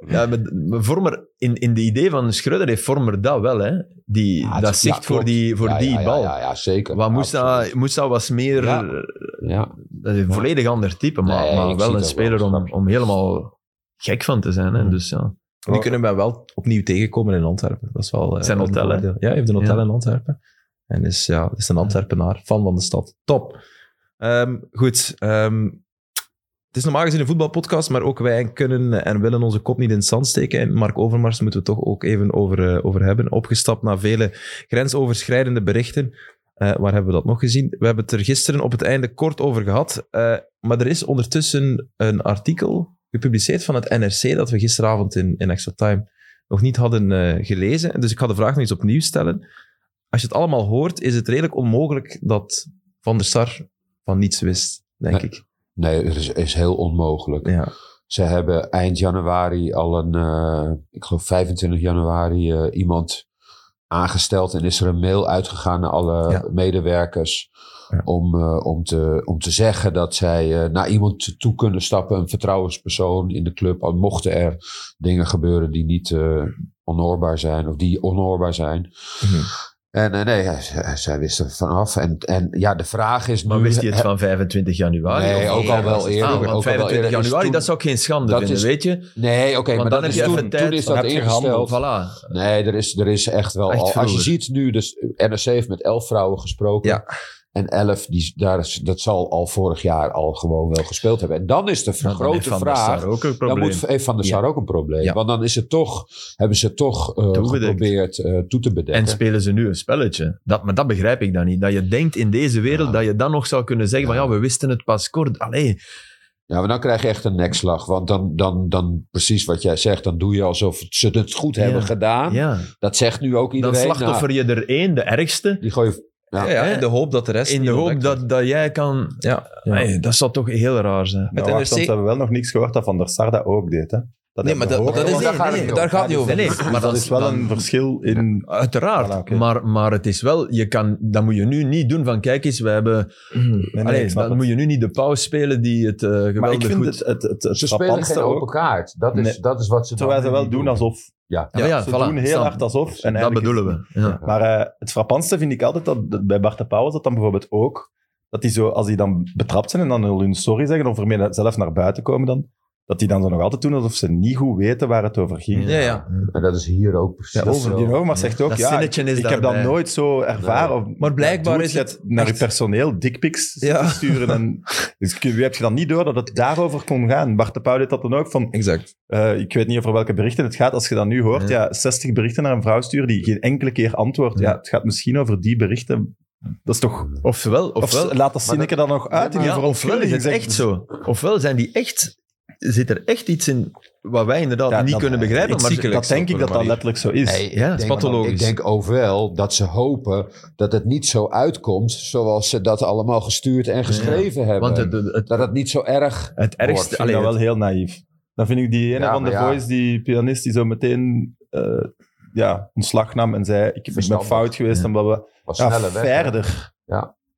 S2: ja, maar maar Vormer, in, in de idee van Schreuder heeft Vormer dat wel, hè? Die,
S3: Ja, Ah, het-
S2: dat zicht
S3: ja,
S2: voor
S3: klopt.
S2: die, voor
S3: ja,
S2: die
S3: ja, ja,
S2: bal.
S3: Ja, ja, zeker.
S2: Wat Moussa,
S3: Absoluut.
S2: Moussa was meer
S3: Ja.
S2: eh,
S3: Ja.
S2: een volledig ander type, maar,
S3: Nee,
S2: maar
S3: ik
S2: wel
S3: zie
S2: een
S3: dat
S2: speler
S3: wel,
S2: om,
S3: snap je. Mhm.
S2: om helemaal gek van te zijn. Hè? Dus ja.
S1: Die kunnen wij wel opnieuw tegenkomen in Antwerpen. Dat is wel... eh,
S2: Zijn
S1: een
S2: hotel, hè?
S1: voordeel. Ja, hij heeft een hotel
S2: Ja.
S1: in Antwerpen. En is, ja, is een Antwerpenaar, fan van de stad. Top. Ehm, goed. ehm, het is normaal gezien een voetbalpodcast, maar ook wij kunnen en willen onze kop niet in het zand steken. En Mark Overmars moeten we toch ook even over, eh, over hebben. Opgestapt na vele grensoverschrijdende berichten. Eh, waar hebben we dat nog gezien? We hebben het er gisteren op het einde kort over gehad. Eh, maar er is ondertussen een artikel gepubliceerd van het NRC dat we gisteravond in, in Extra Time nog niet hadden eh, gelezen. Dus ik ga de vraag nog eens opnieuw stellen. Als je het allemaal hoort, is het redelijk onmogelijk dat Van der Sar van niets wist, denk
S3: Nee.
S1: ik.
S3: Nee, het is, is heel onmogelijk.
S1: Ja.
S3: Ze hebben eind januari al een, eh, ik geloof 25 januari, eh, iemand aangesteld. En is er een mail uitgegaan naar alle
S1: Ja.
S3: medewerkers.
S1: Ja.
S3: Om, eh, om, te, om te zeggen dat zij eh, naar iemand toe kunnen stappen. Een vertrouwenspersoon in de club. Al mochten er dingen gebeuren die niet eh, onhoorbaar zijn. Of die onhoorbaar zijn.
S1: Mhm.
S3: En eh, nee, hij- hij- zij wist er vanaf. En, en ja, de vraag is
S2: Maar
S3: nu...
S2: wist hij het van 25 januari?
S3: Nee,
S2: Of-
S3: ook al wel eerder.
S2: Ah,
S3: Ook al
S2: want
S3: wel
S2: 25
S3: eerder is
S2: januari,
S3: toen-
S2: dat zou ik geen schande
S3: Dat
S2: vinden,
S3: is-
S2: weet je?
S3: Nee, oké,
S2: Want dan
S3: maar dat
S2: heb
S3: is
S2: je
S3: toen,
S2: even tijd.
S3: toen is dat
S4: Heb je
S3: ingesteld.
S2: Voilà.
S3: Nee, er is, er is echt wel
S2: Echt
S3: al. Als je
S2: vroeger.
S3: ziet nu, dus NRC heeft met elf vrouwen gesproken.
S1: Ja.
S3: En elf, die, daar is, dat zal al vorig jaar al gewoon wel gespeeld hebben. En dan is de
S2: Nou, dan heeft
S3: grote
S2: Van der
S3: vraag.
S2: Sar ook een
S3: Dan
S2: probleem.
S3: moet heeft Van der Sar ook een probleem.
S1: Ja.
S3: Want dan is het toch, hebben ze toch eh,
S2: Toegedekt.
S3: geprobeerd eh, toe te bedekken.
S2: En spelen ze nu een spelletje? Dat, maar dat begrijp ik dan niet. Dat je denkt in deze wereld
S3: Ja.
S2: dat je dan nog zou kunnen zeggen: van
S3: Ja.
S2: ja, we wisten het pas kort. Allee,
S3: Ja, maar dan krijg je echt een nekslag. Want dan, dan, dan precies wat jij zegt, dan doe je alsof ze het goed
S2: Ja.
S3: hebben gedaan.
S2: ja.
S3: Dat zegt nu ook
S2: Dan
S3: iedereen.
S2: slachtoffer
S3: Nou,
S2: je er één, de ergste.
S3: die gooi
S1: Ja,
S3: Ja.
S1: ja,
S2: Hè?
S1: in de hoop dat de rest
S2: In
S1: niet
S2: de hoop
S1: ontdekt wordt.
S2: dat, dat jij kan.
S1: Ja,
S2: Nee, dat zou toch heel raar zijn.
S1: Het
S4: Nou, wacht,
S1: NRC
S4: want we hebben wel nog niks gehoord dat Van der Sar dat ook deed. Hè? Dat
S1: Nee,
S4: hij
S1: maar dat,
S4: hoger
S1: dat is,
S4: was.
S3: want daar gaat het
S1: nee,
S3: niet om.
S1: daar gaat het niet over.
S3: Nee,
S1: Nee,
S4: Maar dat is wel
S3: dan-
S4: een verschil in...
S2: Uiteraard,
S4: Voilà, oké.
S2: maar, maar het is wel, je kan, dat moet je nu niet doen van kijk eens, we hebben,
S4: Nee, nee,
S2: Allee,
S4: ik snap
S2: dan
S4: het.
S2: moet je nu niet de pauze spelen die het eh,
S4: Maar ik
S2: geweldig
S4: vind
S2: goed...
S4: het, het, het, het
S3: Ze spelen
S4: frappantste
S3: geen open
S4: ook,
S3: kaart. Dat is,
S4: Nee.
S3: dat is wat ze dan
S4: terwijl ze
S3: nu
S4: wel
S3: niet
S4: doen alsof...
S3: Ja.
S2: Ah, ja, ja,
S4: ze
S2: voilà,
S4: doen heel
S2: snap.
S4: hard alsof. En
S2: dat
S4: eigenlijk is-
S2: bedoelen we. Ja.
S3: Ja.
S4: Maar eh, het frappantste vind ik altijd dat dat bij Bart de Pauw was dat dan bijvoorbeeld ook. Dat die zo, als die dan betrapt zijn en dan hun sorry zeggen, of ermee zelf naar buiten komen dan, dat die dan zo nog altijd doen alsof ze niet goed weten waar het over ging.
S2: Ja, ja.
S3: En dat is hier ook precies
S4: Ja, over die
S3: zo.
S4: Roma zegt ook,
S2: Dat
S4: ja, ik,
S2: zinnetje is
S4: ik heb dat
S2: daarbij.
S4: nooit zo ervaren. Of-
S1: Maar blijkbaar
S4: doe
S1: is
S4: je
S1: het
S4: naar je
S1: echt-
S4: personeel dickpics
S1: Ja.
S4: te sturen. En, dus kun- wie heb je dan niet door dat het daarover kon gaan? Bart de Pauw deed dat dan ook van,
S1: Exact.
S4: eh, ik weet niet over welke berichten het gaat. Als je dat nu hoort, ja. 60 berichten naar een vrouw sturen die geen enkele keer antwoordt. Ja, het gaat misschien over die berichten. Dat is toch...
S2: Ofwel,
S4: Of
S2: ofwel,
S4: laat dat Sineke dan nog uit in
S2: Ja,
S4: je dus-
S2: ofwel is
S4: verontschuldiging.
S2: het echt zo. Ofwel zijn die echt, zit er echt iets in wat wij inderdaad
S4: Ja,
S2: niet
S4: dat-
S2: kunnen begrijpen.
S1: iets
S2: Maar
S1: ziekelijks
S4: Dat denk
S1: op
S4: ik
S1: een
S4: dat dat
S1: manier.
S4: letterlijk zo is.
S3: Nee,
S2: Ja,
S3: ik,
S2: is
S3: denk,
S1: pathologisch.
S3: ik denk ook wel dat ze hopen dat het niet zo uitkomt zoals ze dat allemaal gestuurd en geschreven hebben.
S2: want het, het,
S3: dat het niet zo erg...
S2: het
S4: Ik
S2: ergste...
S4: vind
S2: allee,
S4: dat
S2: het-
S4: wel heel naïef. Dan vind ik die ene
S3: Ja,
S4: van de
S3: maar ja.
S4: Voice, die pianist, die zo meteen eh, ja, ontslag nam en zei: Ik ben
S3: Verstandig.
S4: fout geweest
S2: Ja.
S4: en blablabla.
S3: was
S4: Ja,
S3: sneller weg.
S4: verder.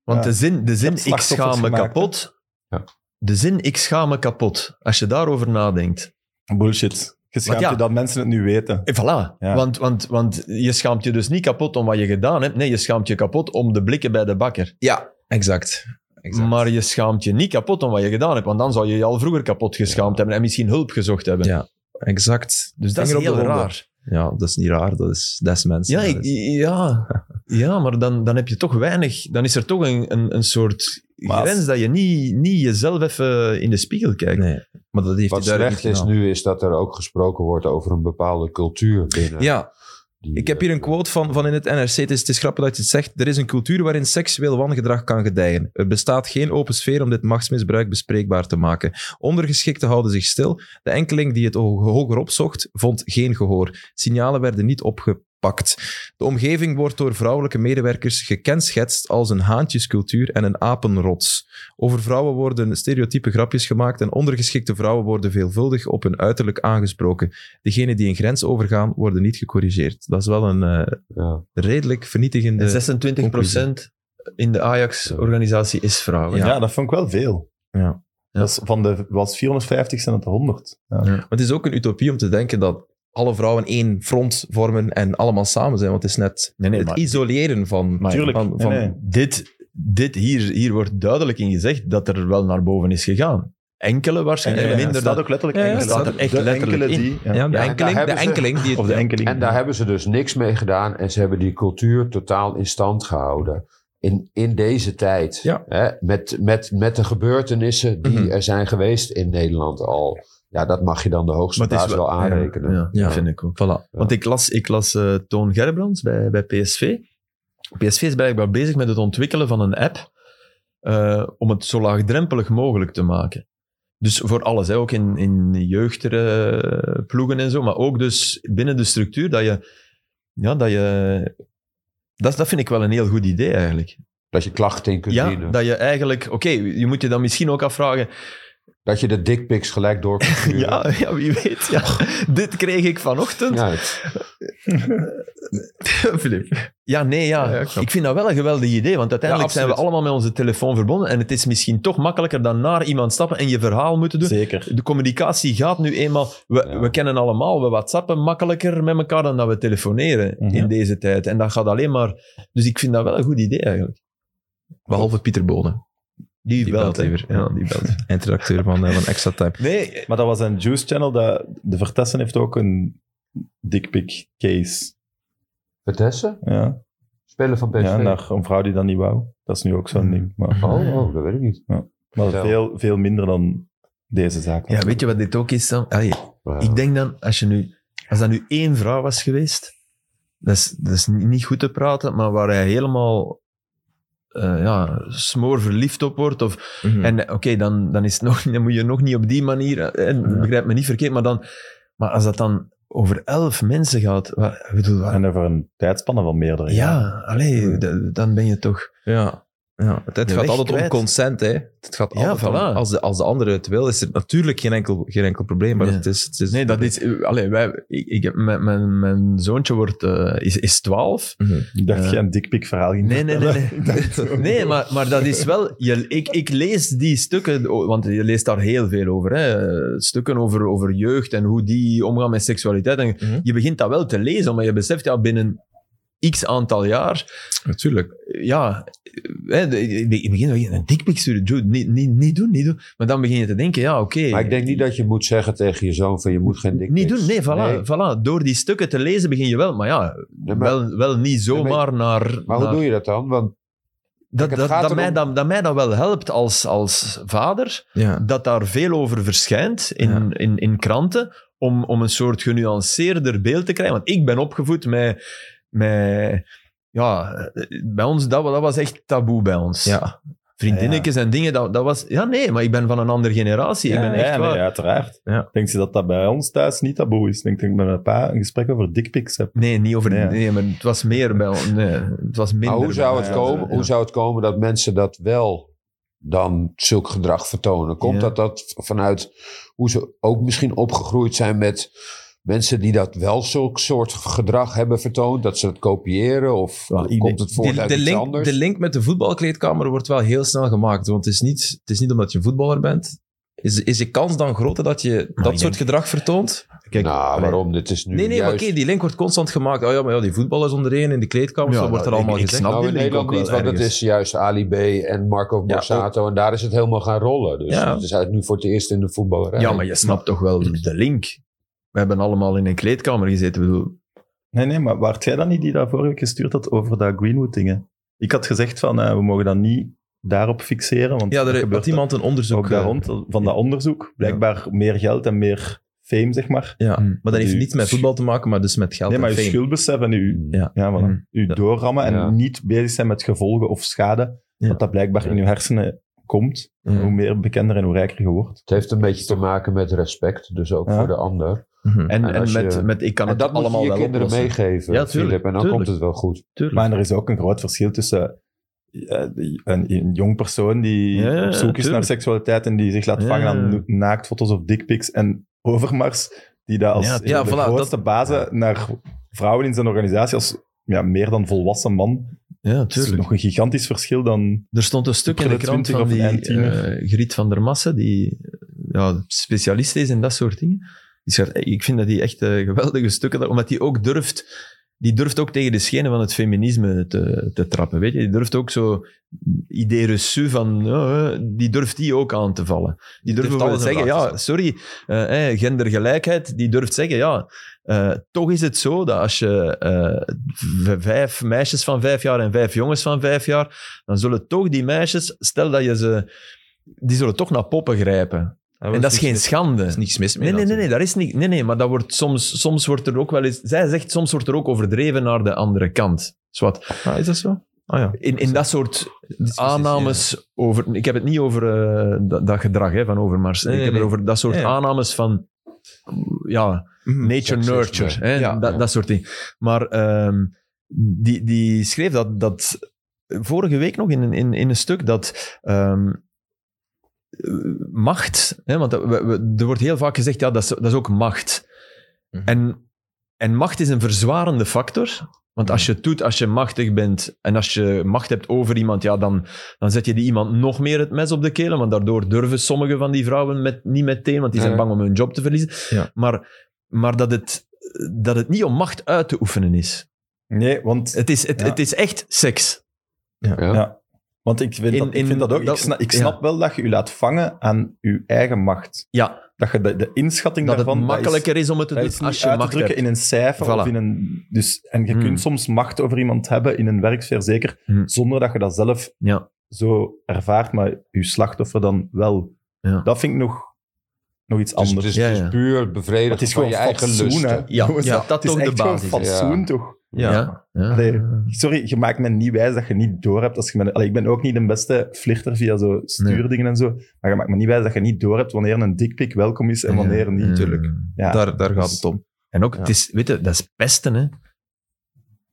S2: Want de zin, de zin ik
S4: hebt
S2: schaam me
S4: slachtoffers gemaakt,
S2: kapot,
S3: Ja.
S2: de zin ik schaam me kapot, als je daarover nadenkt.
S4: Bullshit. Je schaamt
S2: ja.
S4: je dat mensen het nu weten.
S2: Eh, Voilà,
S4: Ja.
S2: want, want, want je schaamt je dus niet kapot om wat je gedaan hebt. Nee, je schaamt je kapot om de blikken bij de bakker.
S1: Ja, exact. exact.
S2: Maar je schaamt je niet kapot om wat je gedaan hebt, want dan zou je je al vroeger kapot geschaamd hebben en misschien hulp gezocht hebben.
S1: Ja. exact.
S2: Dus dat is
S1: Vinger op de
S2: heel
S1: ronde.
S2: raar.
S1: Ja, dat is niet raar. Dat is, dat is mensen.
S2: Ja,
S1: Dat
S2: ik,
S1: is-
S2: ja. ja maar dan, dan heb je toch weinig... Dan is er toch een, een, een soort
S4: Maar als-
S2: grens dat je niet, niet jezelf even in de spiegel kijkt.
S1: Nee. Maar dat heeft
S3: Wat
S1: hij duidelijk
S3: slecht
S1: niet
S3: is
S1: gedaan.
S3: nu is dat er ook gesproken wordt over een bepaalde cultuur binnen.
S1: Ja,
S3: die,
S1: Ik heb hier een quote van, van in het NRC. Het is, het is grappig dat je het zegt. Er is een cultuur waarin seksueel wangedrag kan gedijen. Er bestaat geen open sfeer om dit machtsmisbruik bespreekbaar te maken. Ondergeschikten houden zich stil. De enkeling die het ho- hoger opzocht, vond geen gehoor. Signalen werden niet opgepakt. De omgeving wordt door vrouwelijke medewerkers gekenschetst als een haantjescultuur en een apenrots. Over vrouwen worden stereotype grapjes gemaakt en ondergeschikte vrouwen worden veelvuldig op hun uiterlijk aangesproken. Degenen die een grens overgaan, worden niet gecorrigeerd. Dat is wel een eh,
S3: eh, ja.
S1: redelijk vernietigende...
S2: En 26% in de Ajax-organisatie is vrouwen.
S4: Ja. dat vond ik wel veel.
S1: Ja.
S4: Dat is van de was 450 zijn het 100. Ja.
S1: Maar het is ook een utopie om te denken dat alle vrouwen één front vormen en allemaal samen zijn, want het is net
S2: Nee, nee,
S1: het
S2: maar-
S1: isoleren van...
S2: Maar-
S4: Tuurlijk.
S1: van, van-
S4: nee, nee.
S2: Dit, dit hier, hier wordt duidelijk in gezegd dat er wel naar boven is gegaan. Enkele
S4: En,
S2: waarschijnlijk,
S4: en,
S2: minder
S4: staat
S2: dan...
S4: ook letterlijk
S1: Ja, ja,
S4: enkele.
S2: staat er echt
S4: de
S2: letterlijk in.
S4: enkele die. Ja.
S1: Ja, de
S3: Ja, en daar
S1: enkeling, de
S3: hebben ze-
S1: enkeling die het-
S4: Of de enkeling.
S2: Mm-hmm.
S3: En daar hebben ze dus niks mee gedaan en ze hebben die cultuur totaal in stand gehouden. In, in deze tijd.
S1: Ja.
S3: Hè, met, met, met de gebeurtenissen die
S2: Mm-hmm.
S1: Mhm.
S3: er zijn geweest in Nederland al. Ja, dat mag je dan de hoogste
S2: Maar het is
S3: baas wel,
S2: wel-
S3: aanrekenen.
S2: Ja,
S1: Ja.
S2: dat vind ik ook. Want ik las, ik las eh, Toon Gerbrands bij, bij PSV. PSV is blijkbaar bezig met het ontwikkelen van een app eh, om het zo laagdrempelig mogelijk te maken. Dus voor alles, hè, ook in, in jeugdploegen en zo, maar ook dus binnen de structuur dat je... Ja, dat je... Dat, dat vind ik wel een heel goed idee eigenlijk.
S3: Dat je klachten in kunt
S2: Ja,
S3: dienen. Dat,
S2: dat je eigenlijk... Oké, je moet je dan misschien ook afvragen...
S3: je de dickpics gelijk door kunt sturen.
S2: Ja, ja wie weet. Ja. Dit kreeg ik vanochtend.
S3: Ja, het-
S2: Filip. Ja, nee, ja.
S1: Ja, ja, ik
S2: ik,
S1: snap.
S2: vind dat wel een geweldig idee, want uiteindelijk
S1: Ja,
S2: zijn we
S1: absoluut.
S2: allemaal met onze telefoon verbonden en het is misschien toch makkelijker dan naar iemand stappen en je verhaal moeten doen.
S4: Zeker.
S2: De communicatie gaat nu eenmaal... We,
S3: Ja.
S2: we kennen allemaal, we whatsappen makkelijker met elkaar dan dat we telefoneren
S4: Mhm.
S2: in deze tijd. En dat gaat alleen maar... Dus ik vind dat wel een goed idee eigenlijk.
S1: Behalve Pieter Bonen,
S2: Die,
S1: belt,
S2: hè.
S1: hè.
S2: Ja, die belt.
S1: eindredacteur van, eh, van Extra Time.
S2: Nee,
S4: Maar dat was een Juice Channel. Dat, de Vertessen heeft ook een dickpic case.
S3: Vitesse?
S4: Ja.
S3: Spelen van PSV?
S4: ja,
S2: nou,
S4: naar een vrouw die dat niet wou. Dat is nu ook zo'n ding. Maar,
S3: oh, oh, dat weet ik niet.
S4: maar
S3: Vertel.
S4: veel, veel minder dan deze zaak.
S2: ja, weet je wat dit ook is, Sam? Allee,
S3: Maar,
S2: Ik denk dan, als, je nu, als dat nu één vrouw was geweest, dat is, dat is ni- niet goed te praten, maar waar hij helemaal eh ja, smoorverliefd op wordt. Of,
S1: Mhm.
S2: En eh, oké, dan, dan, is het nog, dan moet je nog niet op die manier, eh, begrijp me niet verkeerd, maar, dan, maar als dat dan over elf mensen gaat, wa- ik bedoel, wa-
S4: En over een tijdspanne van meerdere.
S2: ja, allee, d- dan ben je toch...
S1: Ja. Ja, het het
S2: De
S1: gaat
S2: weg
S1: altijd om
S2: kwijt.
S1: consent, hè. Het gaat
S2: Ja,
S1: altijd om-
S2: voilà.
S1: als, de, als de andere het wil, is er natuurlijk geen enkel, geen enkel probleem. Maar
S2: Nee.
S1: het is... Het is
S2: Nee, dat is... eh, Allee, wij, ik, ik heb, mijn, mijn, mijn zoontje wordt, eh, is, is 12.
S1: Mhm.
S4: Ik dacht,
S2: Eh.
S4: jij een dikpik verhaal ging
S2: Nee, nee, nee,
S4: vertellen.
S2: nee.
S4: Ik dacht zo.
S2: Nee, maar, maar dat is wel... Je, ik, ik lees die stukken, oh, want je leest daar heel veel over. Hè? Stukken over, over jeugd en hoe die omgaan met seksualiteit. En
S1: Mhm.
S2: Je begint dat wel te lezen, maar je beseft ja, binnen x aantal jaar...
S1: Natuurlijk.
S2: Ja, hè, de- de- de- in het begin dacht je, een dikpik sturen, dude, niet, niet, niet doen, niet doen. Maar dan begin je te denken, ja, oké.
S3: Maar ik denk niet dat je moet zeggen tegen je zoon van je moet geen dik
S2: Niet doen, nee, voilà, voilà. Door die stukken te lezen begin je wel, maar ja,
S3: maar-
S2: wel, wel niet zomaar naar...
S3: Maar hoe
S2: naar-
S3: doe je dat dan? Want
S2: dat,
S3: Kijk,
S2: dat,
S3: het gaat
S2: dat,
S3: erom-
S2: mij, dat, dat mij dat wel helpt als, als vader,
S1: Ja.
S2: dat daar veel over verschijnt in,
S1: Ja.
S2: in, in kranten, om, om een soort genuanceerder beeld te krijgen. Want ik ben opgevoed met... met ja, bij ons, dat, wa- dat was echt taboe bij ons.
S1: Ja.
S2: Vriendinnetjes en dingen, dat, dat was... Ja, nee, maar ik ben van een andere generatie. ik ben echt
S4: ja, nee,
S2: waar.
S4: uiteraard.
S1: Ja.
S4: Denk je dat dat bij ons thuis niet taboe is? Denk dat ik met mijn pa een gesprek over dikpiks heb.
S2: Nee, niet over...
S4: Nee.
S2: Nee, maar het was meer bij ons. Nee, het was minder
S3: maar hoe, zou
S2: bij
S3: het
S2: ons.
S3: komen,
S2: Ja.
S3: hoe zou het komen dat mensen dat wel dan zulk gedrag vertonen? Komt
S2: Ja.
S3: dat dat v- vanuit hoe ze ook misschien opgegroeid zijn met mensen die dat wel zulk soort gedrag hebben vertoond? Dat ze het kopiëren of
S2: Wel, ik
S3: komt het voort
S1: De,
S3: uit
S1: de,
S3: iets
S1: link,
S3: anders?
S1: de link met de voetbalkleedkamer wordt wel heel snel gemaakt. Want het is niet, het is niet omdat je voetballer bent. Is, is de kans dan groter dat je dat
S2: ik
S1: soort gedrag vertoont?
S2: Kijk,
S3: nou, waarom? Dit is nu
S1: Nee, nee, maar
S3: juist...
S1: oké, die link wordt constant gemaakt. Oh ja, maar ja, die voetballers onderheen in de kleedkamer,
S2: Ja,
S1: dat wordt er
S2: ik-
S1: allemaal
S2: ik
S1: gezegd.
S2: snap-
S3: nou, in
S2: die link
S3: Nederland
S2: ook
S3: niet,
S2: wel
S3: want het
S2: ergens.
S3: is juist Ali B en Marco
S1: Ja,
S3: Borsato. en daar is het helemaal gaan rollen. Dus
S1: Ja.
S3: het is eigenlijk nu voor het eerst in de voetballerij.
S2: Ja, maar je snapt toch wel de link. We hebben allemaal in een kleedkamer gezeten. Ik bedoel,
S4: Nee, nee, maar waart jij dan niet die dat vorige week gestuurd had over dat Greenwood-dingen? Ik had gezegd van, eh, we mogen dat niet daarop fixeren, want
S1: Ja,
S4: dat
S1: er
S4: gebeurt
S1: had iemand een
S4: ook,
S1: onderzoek
S4: daar
S1: eh,
S4: rond, van dat onderzoek. Blijkbaar meer geld en meer fame, zeg maar.
S1: Ja,
S2: Mm.
S1: maar dat heeft
S4: Die-
S1: niets met voetbal te maken, maar dus met geld
S4: nee, maar
S1: en
S4: uw
S1: fame.
S4: schuldbesef en uw,
S1: Ja.
S4: ja, voilà,
S2: Mm.
S4: uw
S1: Ja.
S4: doorrammen en
S3: Ja.
S4: niet bezig zijn met gevolgen of schade,
S1: Ja.
S4: dat dat blijkbaar in uw hersenen komt.
S1: Mm.
S4: Hoe meer bekender en hoe rijker je wordt.
S3: Het heeft een beetje te maken met respect, dus ook
S4: Ja.
S3: voor de ander.
S1: Mhm.
S2: En,
S3: En
S2: en
S3: als je-
S2: met, met ik kan
S3: En
S2: het
S3: dat moet
S2: allemaal
S3: je je
S2: wel
S3: kinderen
S2: oplossen.
S3: meegeven,
S2: Ja, tuurlijk,
S3: Filip. En dan
S2: tuurlijk.
S3: komt het wel goed.
S2: Tuurlijk.
S4: Maar er is ook een groot verschil tussen eh, die- een, een jong persoon die
S2: Ja, ja,
S4: op zoek is
S2: tuurlijk.
S4: naar seksualiteit en die zich laat
S2: Ja.
S4: vangen aan naaktfoto's of dickpics en overmars, die dat als
S2: Ja,
S4: een
S1: ja,
S4: de
S1: voilà,
S4: grootste bazen naar vrouwen in zijn organisatie als ja, meer dan volwassen man.
S2: Ja,
S4: Het is
S2: tuurlijk.
S4: nog een gigantisch verschil dan...
S2: Er stond een stuk in de
S4: Op de
S2: krant van
S4: 20 of
S2: die
S4: eind tiener.
S2: eh, Griet van der Massen, die eh, ja, specialist is in dat soort dingen. Die schrijft, eh, ik vind dat die echt eh, geweldige stukken, daar- omdat die ook durft, die durft ook tegen de schenen van het feminisme te, te trappen, weet je. Die durft ook zo idee reçu van, eh, die durft die ook aan te vallen. Die durft
S1: durft
S2: wel
S1: alles in
S2: zeggen,
S1: vraag te
S2: ja, sorry, eh, eh, gendergelijkheid, die durft zeggen, ja, eh, toch is het zo dat als je eh, v- vijf meisjes van vijf jaar en vijf jongens van vijf jaar, dan zullen toch die meisjes, stel dat je ze, die zullen toch naar poppen grijpen. En dat is geen
S1: niks-
S2: schande.
S1: Er is niks mis mee.
S2: Nee, nee, nee, nee,
S1: natuurlijk.
S2: daar is niet. Nee, nee, maar dat wordt soms, soms wordt er ook wel eens. Zij zegt soms wordt er ook overdreven naar de andere kant. Zwat.
S1: Ah, is dat zo? Ah ja.
S2: In, in dat soort
S1: Discussies,
S2: aannames over. Ik heb het niet over eh, dat, dat gedrag hè, van Overmars.
S1: Nee,
S2: ik
S1: nee,
S2: heb het
S1: nee.
S2: over dat soort
S1: Ja, ja.
S2: aannames van. Ja,
S1: Mhm.
S2: nature
S3: Seksisme.
S2: nurture. Hè,
S1: Ja,
S2: dat,
S3: ja.
S2: dat soort dingen. Maar ehm, die, die schreef dat, dat vorige week nog in, een- in, in een stuk dat. ehm, macht, hè, want dat- we- we- er wordt heel vaak gezegd, ja, dat is, dat is ook macht.
S1: Mhm.
S2: En, en macht is een verzwarende factor. Want als je
S4: Mhm.
S2: het doet, als je machtig bent en als je macht hebt over iemand, ja, dan, dan zet je die iemand nog meer het mes op de kelen. Want daardoor durven sommige van die vrouwen met, niet meteen, want die zijn
S3: Ja.
S2: bang om hun job te verliezen.
S1: Ja.
S2: Maar, maar dat, het, dat het niet om macht uit te oefenen is.
S4: Nee, want
S2: Het is, het,
S4: Ja.
S2: het is echt seks.
S3: Ja.
S4: Ja. Want ik vind,
S2: In-
S4: dat, ik
S2: in-
S4: vind dat ook.
S2: dat-
S4: ik snap, ik
S2: ja.
S4: snap wel dat je je laat vangen aan je eigen macht.
S2: Ja,
S4: Dat je de, de inschatting
S2: dat het
S4: daarvan... dat is-
S2: makkelijker is om het te
S4: dat
S2: doen
S4: is niet
S2: als je
S4: uit te
S2: macht
S4: drukken
S2: hebt.
S4: in een cijfer.
S2: Voilà.
S4: Of in een, dus, en je
S2: Hmm.
S4: kunt soms macht over iemand hebben in een werksfeer, zeker
S2: Hmm.
S4: zonder dat je dat zelf
S2: Ja.
S4: zo ervaart, maar je slachtoffer dan wel.
S2: Ja.
S4: Dat vind ik nog, nog iets
S3: Dus het
S4: anders.
S3: is,
S2: Ja,
S3: het is
S2: ja.
S3: puur het
S4: Maar
S3: bevredigen
S4: het is
S3: van
S4: gewoon
S3: je eigen
S4: fatsoen, hè.
S3: lusten.
S2: Ja,
S4: Jongens,
S2: ja, dat
S4: het is
S2: toch de
S4: echt gewoon
S2: basis,
S4: fatsoen,
S3: ja.
S4: toch?
S1: Ja.
S2: Ja. Ja.
S4: Allee, sorry, je maakt me niet wijs dat je niet doorhebt. Als je me, allee, ik ben ook niet de beste flitter via zo stuurdingen en zo, maar je maakt me niet wijs dat je niet doorhebt wanneer een dikpik welkom is en wanneer niet.
S2: natuurlijk.
S4: Ja.
S1: Daar, daar gaat
S4: Dus-
S1: het om.
S2: En ook,
S1: Ja.
S2: het is, weet je, dat is pesten, hè.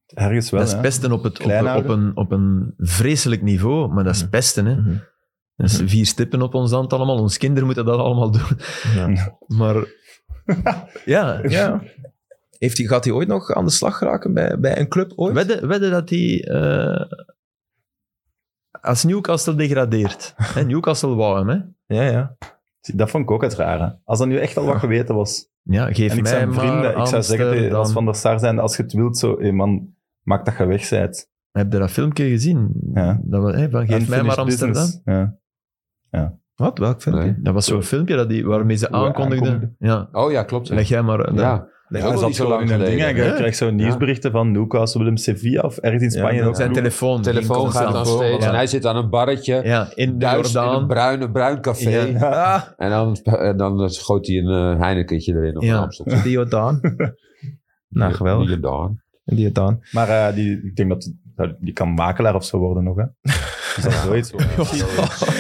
S4: Ergens wel,
S2: dat is
S4: hè.
S2: pesten op, het, op,
S4: Klein
S2: op,
S4: houden.
S2: een, op een vreselijk niveau, maar dat is pesten. Hè.
S1: Mhm.
S2: Dat is vier stippen op ons hand allemaal. Ons kinderen moeten dat allemaal doen.
S4: Ja.
S2: Maar ja,
S4: Ja.
S1: Heeft hij, gaat hij ooit nog aan de slag geraken bij, bij een club ooit?
S2: wedden, wedden dat hij eh, als Newcastle degradeert. Hè, Newcastle wou hem, hè?
S1: Ja, ja.
S4: Zie, Dat vond ik ook het rare. Als dat nu echt al wat geweten was.
S2: Ja, geef
S4: en ik
S2: mij
S4: zijn
S2: maar
S4: vrienden, ik zou zeggen, tegen-
S2: Amsterdam.
S4: als Van der Sar zijn, als je het wilt, zo, hé man, maak dat je weg bent.
S2: Heb je dat filmpje gezien?
S4: Ja.
S2: Dat was, hè, van, geef mij
S4: Unfinished
S2: maar Amsterdam.
S4: business. Ja.
S1: Wat? Welk filmpje?
S3: Nee.
S2: Dat was zo'n filmpje dat die, waarmee ze
S4: Hoe we
S2: aankondigden.
S4: aankondigden.
S2: Ja,
S3: Oh ja, klopt.
S2: leg jij maar.
S3: ja.
S4: Ja,
S3: ook
S4: hij
S3: al
S4: zat
S3: niet zo
S4: gewoon
S3: lang
S4: in een ding en
S3: geleden.
S4: je
S2: Ja.
S4: krijgt zo nieuwsberichten van Newcastle, Willem Sevilla of ergens in Spanje. Ja,
S2: ook
S4: ook
S2: zijn
S4: ploeg.
S2: telefoon.
S3: telefoon
S2: ging
S3: gaat dan
S2: constant boven.
S3: steeds en hij zit aan een barretje.
S2: Ja, in de
S3: Duits in een
S2: Jordaan.
S3: bruine, bruin café.
S2: Ah,
S3: En dan, en dan schoot hij een eh, Heinekentje erin op
S2: Ja.
S3: een Amsterdam.
S1: Die Jordaan. nou, geweldig.
S3: Jordaan.
S1: Die Jordaan.
S4: Maar eh, die, ik denk dat dat- die kan makelaar of zo worden nog. Hè? Is dat zoiets?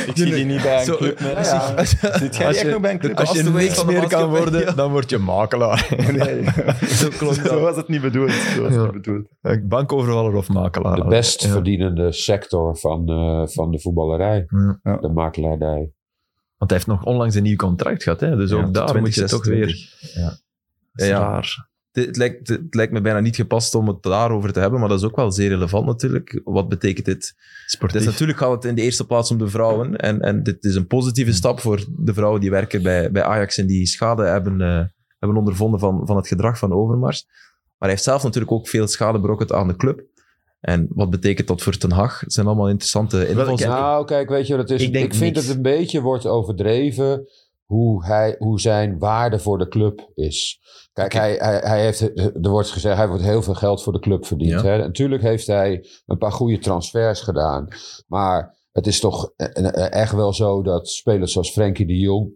S4: Ik zie die niet bij een
S2: Zo,
S4: club meer.
S3: als je-
S4: Ja. Zit jij
S2: als
S4: die echt
S2: je-
S4: nog bij een club?
S2: Als je
S1: Castaway
S2: niks
S1: van de
S2: meer kan
S1: maatschappij,
S2: worden,
S1: ja.
S2: dan word je makelaar.
S4: zo,
S2: klopt dat.
S4: was het niet bedoeld. Zo was het
S2: Ja.
S4: niet bedoeld.
S2: Bankovervaller of makelaar.
S3: De best
S2: Ja.
S3: verdienende sector van, eh, van de voetballerij.
S2: Ja.
S3: De makelaardij.
S2: Want hij heeft nog onlangs een nieuw contract gehad. Hè? Dus
S1: Ja,
S2: ook daar moet je toch
S1: 2026.
S2: weer... Dat is
S1: Ja.
S2: raar.
S1: Het, het lijkt, het lijkt me bijna niet gepast om het daarover te hebben, maar dat is ook wel zeer relevant natuurlijk. Wat betekent dit?
S2: Sportief.
S1: Dus natuurlijk gaat het in de eerste plaats om de vrouwen. En, en dit is een positieve stap voor de vrouwen die werken bij, bij Ajax en die schade hebben, eh, hebben ondervonden van, van het gedrag van Overmars. Maar hij heeft zelf natuurlijk ook veel schade berokkend aan de club. En wat betekent dat voor Ten Hag? Het zijn allemaal interessante invalshoeken.
S3: Nou, kijk, weet je, wat het is,
S2: Ik
S3: ik,
S2: denk
S3: vind
S2: niks.
S3: het een beetje wordt overdreven hoe, hij, hoe zijn waarde voor de club is. Kijk, hij, hij, hij heeft, er wordt gezegd, hij wordt heel veel geld voor de club verdiend.
S1: Ja.
S3: Hè? Natuurlijk heeft hij een paar goede transfers gedaan. Maar het is toch eh, eh, echt wel zo dat spelers zoals Frenkie de Jong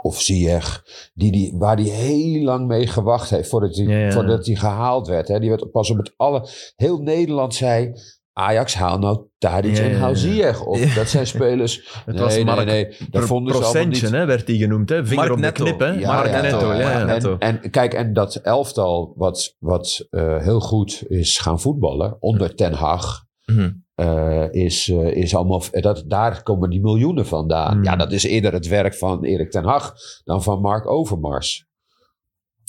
S3: of Ziyech, die die, waar die heel lang mee gewacht heeft voordat hij
S2: Ja, ja.
S3: voordat die gehaald werd. Hè? Die werd pas op het alle... Heel Nederland zei, Ajax haal nou Tadic
S2: Ja, ja,
S3: en haal
S2: ja.
S3: Ziyech op.
S1: Ja.
S3: Dat zijn spelers...
S2: Het
S3: nee,
S2: was
S3: nee,
S2: Mark-
S3: nee, dat vonden ze allemaal niet...
S2: procentje hè, werd hij genoemd. Hè? Vinger
S1: Mark
S2: op de
S1: Netto.
S2: knip. Hè?
S1: Ja,
S2: Mark
S1: ja,
S2: Netto.
S1: ja,
S2: Ja, ja.
S1: Mark Netto.
S3: En, en kijk, en dat elftal wat, wat eh, heel goed is gaan voetballen onder Ten Hag...
S1: Mhm.
S3: eh, is, eh, is allemaal, dat, daar komen die miljoenen vandaan.
S2: Hmm.
S3: Ja, dat is eerder het werk van Erik ten Hag dan van Mark Overmars.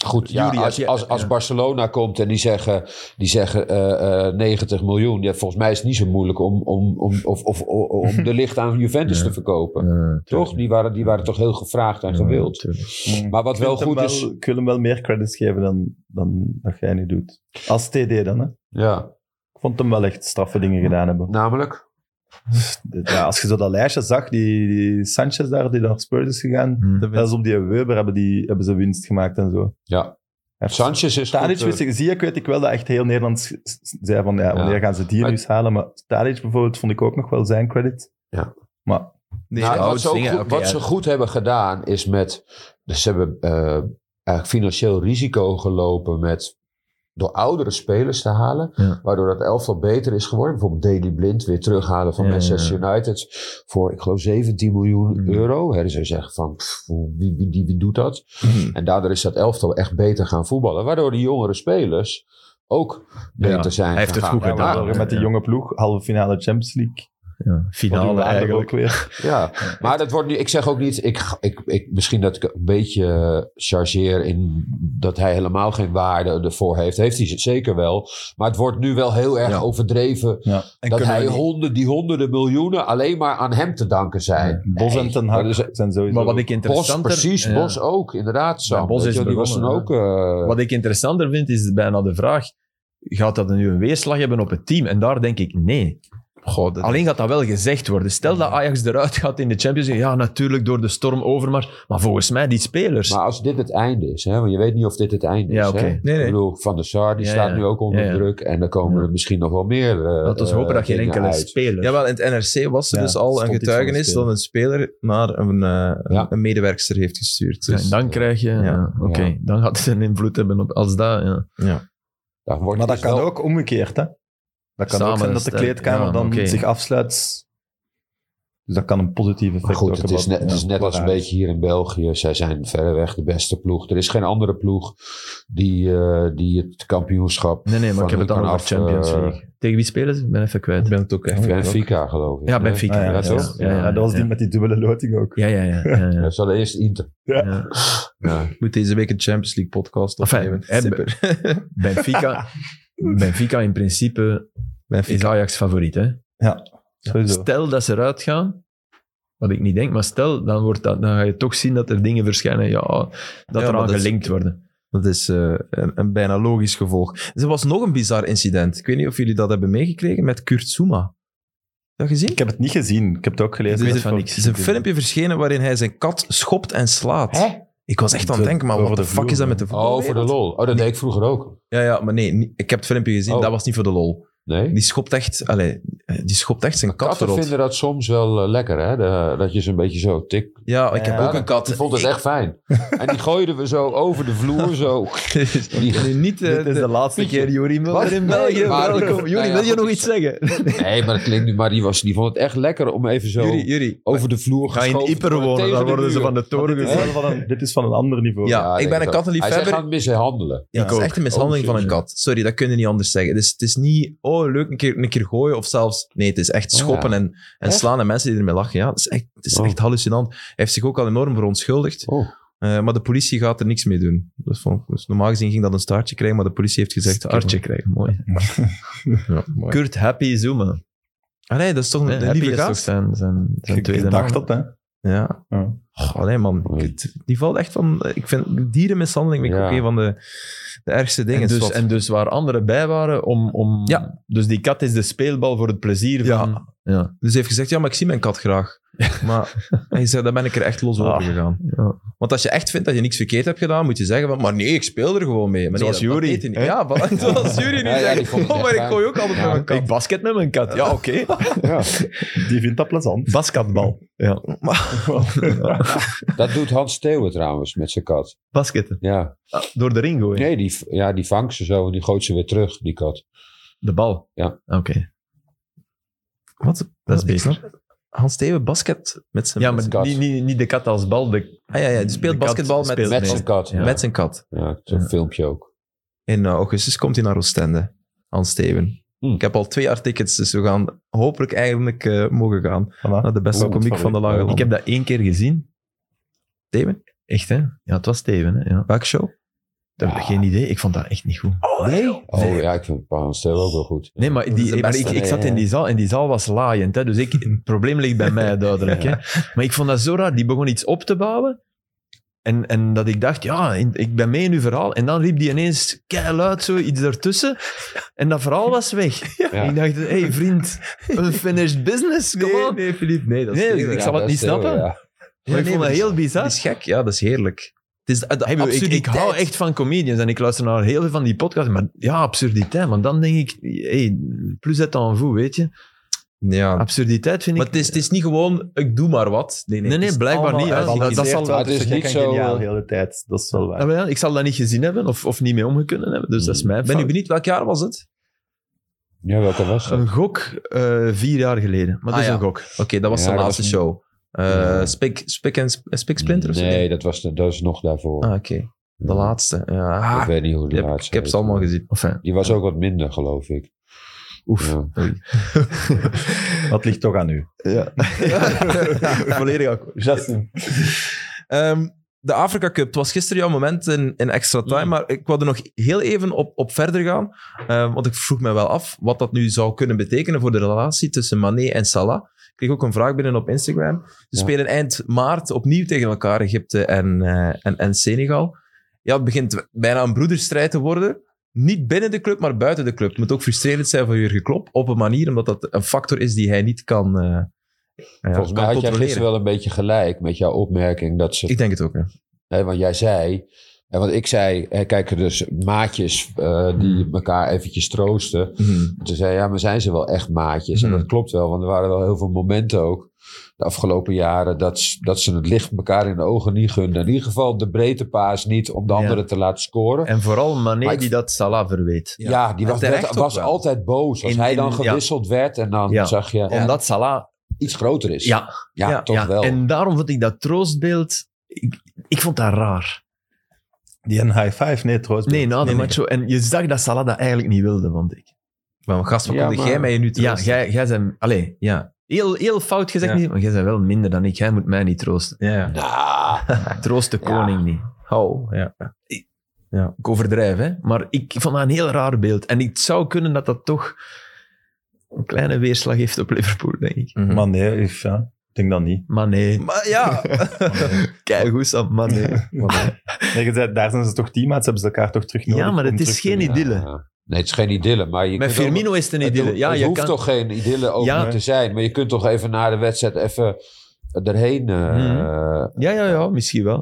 S3: Goed, ja,
S2: Jury, als
S3: als,
S2: je-
S3: als, als
S2: ja.
S3: Barcelona komt en die zeggen, die zeggen eh, eh, 90 miljoen. Ja, volgens mij is het niet zo moeilijk om, om, om, of, of, o- om de licht aan Juventus
S2: Ja.
S3: te verkopen.
S2: Ja,
S3: Toch? Die waren, die waren toch heel gevraagd en gewild.
S2: tuurlijk.
S3: Maar wat
S4: Ik
S3: wel
S4: vind hem
S3: goed is.
S4: Ik wil hem wel meer credits geven dan, dan dat jij nu doet. Als TD dan, hè.
S3: Ja,
S4: Ik vond hem wel echt straffe dingen gedaan hebben.
S3: namelijk.
S4: Ja, als je zo dat lijstje zag, die, die Sanchez daar, die naar Spurs is gegaan,
S2: Hmm.
S4: dat is op die Weber hebben, die, hebben ze winst gemaakt en zo.
S3: Ja. Sanchez is.
S4: Tadic
S3: goed, eh,
S4: wist ik, zie ik, weet ik wel dat echt heel Nederland s- s- zei van, ja, wanneer
S3: Ja.
S4: gaan ze het hier
S3: Maar-
S4: nu eens halen? Maar Tadic bijvoorbeeld vond ik ook nog wel zijn credit.
S1: Nee,
S3: Nou,
S1: oud
S3: wat, ze ook
S1: zingen,
S3: goed,
S1: oké,
S3: wat ze goed hebben gedaan is met. Dus ze hebben eh, eigenlijk financieel risico gelopen met. Door oudere spelers te halen,
S2: Ja.
S3: waardoor dat elftal beter is geworden. Bijvoorbeeld Daley Blind weer terughalen van
S2: Ja, ja, ja.
S3: Manchester United voor, ik geloof, 17 miljoen
S2: Mm.
S3: euro. Hè, dus ze zeggen van, pff, wie, wie, wie, wie doet dat?
S1: Mhm.
S3: En daardoor is dat elftal echt beter gaan voetballen. Waardoor de jongere spelers ook beter
S2: Ja,
S3: zijn
S2: hij heeft het
S3: gegaan.
S2: goed
S4: Ja,
S2: gedaan.
S4: maar met die
S2: ja.
S4: jonge ploeg, halve finale Champions League.
S2: Ja,
S4: Wat doen
S2: Finale
S4: we eigenlijk
S2: eigenlijk.
S4: ook weer.
S3: Ja, maar dat wordt nu, ik zeg ook niet, ik, ik, ik, misschien dat ik een beetje eh, chargeer in dat hij helemaal geen waarde ervoor heeft. Heeft hij ze zeker wel. Maar het wordt nu wel heel erg
S2: Ja.
S3: overdreven
S4: Ja.
S3: dat hij honden, die honderden miljoenen alleen maar aan hem te danken zijn.
S4: Bos en Ten
S3: dat
S4: Hag
S3: is-
S4: zijn sowieso...
S2: Maar wat ik
S3: Bos,
S2: interessanter...
S3: precies,
S2: ja.
S3: Bos ook, inderdaad. Sam.
S2: Ja, Bos
S3: Weet
S2: is
S3: je, die was dan
S2: begonnen,
S3: ook. eh,
S2: Wat ik interessanter vind, is bijna de vraag... Gaat dat nu een weerslag hebben op het team? En daar denk ik nee.
S1: Goh, dat-
S2: Alleen gaat dat wel gezegd worden. Stel dat Ajax eruit gaat in de Champions League. Ja, natuurlijk door de storm over, maar, maar volgens mij die spelers.
S3: maar als dit het einde is, hè, want je weet niet of dit het einde
S2: Ja,
S3: is.
S2: oké.
S3: Hè?
S2: Nee,
S1: nee.
S3: Ik bedoel, Van der Sar, die
S2: Ja,
S3: staat
S2: ja.
S3: nu ook onder
S2: Ja, ja.
S3: druk. En er komen
S2: Ja.
S3: er misschien nog wel meer. eh,
S2: Laten we
S3: eh,
S2: hopen dat geen
S3: dingen
S2: enkele
S3: uit.
S2: speler...
S1: Ja, wel, in het NRC was er
S4: Ja,
S1: dus al
S4: stond
S1: een
S4: iets van een
S1: getuigenis
S4: speler.
S1: dat een speler naar een, eh,
S3: Ja.
S1: een medewerkster heeft gestuurd.
S2: Ja,
S1: Dus,
S2: en dan krijg je... Ja, Oké,
S3: ja.
S2: dan gaat het een invloed hebben op... Als dat... Ja.
S3: Daar wordt
S4: Maar dat
S3: is
S4: kan
S3: dus wel-
S4: ook omgekeerd, hè? Dat kan ook
S2: Samen
S4: zijn dat de
S2: stellen.
S4: kleedkamer
S2: Ja,
S4: dan
S2: oké.
S4: zich afsluit. Dus dat kan een positieve effect
S3: Maar goed,
S4: ook
S3: het
S4: hebben
S3: is
S4: op-
S3: net, het is
S4: ja,
S3: net als een
S4: Ferrari.
S3: beetje hier in België. Zij zijn verreweg de beste ploeg. Er is geen andere ploeg die, eh, die het kampioenschap.
S2: Nee, nee, maar
S3: van
S2: ik heb het
S3: hun
S2: dan
S3: kan
S2: over
S3: af,
S2: Champions
S3: eh,
S2: League. Tegen wie spelen ze? Ik ben even kwijt.
S1: Ik ben het ook echt.
S3: Benfica, geloof ik.
S2: Ja, Benfica.
S4: Ah, ja,
S3: Ja,
S4: ja,
S3: toch?
S4: ja, ja,
S2: Ja,
S4: dat was
S2: ja.
S4: die met die dubbele loting ook.
S2: Ja, ja, ja. ja,
S3: Ja,
S2: ja.
S3: Dat is allereerst Inter.
S2: ja.
S3: Ja.
S1: Ik moet deze week een Champions League podcast
S2: Enfin,
S1: opnemen.
S2: hè,
S1: Super.
S2: Benfica, Benfica in principe
S1: Benfica.
S2: is Ajax favoriet. Hè?
S4: Sowieso.
S2: Stel dat ze eruit gaan, wat ik niet denk, maar stel, dan, wordt dat, dan ga je toch zien dat er dingen verschijnen ja, dat
S1: maar
S2: eraan
S1: dat is-
S2: gelinkt worden.
S1: Dat is eh, een, een bijna logisch gevolg. Er was nog een bizar incident. Ik weet niet of jullie dat hebben meegekregen met Kurt Zouma. Heb je Dat gezien?
S4: Ik heb het niet gezien. Ik heb het ook gelezen.
S2: Ik weet
S4: Dus
S2: van
S4: ik-
S2: niks.
S1: Er is een filmpje verschenen waarin hij zijn kat schopt en slaat. Ik was echt aan het
S4: De-
S1: denken, maar
S4: over
S1: wat de
S4: de
S1: fuck
S4: vloer,
S1: is dat
S4: hè?
S1: met de
S3: Oh, voor de
S1: voetbalwereld?
S3: lol. Oh, dat deed ik vroeger ook.
S1: Ja, ja, maar nee, niet- ik heb het filmpje gezien,
S3: Oh.
S1: dat was niet voor de lol.
S3: Nee.
S1: Die schopt echt, allee, eh, die schopt echt zijn kat
S3: Katten
S1: verrot.
S3: vinden dat soms wel eh, lekker, hè? De- dat je ze een beetje zo tik.
S1: Ja, ik heb
S4: Ja,
S1: ook een kat.
S3: Die vond het echt fijn. En die gooiden we zo over de vloer, zo. Die-
S1: Ik- niet, eh,
S4: Dit is de laatste keer.
S2: Jori
S3: Wat? in België. Nee, maar- Welkom. Jori, Nou ja, wil je goed, nog ik- iets
S2: zeggen?
S3: Nee, maar dat klinkt nu, maar die, was, die vond het echt lekker om even zo
S1: Jullie, jullie.
S3: over de vloer
S2: Ga je in
S3: geschoven te
S2: Ieper wonen,
S3: tegen
S2: dan
S3: de
S2: worden ze
S3: muur.
S2: van de toren
S4: Dit is,
S2: gezet.
S4: wel van een, dit is van een ander niveau.
S1: Ja, ik ben
S3: denk
S1: een
S3: ook. Hij
S1: kattenliefhebber.
S3: zei, gaan mishandelen.
S1: Ja,
S4: Ja,
S1: het is
S4: ook.
S1: echt een mishandeling
S3: Oh,
S1: van een
S3: jezus.
S1: kat. Sorry, dat kun je niet anders zeggen. Dus het is niet, oh, leuk, een keer, een keer gooien of zelfs... Nee, het is echt
S3: Oh,
S1: schoppen
S3: ja.
S1: en, en
S3: Echt?
S1: slaan en mensen die ermee lachen. Ja, het is echt, het is
S3: Oh.
S1: echt hallucinant. Hij heeft zich ook al enorm verontschuldigd.
S3: Oh.
S1: Eh, maar de politie gaat er niks mee doen. Dus, van- dus normaal gezien ging dat een staartje krijgen, maar de politie heeft gezegd...
S2: Artje krijgen, mooi.
S1: Ja, mooi.
S2: Kurt Happy Zuma.
S1: Ah, nee, dat is toch een
S2: Nee,
S1: de
S2: Happy
S1: lieve
S2: is toch
S1: gast?
S2: zijn, zijn, zijn
S4: Ik
S2: tweede naam.
S4: dacht dat, hè.
S1: Ja.
S4: Ja.
S1: Goh, nee, man.
S3: Oei.
S1: Het- Die valt echt van... Ik vind dierenmishandeling vind ik
S3: Ja.
S1: ook een van de, de ergste dingen.
S2: En dus,
S1: Swat.
S2: en dus waar anderen bij waren om... om
S1: Ja.
S2: Dus die kat is de speelbal voor het plezier
S1: Ja.
S2: van... Ja.
S1: Dus hij heeft gezegd, ja, maar ik zie mijn kat graag. Maar hij zei, daar ben ik er echt los over
S2: Ah,
S1: gegaan.
S2: ja.
S1: Want als je echt vindt dat je niks verkeerd hebt gedaan, moet je zeggen van, maar nee, ik speel er gewoon mee. Maar
S2: Zoals
S1: nee, dat- dat
S2: Yuri,
S1: deed hij niet.
S2: hè?
S1: Ja, voilà, zoals Jury nu
S3: Ja, ja, die
S1: zegt.
S3: vond het
S1: Oh, maar
S3: echt
S1: ik gooi ook altijd
S3: Ja.
S1: met mijn kat.
S2: Ik basket met mijn kat. Ja, oké.
S3: Ja.
S4: Die vindt dat plezant.
S2: Basketbal. Ja.
S3: Dat doet Hans Theeuwen trouwens met zijn kat.
S2: Basketten.
S3: Ja.
S2: Door de ring gooien.
S3: Nee, die, ja, die vangt ze zo en die gooit ze weer terug, die kat.
S2: De bal.
S3: Ja.
S2: Oké.
S1: Wat?
S2: Dat is
S1: ik
S2: beter.
S1: snap het. Hans Steven basket met zijn
S2: Ja,
S1: met
S2: maar
S1: zijn-
S3: kat.
S2: niet, niet, niet de kat als bal. De...
S1: Ah, ja, ja, die
S2: de
S1: speelt
S2: kat
S1: basketbal met,
S2: speelt
S1: met,
S3: Met zijn kat. Ja,
S1: zijn kat.
S3: ja zo'n
S2: Ja.
S3: filmpje ook.
S1: In eh, augustus komt hij naar Oostende. Hans Steven.
S3: Hm.
S2: Hmm.
S1: Ik heb al twee jaar tickets, dus we gaan hopelijk eigenlijk eh, mogen gaan
S4: Voilà.
S1: naar de beste
S4: Oeh,
S1: komiek
S4: sorry.
S1: van de lage
S4: Ik
S1: landen.
S2: Ik heb dat één keer gezien.
S1: Steven,
S2: Echt, hè? Ja, het was Steven, hè? Ja.
S1: welke show?
S2: Dat-
S3: Ah.
S2: Geen idee. Ik vond dat echt niet goed.
S1: nee.
S3: Oh ja, ik vind Hans Theeuwen ook wel goed.
S2: Nee, maar,
S1: Dat is de
S2: die, maar ik,
S1: beste,
S2: ik zat in die zaal en die zaal was laaiend. Hè? Dus ik, het probleem ligt bij mij duidelijk. Hè? Maar ik vond dat zo raar. Die begon iets op te bouwen. En, en dat ik dacht, ja, in- ik ben mee in uw verhaal. En dan riep die ineens keihard zo iets ertussen. En dat verhaal was weg.
S3: Ja.
S2: Ik dacht, hé hey, vriend, unfinished business, come on.
S1: nee, Filip, nee, dat
S2: Nee,
S1: Steven.
S2: ik
S3: Ja,
S2: zal het
S3: dat
S2: niet
S3: is Theeuwen,
S2: snappen.
S3: ja.
S2: Maar ik
S1: nee,
S2: vond
S1: maar
S2: dat
S1: die-
S2: heel bizar.
S1: Dat is gek, ja, dat is heerlijk. Het is de, de
S2: Hey, bedoel, ik, ik
S1: absurditeit.
S2: hou echt van comedians en ik luister naar heel veel van die podcasts. Maar ja, absurditeit. Maar dan denk ik, hey, plus het en vous, weet je.
S1: Ja.
S2: Absurditeit vind
S1: Maar
S2: ik...
S1: het is, het is niet gewoon, ik doe maar wat. Nee, nee,
S2: Nee, nee,
S1: het is
S2: blijkbaar
S1: allemaal
S2: niet, hè.
S1: uitgekikt.
S2: dat- dat zal-
S4: wel. Het is niet zo... Geniaal,
S3: eh,
S4: de hele tijd. Dat is wel waar.
S2: Ah, wel ja, ik zal dat niet gezien hebben of, of niet mee omgekunnen hebben. Dus dat is mijn
S1: Ik Hmm. ben nu
S2: fout.
S1: benieuwd, welk jaar was het?
S3: Ja, welke was dat?
S2: Een gok eh, vier jaar geleden. Maar dat
S1: Ah,
S2: is
S1: ja.
S2: een gok.
S1: Oké, dat was
S3: Ja,
S1: zijn
S3: dat
S1: laatste
S3: was-
S1: show. Eh
S3: Ja.
S1: Spik, Spik en Sp- Spik Splinter of zo?
S3: Nee, dat was, de, dat was nog daarvoor.
S1: Ah, oké. De laatste. Ja. Ah,
S3: ik weet niet hoe
S1: ik
S3: die
S1: heb,
S3: laatste
S1: ik heb ze
S3: heet.
S1: allemaal gezien.
S2: Enfin,
S3: Die was ook wat minder, geloof ik.
S2: oef.
S3: Ja.
S4: Dat ligt toch aan u.
S2: Ja. Volledig akkoord.
S4: Justin.
S1: Ehm, de Afrika Cup, het was gisteren jouw moment in, in extra time,
S3: Hmm.
S2: Mm.
S1: maar ik wilde nog heel even op, op verder gaan, ehm, want ik vroeg me wel af wat dat nu zou kunnen betekenen voor de relatie tussen Mané en Salah. Ik kreeg ook een vraag binnen op Instagram. Ze
S3: Ja.
S1: spelen eind maart opnieuw tegen elkaar, Egypte en, eh, en, en Senegal. Ja, het begint bijna een broederstrijd te worden. Niet binnen de club, maar buiten de club. Het moet ook frustrerend zijn voor Jurgen Klopp, op een manier, omdat dat een factor is die hij niet kan, eh, eh,
S3: Volgens mij
S1: kan
S3: had jij
S1: controleren.
S3: gisteren wel een beetje gelijk met jouw opmerking dat ze
S1: Ik denk het ook, hè.
S3: Nee, want jij zei. En want ik zei, hè, kijk, dus maatjes eh, die
S2: Hmm.
S3: elkaar eventjes troosten. Toen zei hij, ja, maar zijn ze wel echt maatjes? En dat
S1: Hmm.
S3: klopt wel, want er waren wel heel veel momenten ook de afgelopen jaren dat, s- dat ze het licht elkaar in de ogen niet gunden. In ieder geval de breedte paas niet om de
S2: Ja.
S3: anderen te laten scoren.
S2: En vooral
S3: Maar
S2: Mané
S3: ik-
S2: die dat Salah verweet.
S3: Ja, die
S1: en
S3: was,
S1: terecht
S3: net-
S1: ook
S3: was
S1: wel.
S3: altijd boos. Als
S2: In-
S3: hij
S2: in-
S3: dan
S2: ja.
S3: gewisseld werd en dan
S2: Ja.
S3: zag je...
S2: Omdat Salah
S3: iets groter is.
S2: Ja,
S3: ja, toch wel.
S2: En daarom vond ik dat troostbeeld... Ik, ik vond dat raar.
S4: Die een high five, nee, trouwens.
S2: Nee, na de match zo. En je zag dat Salah dat eigenlijk niet wilde, vond ik.
S1: Maar gast, wat
S3: Ja,
S1: kon
S3: maar-
S1: jij mij nu te
S2: Ja, jij, jij bent... Allee, ja. Heel, heel fout gezegd,
S1: Ja.
S2: niet, maar jij bent wel minder dan ik. Jij moet mij niet troosten.
S1: Ja, ja.
S3: Nou,
S2: Troost de
S3: Ja.
S2: koning niet.
S1: Oh, ja.
S2: Ja, ik overdrijf, hè. Maar ik vond dat een heel raar beeld. En het zou kunnen dat dat toch een kleine weerslag heeft op Liverpool, denk ik.
S1: Mhm.
S4: Maar nee, ik ja, ik denk dat niet.
S2: Maar nee.
S4: Maar ja.
S2: Kijk, goed, Sam. Maar nee.
S4: nee, je zei, daar zijn ze toch teammates, hebben ze elkaar toch terug nodig.
S2: Ja, maar
S4: om
S2: het is
S4: terug te
S2: geen
S4: winnen.
S2: idylle.
S3: ja. Nee, het is geen idylle, maar je
S2: Met
S3: kunt ook-
S2: Firmino is het een
S3: Het
S2: idylle.
S3: hoeft-
S2: Ja,
S3: het
S2: je
S3: hoeft
S2: kan...
S3: toch geen idylle over
S2: Ja.
S3: niet te zijn. Maar je kunt toch even na de wedstrijd even erheen. eh,
S2: Ja, ja, ja, misschien wel.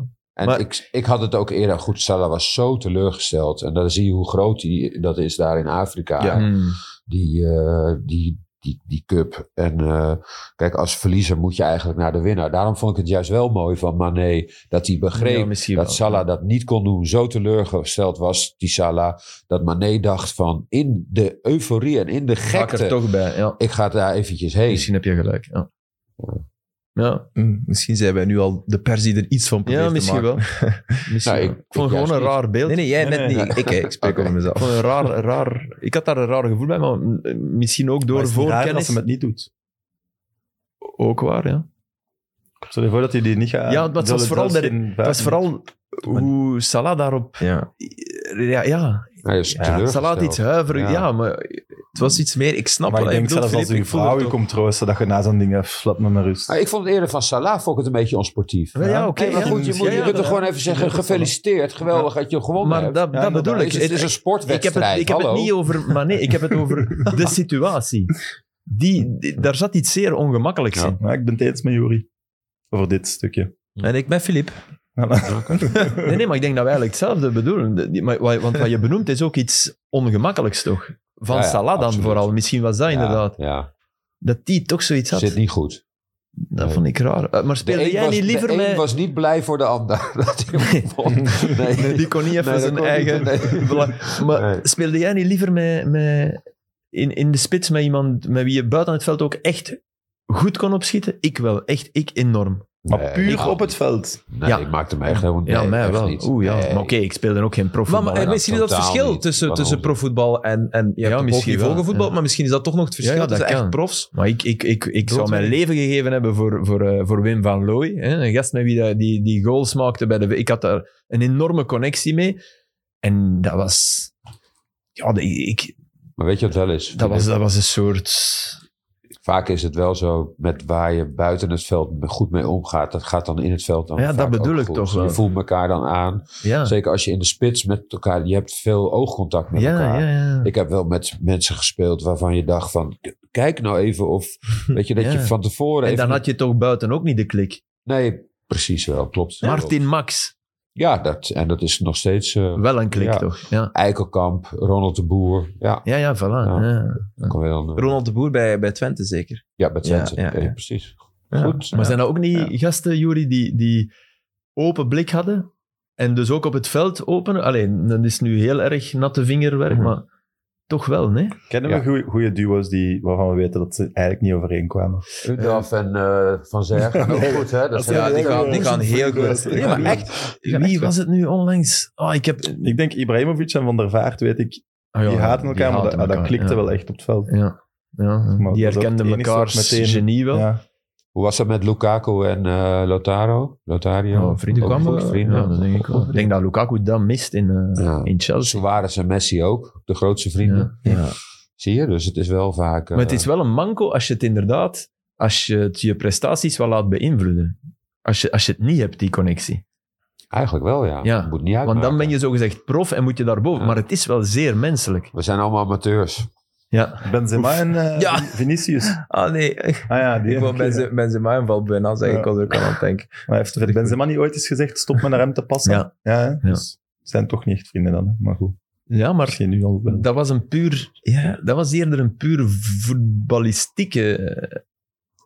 S2: Mhm.
S3: En
S2: Maar-
S3: ik, ik had het ook eerder goed. Salah was zo teleurgesteld. En dan zie je hoe groot die, dat is daar in Afrika.
S2: Hmm.
S3: Die, eh, die, die, die cup. En eh, kijk, als verliezer moet je eigenlijk naar de winnaar. Daarom vond ik het juist wel mooi van Mané. Dat hij begreep
S2: Ja, misschien
S3: dat
S2: wel.
S3: Salah dat niet kon doen. Zo teleurgesteld was die Salah. Dat Mané dacht van in de euforie en in de
S2: Hak er
S3: gekte.
S2: toch bij, ja.
S3: Ik ga daar eventjes heen.
S2: Misschien heb je gelijk, ja. Ja,
S1: Mm, Misschien zijn wij nu al de pers die er iets van
S2: ja,
S1: probeert te
S2: misschien
S1: maken.
S2: wel. Misschien
S3: Nou, ik-
S2: wel.
S3: ik
S2: ik, vond het
S3: juist
S2: gewoon een
S3: niet.
S2: raar beeld.
S1: Nee, nee, jij
S4: Nee,
S1: net
S4: nee.
S1: niet. Ik, hè, ik spreek
S3: Oké.
S1: over
S2: Ik
S1: mezelf.
S2: vond het een raar, raar... Ik had daar een raar gevoel bij, maar eh, misschien ook
S4: Maar
S2: door
S4: het is niet raar als
S2: voorkennis.
S4: ze het niet doet.
S2: Ook waar, ja.
S4: Stel je voor dat hij die niet gaat...
S2: Ja, maar het was
S4: Zelfs
S2: vooral
S4: in
S2: dat-
S4: vijf
S2: Dat is vooral hoe Salah daarop...
S1: Ja.
S2: Ja, ja.
S3: Hij is
S2: ja
S3: teleurgesteld.
S2: Salah had iets huiverig.
S3: Ja.
S2: Ja. maar
S1: Het was iets meer, ik snap
S4: Maar ik
S1: wat hij
S4: denk
S1: bedoelt,
S4: zelfs als
S1: Filip,
S4: uw
S1: ik voel het
S4: vrouw je
S1: ook.
S4: komt troosten, dat je na zo'n ding... eh, Laat me maar rust.
S3: Maar Ah, ik vond het eerder van Salah vond ik het een beetje onsportief.
S2: Wel, ja, oké.
S3: Nee, maar
S2: ja.
S3: goed, je, moet,
S2: Ja,
S3: je
S2: ja,
S3: kunt er
S2: ja.
S3: gewoon even zeggen, gefeliciteerd, geweldig dat je gewonnen
S2: Maar
S3: hebt.
S2: dat,
S4: Ja,
S2: dat
S4: maar
S2: bedoel
S3: Het
S2: ik.
S3: is, het is een
S2: ik heb,
S3: sportwedstrijd,
S2: het, ik heb het
S3: hallo.
S2: niet over... Maar nee, ik heb het over de situatie. Die, die- daar zat iets zeer ongemakkelijks
S3: Ja.
S2: in.
S4: Maar ik ben het eens met Jori. Over dit stukje.
S3: Hm.
S1: En ik ben Filip.
S2: Nee, nee, maar ik denk dat wij eigenlijk hetzelfde bedoelen. De- die- maar wa- Want wat je benoemt is ook iets ongemakkelijks, toch? Van
S3: Ja, ja,
S2: Salah dan
S3: absoluut.
S2: vooral. Misschien was dat
S3: Ja,
S2: inderdaad.
S3: Ja,
S2: Dat die toch zoiets had.
S3: zit niet goed.
S2: Dat vond ik raar. Eh, Maar
S3: De
S2: speelde
S3: een,
S2: jij
S3: was,
S2: niet
S3: de
S2: liever
S3: een
S2: met...
S3: was niet blij voor de ander. Dat hij hem won. nee.
S2: Nee, die kon niet even
S3: Nee, dat
S2: zijn
S3: kon niet,
S2: eigen
S3: nee.
S2: belang. Maar
S3: Nee.
S2: speelde jij niet liever met, met, in, in de spits met iemand met wie je buiten het veld ook echt goed kon opschieten? Ik wel, echt, ik enorm.
S4: Maar
S3: Nee,
S4: puur
S3: ik-
S4: op het veld.
S3: Nee,
S2: Ja.
S3: ik maakte hem echt helemaal
S2: Ja,
S3: nee,
S2: mij
S3: echt
S2: wel.
S3: niet.
S2: Oeh, ja.
S3: Nee.
S2: Maar oké, ik speelde ook geen
S1: Maar,
S2: profvoetbal.
S1: maar
S2: hè.
S1: eh, misschien is dat het
S3: totaal
S1: verschil
S3: niet.
S1: tussen,
S3: Wat
S1: tussen
S3: onzin.
S1: profvoetbal en, en je hebt ook
S2: misschien wel,
S1: niveauvoetbal,
S2: ja.
S1: maar misschien is dat toch nog het verschil
S2: Ja, ja,
S1: tussen
S2: dat
S1: echt
S2: kan.
S1: profs.
S2: Maar ik, ik, ik, ik zou mijn
S1: Doodwerk.
S2: leven gegeven hebben voor, voor, eh, voor Wim van Looy. Hè? Een gast met wie dat, die, die goals maakte. Bij de, ik had daar een enorme connectie mee. En dat was... Ja, de- ik,
S3: Maar weet je wat wel is?
S2: dat, was, dat was een soort...
S3: Vaak is het wel zo met waar je buiten het veld goed mee omgaat. Dat gaat dan in het veld dan
S2: Ja, dat
S3: vaak
S2: bedoel
S3: ook
S2: ik
S3: goed.
S2: toch wel.
S3: Je voelt elkaar dan aan.
S2: Ja,
S3: Zeker als je in de spits met elkaar... Je hebt veel oogcontact met elkaar.
S2: ja, ja, ja.
S3: Ik heb wel met mensen gespeeld waarvan je dacht van... k- Kijk nou even of... Weet je, dat
S2: Ja.
S3: je van tevoren
S2: En
S3: even...
S2: dan had je toch buiten ook niet de klik.
S3: Nee, precies wel, klopt.
S2: Martin Max,
S3: Ja, dat, en dat is nog steeds... eh,
S2: wel een klik
S3: Ja.
S2: toch? Ja,
S3: Eikelkamp, Ronald de Boer. Ja,
S2: ja, ja voilà.
S3: Ja.
S2: Ja.
S3: dan kan weer dan, eh,
S1: Ronald de Boer bij, bij Twente zeker.
S3: ja bij Twente.
S1: Ja, ja,
S3: Eh,
S1: ja.
S3: precies.
S2: Ja.
S3: Goed.
S2: Maar zijn dat ook niet gasten, Juri, die, die open blik hadden? En dus ook op het veld open? Alleen, dat is nu heel erg natte vingerwerk,
S3: Mhm.
S2: maar toch wel, nee?
S4: Kennen
S3: Ja.
S4: we goede duo's die, waarvan we weten dat ze eigenlijk niet overeenkwamen?
S3: Rudolf en eh, Van Zer gaan ook goed, hè? Dat zijn
S1: Ja, die
S3: ook-
S1: gaan, die gaan heel goed. Nee, maar echt.
S2: Wie was het nu onlangs? Oh, ik heb...
S4: Ik denk Ibrahimovic en Van der Vaart, weet ik. Die
S2: Ah, ja,
S4: haten elkaar, maar dat,
S2: haten
S4: dat klikte
S2: ja.
S4: wel echt op het veld.
S2: Ja, ja.
S4: Maar
S2: die
S4: dat is ook
S2: herkenden
S4: het enige
S2: mekaars
S4: wat meteen-
S2: genie wel.
S4: Ja.
S3: Hoe was dat met Lukaku en eh, Lotaro? Lotario?
S2: Oh, vrienden
S3: Ook
S2: kwamen.
S3: goed, vrienden.
S2: Ja, dat denk ik wel. Ik denk dat Lukaku dat mist in, eh,
S3: Ja.
S2: in Chelsea.
S3: Suarez en Messi ook, de grootste vrienden.
S2: Ja. Ja.
S3: Zie je, dus het is wel vaak... eh,
S2: Maar het is wel een manco als je het inderdaad, als je het je prestaties wel laat beïnvloeden. Als je, als je het niet hebt, die connectie.
S3: Eigenlijk wel, ja.
S2: Ja,
S3: Moet niet uitmaken.
S2: Want dan ben je zogezegd prof en moet je daarboven.
S3: Ja.
S2: Maar het is wel zeer menselijk.
S3: We zijn allemaal amateurs.
S2: Ja.
S4: Benzema en eh,
S1: Ja.
S4: Vinicius.
S1: Ah nee, ik
S4: Ah ja, die
S1: wou
S4: Oké.
S1: Benze- Benzema en Valbuena zeggen, ik
S4: Ja.
S1: was er ook al aan het denken.
S4: Maar heeft heeft Benzema niet ooit eens gezegd, stop me naar hem te passen?
S2: Ja.
S4: hè? Dus zijn toch niet echt vrienden dan, hè? maar goed.
S2: ja, maar
S4: Misschien nu al wel.
S2: dat was, een puur, ja, dat was eerder een puur voetballistieke eh,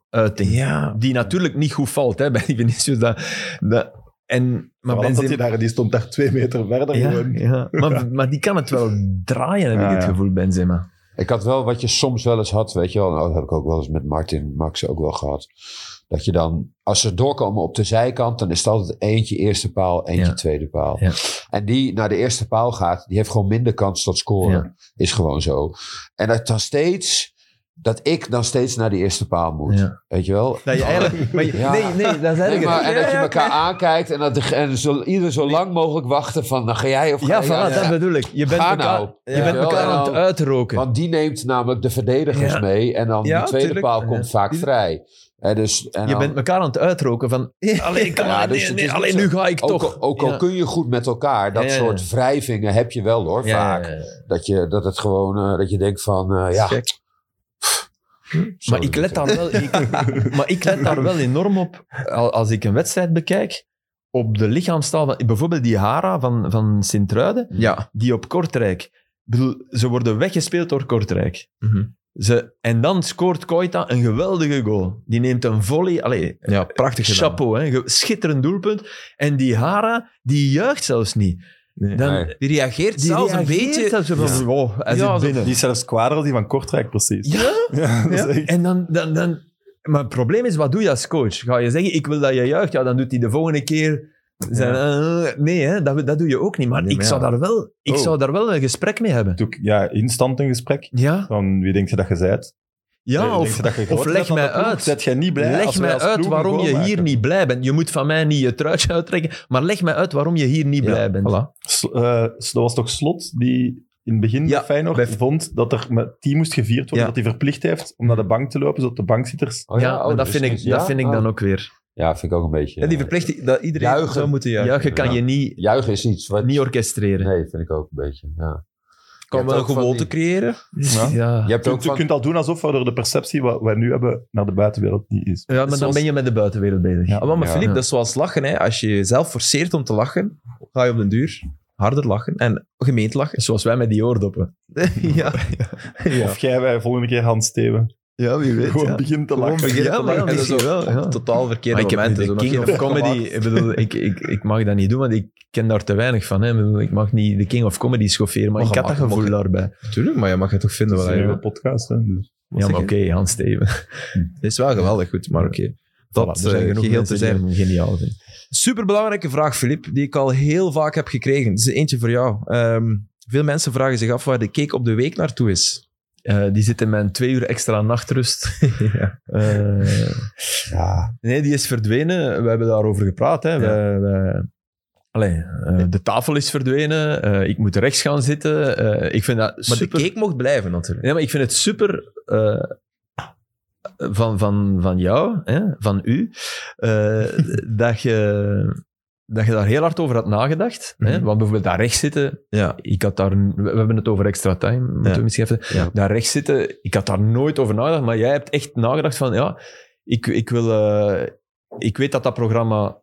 S2: uiting.
S1: Ja,
S2: Die natuurlijk niet goed valt hè, bij die Vinicius. Dat, dat, en, maar
S4: Vooral omdat
S2: Benzema-
S4: hij daar, die stond daar twee meter verder
S2: Ja,
S4: gewoon.
S2: ja. Maar, maar die kan het wel draaien, heb
S4: Ja,
S2: ik het
S4: ja.
S2: gevoel, Benzema.
S3: Ik had wel wat je soms wel eens had, weet je wel. Nou, dat heb ik ook wel eens met Martin Max ook wel gehad. Dat je dan, als ze doorkomen op de zijkant, dan is het altijd eentje eerste paal, eentje
S2: Ja.
S3: tweede paal.
S2: Ja.
S3: En die naar de eerste paal gaat, die heeft gewoon minder kans tot scoren. Is gewoon zo. En dat dan steeds, dat ik dan steeds naar die eerste paal moet.
S2: Ja.
S3: Weet je wel?
S4: Dat je eigenlijk... Maar je-
S3: Ja.
S2: Nee, nee, dat is
S3: Nee,
S2: erger.
S3: maar, en
S2: Ja,
S3: dat je
S2: ja,
S3: elkaar aankijkt en dat de, en zo, ieder zo lang mogelijk wachten van, dan ga jij of ga
S2: Ja,
S3: jij.
S2: voilà, dat
S3: Ja.
S2: bedoel ik. Je bent
S3: Ga
S2: elkaar,
S3: nou.
S2: je
S3: Ja.
S2: bent
S3: Ja.
S2: elkaar aan het
S3: Ja.
S2: uitroken.
S3: Want die neemt namelijk de verdedigers
S2: Ja.
S3: mee en dan
S1: Ja,
S3: de tweede
S1: tuurlijk.
S3: paal komt vaak vrij. Hè, dus, en
S2: je
S3: dan-
S2: bent elkaar aan het uitroken van... Alleen, ik kan
S3: Ja,
S2: maar-
S3: dus
S2: nee,
S3: het
S2: nee,
S3: is
S2: alleen
S3: niet
S2: nu
S3: zo-
S2: ga ik
S3: ook,
S2: toch...
S3: ook al
S2: Ja.
S3: kun je goed met elkaar, dat
S2: Ja, ja, ja.
S3: soort wrijvingen heb je wel hoor,
S2: Ja, ja,
S3: vaak.
S2: ja, ja.
S3: Dat, je, dat het gewoon, eh, dat je denkt van, eh, ja.
S1: Gek.
S3: pff, zo
S2: Maar ik,
S3: doe
S2: let daar wel, ik, maar ik let daar wel enorm op al- als ik een wedstrijd bekijk. Op de lichaamstaal van bijvoorbeeld die Hara van, van Sint-Truiden,
S1: Ja.
S2: die op Kortrijk. Ik bedoel, ze worden weggespeeld door Kortrijk.
S1: Mhm.
S2: Ze, en dan scoort Koita een geweldige goal. Die neemt een volley. Allee,
S1: ja, prachtig gedaan.
S2: chapeau, hè, Ge- schitterend doelpunt. En die Hara, die juicht zelfs niet.
S1: Nee.
S2: Dan,
S3: Nee.
S1: Die reageert
S2: Die
S1: zelfs een
S2: reageert
S1: beetje...
S2: zelfs zo van,
S1: Ja.
S2: wow, hij
S1: Ja,
S2: zit
S1: alsof-
S2: binnen.
S4: Die is zelfs kwader als die van Kortrijk, precies.
S2: Ja?
S4: Ja, dat is
S2: Ja,
S4: echt-
S2: En dan, dan, dan... Maar het probleem is, wat doe je als coach? Ga je zeggen, ik wil dat je juicht? Ja, dan doet hij de volgende keer... Zijn, eh, nee, hè, dat, dat doe je ook niet. Maar
S1: Nee,
S2: ik,
S1: maar
S2: zou
S1: ja.
S2: daar wel, ik
S4: Oh.
S2: zou daar wel een gesprek mee hebben.
S4: Doe ik- Ja, instant een gesprek.
S2: Ja,
S4: Van wie denkt je dat je zijt?
S2: ja
S4: Wie denkt
S2: of,
S4: je dat je groot
S2: leg
S4: bent van de
S2: mij
S4: ploeg?
S2: uit.
S4: Zet jij niet blij als
S2: leg
S4: wij
S2: mij
S4: als
S2: uit
S4: ploeg een
S2: waarom
S4: goal
S2: je hier
S4: maken?
S2: niet blij bent. Je moet van mij niet je truitje uittrekken, maar leg mij uit waarom je hier niet
S4: Ja,
S2: blij bent.
S1: Voilà.
S4: Sl- eh, dat was toch Slot die in het begin
S2: Ja,
S4: bij Feyenoord
S2: bij-
S4: vond dat er met team moest gevierd worden,
S2: Ja.
S4: dat hij verplicht heeft om naar de bank te lopen, zodat de bankzitters...
S3: ik. Oh
S2: ja, maar
S3: oh,
S2: dat
S3: is-
S2: vind ik,
S3: is- ja?
S2: dat vind ik
S3: Oh.
S2: dan ook weer.
S3: Ja, vind ik ook een beetje.
S1: En die
S3: eh,
S1: verplicht dat iedereen
S3: Juichen.
S1: zou moeten juichen.
S2: Ja, je kan je niet,
S3: Juichen is iets wat...
S2: niet orchestreren.
S3: Nee, vind ik ook een beetje, ja.
S1: Kan
S3: Je
S1: wel een
S3: hebt ook van
S1: gewoonte
S3: die-
S1: creëren.
S4: Ja.
S2: Ja.
S3: Je hebt
S4: Je
S3: ook
S4: kunt, je
S3: van...
S4: kunt al doen alsof we door de perceptie wat wij nu hebben naar de buitenwereld niet is.
S2: Ja, maar dan
S1: Zoals-
S2: ben je met de buitenwereld bezig.
S4: Ja.
S1: Ah, maar maar
S3: Ja.
S1: Filip,
S2: Ja.
S1: dat is zoals lachen. Hè. Als je jezelf forceert om te lachen, ga je op den duur harder lachen en gemeend lachen.
S2: Zoals wij met die oordoppen.
S1: ja. ja.
S4: Of jij wij volgende keer Hans Steven.
S2: Ja, wie weet.
S4: Gewoon begint te lachen.
S1: beginnen
S2: Ja,
S1: te
S2: maar
S1: lachen. En dat is
S2: misschien
S1: ook
S2: wel, ja.
S1: op totaal verkeerde
S2: Maar ik heb nu
S1: momenten.
S2: de
S1: zo nog
S2: King
S1: geen-
S2: of Comedy. Ik, bedoel, ik, ik, ik mag dat niet doen, want ik ken daar te weinig van. Hè. Ik, bedoel, ik mag niet de King of Comedy schofferen, maar
S1: Mag-
S2: ik had dat
S1: mag- mag-
S2: gevoel daarbij.
S1: Tuurlijk, maar je mag het toch vinden
S4: Dat is
S1: wat
S4: een
S1: hij
S4: nieuwe
S1: wil.
S4: podcast. Hè, dus.
S2: Ja, maar oké, Hans Steven. dus
S1: Het is wel geweldig goed, maar oké. Dat eh, geheel te zijn.
S2: Geniaal. Vind.
S1: Superbelangrijke vraag, Filip, die ik al heel vaak heb gekregen. Het is eentje voor jou. Ehm, veel mensen vragen zich af waar de cake op de week naartoe is.
S2: Eh, die zit in mijn twee uur extra nachtrust. Eh,
S3: Ja,
S2: nee, die is verdwenen. We hebben daarover gepraat. Hè. We, we- Allee, eh, de tafel is verdwenen. Eh, ik moet rechts gaan zitten. Eh, ik vind dat
S1: Maar
S2: super...
S1: de cake mocht blijven, natuurlijk.
S2: Nee, maar ik vind het super eh, van, van, van jou, hè, van u, eh, dat, je, dat je daar heel hard over had nagedacht. Hè?
S1: Mhm.
S2: Want bijvoorbeeld daar rechts zitten,
S1: Ja.
S2: ik had daar, we we hebben het over extra time, moeten
S1: Ja.
S2: we misschien even,
S1: Ja.
S2: daar rechts zitten, ik had daar nooit over nagedacht, maar jij hebt echt nagedacht van, ja, ik, ik wil, eh, ik weet dat dat programma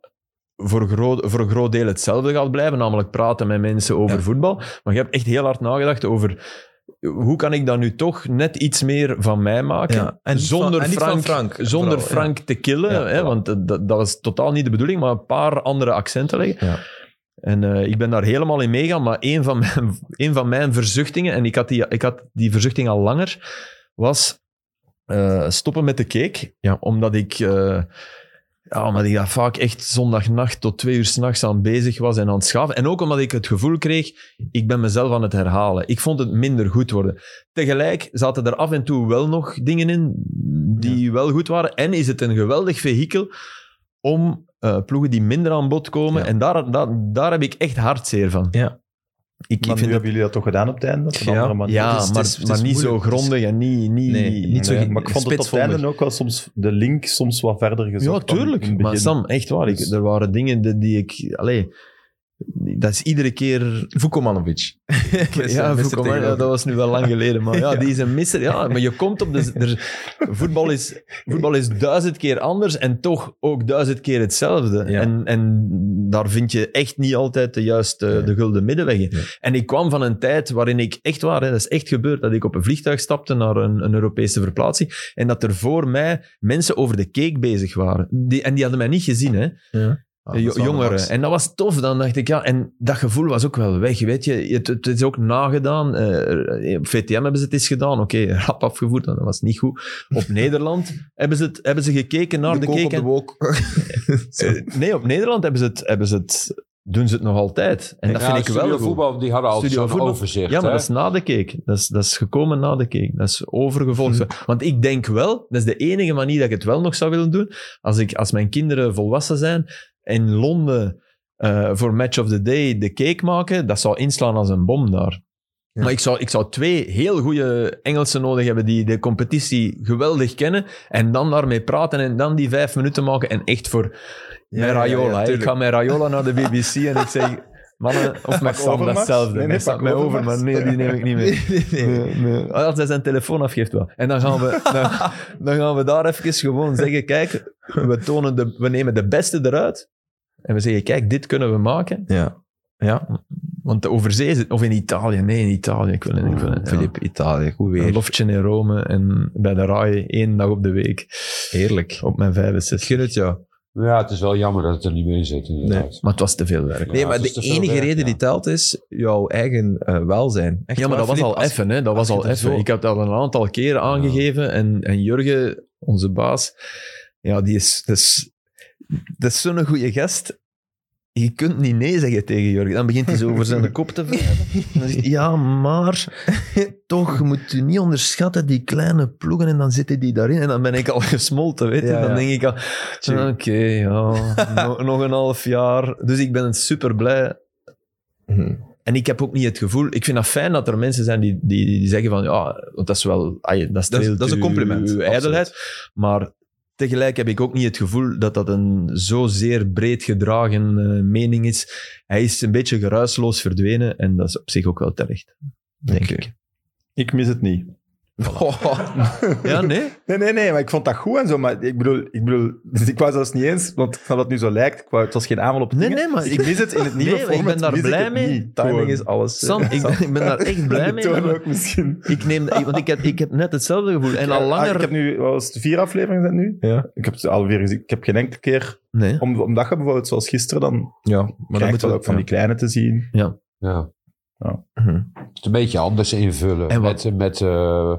S2: voor een groot, voor een groot deel hetzelfde gaat blijven, namelijk praten met mensen over
S1: Ja.
S2: voetbal, maar je hebt echt heel hard nagedacht over hoe kan ik dan nu toch net iets meer van mij maken?
S1: Ja, en niet
S2: zonder
S1: van- en niet van
S2: Frank,
S1: Frank,
S2: zonder
S1: vooral, ja.
S2: Frank te killen,
S1: Ja,
S2: hè,
S1: voilà.
S2: want dat- dat, dat is totaal niet de bedoeling, maar een paar andere accenten leggen.
S1: Ja.
S2: En eh, ik ben daar helemaal in meegaan, maar een van mijn, een van mijn verzuchtingen, en ik had, die, ik had die verzuchting al langer, was eh, stoppen met de cake.
S1: Ja.
S2: Omdat ik... eh, ja, omdat ik daar vaak echt zondagnacht tot twee uur s'nachts aan bezig was en aan het schaven. En ook omdat ik het gevoel kreeg, ik ben mezelf aan het herhalen. Ik vond het minder goed worden. Tegelijk zaten er af en toe wel nog dingen in die wel goed waren. En is het een geweldig vehikel om eh, ploegen die minder aan bod komen.
S1: Ja.
S2: En daar, daar, daar heb ik echt hartzeer van.
S1: Ja.
S2: Ik, ik
S4: Maar nu
S2: vind het,
S4: hebben jullie dat toch gedaan op het einde? Op een andere manier.
S2: ja,
S1: het is-
S2: maar,
S1: het is- het
S2: maar
S1: is
S2: niet zo
S1: moeilijk. Het is-
S2: grondig en niet... niet,
S1: Nee, niet zo
S4: Nee,
S1: ge-
S4: maar ik vond het op het einde
S1: spitsvondig.
S4: ook wel soms de link soms wat verder
S2: Ja,
S4: gezocht. dan in
S2: tuurlijk.
S4: het
S2: Maar
S4: begin.
S2: Sam, echt waar. Ik,
S4: Dus-
S2: er waren dingen die, die ik... Allee, die- dat is iedere keer...
S1: Vukomanovic.
S2: Ja, Vukovic, ja, dat was nu wel lang geleden. Maar ja, die is een misser. Ja, maar je komt op de... Er, voetbal, is, voetbal is duizend keer anders en toch ook duizend keer hetzelfde.
S1: Ja.
S2: En, en daar vind je echt niet altijd de juiste de gulden middenweg in.
S1: Nee.
S2: En ik kwam van een tijd waarin ik echt waar... Hè, dat is echt gebeurd, dat ik op een vliegtuig stapte naar een, een Europese verplaatsing en dat er voor mij mensen over de cake bezig waren. Die, en die hadden mij niet gezien, hè.
S1: Ja. Ah, dat is wel de
S2: eh, jongeren.
S1: max.
S2: En dat was tof. Dan dacht ik, ja, en dat gevoel was ook wel weg. Weet je, het, het is ook nagedaan. Eh, op VTM hebben ze het eens gedaan. Oké, rap afgevoerd, dat was niet goed. Op Nederland hebben ze, het, hebben ze gekeken naar de,
S1: kook
S2: cake
S1: op de
S2: en-
S1: wok.
S2: Eh, nee, op Nederland hebben ze het, hebben ze het, doen ze het nog altijd. En dat
S3: Ja,
S2: vind ik wel
S3: Studio
S2: goed.
S3: voetbal, die hadden altijd
S2: Studio
S3: zo'n
S2: voetbal.
S3: overzicht.
S2: Ja, maar
S3: hè?
S2: dat is na de cake. Dat is, dat is gekomen na de cake. Dat is overgevolgd.
S1: Mhm.
S2: Want ik denk wel, dat is de enige manier dat ik het wel nog zou willen doen, als, ik, als mijn kinderen volwassen zijn, in Londen eh, voor Match of the Day de cake maken, dat zou inslaan als een bom daar.
S1: Ja.
S2: Maar ik zou, ik zou twee heel goede Engelsen nodig hebben die de competitie geweldig kennen en dan daarmee praten en dan die vijf minuten maken en echt voor
S1: Ja,
S2: mijn
S1: ja, ja,
S2: Raiola. hè. ik
S1: tuurlijk.
S2: ga met Raiola naar de BBC en ik zeg... Mannen, of met Sam,
S4: Overmars?
S2: datzelfde.
S4: Nee, nee,
S2: Met Sam-
S4: pak
S2: met
S4: Overmars.
S2: Overmars. Nee, die neem ik niet mee. Oh, Als hij zijn telefoon afgeeft wel. En dan gaan we, dan, dan gaan we daar even gewoon zeggen, kijk, we, tonen de, we nemen de beste eruit. En we zeggen, kijk, dit kunnen we maken.
S1: Ja. Ja,
S2: Want de overzee zit... Of in Italië. Nee, in Italië. Ik wil in, ik wil in- ja.
S1: Filip, Italië, goed
S2: Een
S1: weer.
S2: loftje in Rome en bij de RAI één dag op de week.
S1: Heerlijk.
S2: Op mijn
S1: Ik
S2: 65.
S1: gun het jou.
S3: Ja, het is wel jammer dat het er niet meer in zit, inderdaad.
S2: Maar het was te veel werk.
S1: Nee,
S3: Ja,
S1: maar
S3: het is
S1: de
S3: te veel
S1: enige
S3: werk,
S1: reden
S3: ja.
S1: die telt is jouw eigen eh, welzijn. Echt
S2: ja, maar
S1: waar,
S2: dat was
S1: Filip,
S2: al
S1: als-
S2: effen, hè? Dat
S1: als
S2: was
S1: je
S2: al
S1: er
S2: effen.
S1: zo-
S2: Ik had dat al een aantal keren aangegeven. En, en Jurgen, onze baas, ja, die is. Dat is, dat is zo'n goede gast. Je kunt niet nee zeggen tegen Jurgen. Dan begint hij zo over zijn kop te wrijven. En dan zegt hij, Ja, maar toch moet u niet onderschatten die kleine ploegen. En dan zitten die daarin. En dan ben ik al gesmolten, weet je.
S1: Ja, ja.
S2: Dan denk ik al, oké, ja, no- nog een half jaar. Dus ik ben super blij
S1: Mhm.
S2: en ik heb ook niet het gevoel... Ik vind dat fijn dat er mensen zijn die, die, die zeggen van... Ja, want dat is wel... ai, dat,
S1: Dat is-
S2: streelt
S1: dat is een
S2: uw-
S1: compliment,
S2: Uw
S1: absoluut.
S2: ijdelheid. Maar tegelijk heb ik ook niet het gevoel dat dat een zozeer breed gedragen eh, mening is. Hij is een beetje geruisloos verdwenen. En dat is op zich ook wel terecht. Denk ik.
S4: Ik mis het niet.
S2: Ja, nee?
S4: Nee, nee, nee, maar ik vond dat goed en zo. Maar ik bedoel, ik, bedoel, dus ik wou zelfs niet eens, want ik snap dat het nu zo lijkt. Ik wou, het was geen aanval op het
S2: Nee,
S4: dingen.
S2: nee, maar
S4: ik mis het in het nieuwe
S2: Nee, maar ik
S4: format,
S2: ben daar
S4: mis
S2: blij
S4: het
S2: mee.
S4: niet.
S1: Timing
S4: Gewoon.
S1: is alles.
S2: Sam, ik ben, eh, ik ben daar echt blij
S4: En de
S2: mee.
S4: toon
S2: maar
S4: ook misschien.
S2: Ik neem, ik- want ik heb, ik heb net hetzelfde gevoel. En al
S4: Ah,
S2: langer...
S4: ik heb nu, wat was het, vier afleveringen zijn het nu?
S1: Ja.
S4: Ik heb ze alweer gezien. Ik heb geen enkele keer,
S2: Nee.
S4: om, omdat je bijvoorbeeld zoals gisteren, dan
S1: Ja,
S4: maar
S1: maar
S4: dan
S1: dan
S4: moeten
S1: moeten
S4: we
S1: we
S4: ook van die kleine te zien.
S3: Ja.
S4: Ja.
S1: Mhm.
S3: Het is een beetje anders invullen.
S2: En wat-
S3: met met eh,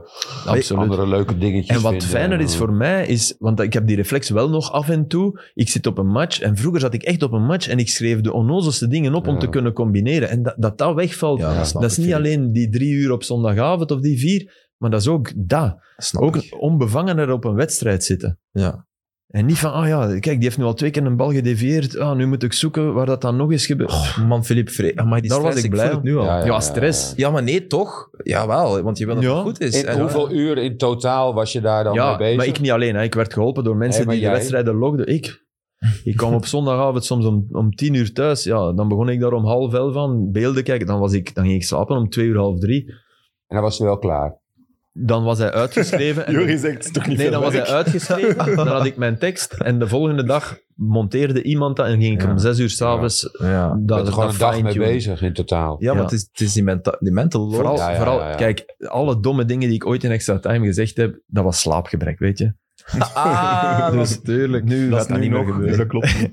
S2: Absoluut.
S3: andere leuke dingetjes.
S2: En wat
S3: vinden.
S2: fijner is voor mij is, want ik heb die reflex wel nog af en toe. Ik zit op een match en vroeger zat ik echt op een match en ik schreef de onnozelste dingen op om
S3: Ja.
S2: te kunnen combineren. En dat dat, dat wegvalt,
S1: Ja, dat snap
S2: dat is
S1: ik,
S2: niet
S1: Filip.
S2: alleen die drie uur op zondagavond of die vier, maar dat is ook dat.
S1: Snap
S2: Ook
S1: ook
S2: een onbevangener op een wedstrijd zitten.
S1: Ja.
S2: En niet van, ah ja, kijk, die heeft nu al twee keer een bal gedevieerd. Ah, nu moet ik zoeken waar dat dan nog is gebeurd.
S1: Oh, Man, Filip, Vre- Amai, die
S2: Daar was
S1: stress,
S2: ik blij
S1: voel het nu al.
S3: Ja,
S1: Ja,
S2: ja, stress.
S1: maar nee, toch? Jawel, want je wil dat
S2: Ja.
S1: het goed is.
S3: In,
S1: En-
S3: hoeveel uur in totaal was je daar dan mee
S2: Ja,
S3: bezig?
S2: maar ik niet alleen. Hè. Ik werd geholpen door mensen
S3: Nee, maar
S2: die
S3: jij?
S2: de wedstrijden logden. Ik. Ik kwam op zondagavond soms om, om tien uur thuis. Ja, dan begon ik daar om half elf van beelden kijken. Dan, was ik, dan ging ik slapen om twee uur, half drie.
S3: En dan was je wel klaar.
S2: Dan was hij uitgeschreven. en-
S4: Jori zegt, het is toch niet
S2: nee,
S4: veel
S2: dan was hij eh,
S4: werk?
S2: uitgeschreven. Dan had ik mijn tekst. En de volgende dag monteerde iemand dat en ging ik
S1: Ja.
S2: om zes uur s'avonds. avonds
S1: Ja.
S3: Je
S2: Dat,
S3: bent er gewoon
S2: dat
S3: een dag mee
S2: fine-tunen.
S3: bezig in totaal.
S1: Ja, maar
S2: Ja.
S1: het is, het is die, menta die mental load.
S2: Vooral,
S3: Ja, ja,
S2: vooral
S3: ja, ja.
S2: kijk, alle domme dingen die ik ooit in Extra Time gezegd heb, dat was slaapgebrek, weet je.
S1: Ah,
S2: Dus
S1: natuurlijk. Nu
S2: dat
S4: Dat is nu nog, dus dat klopt niet.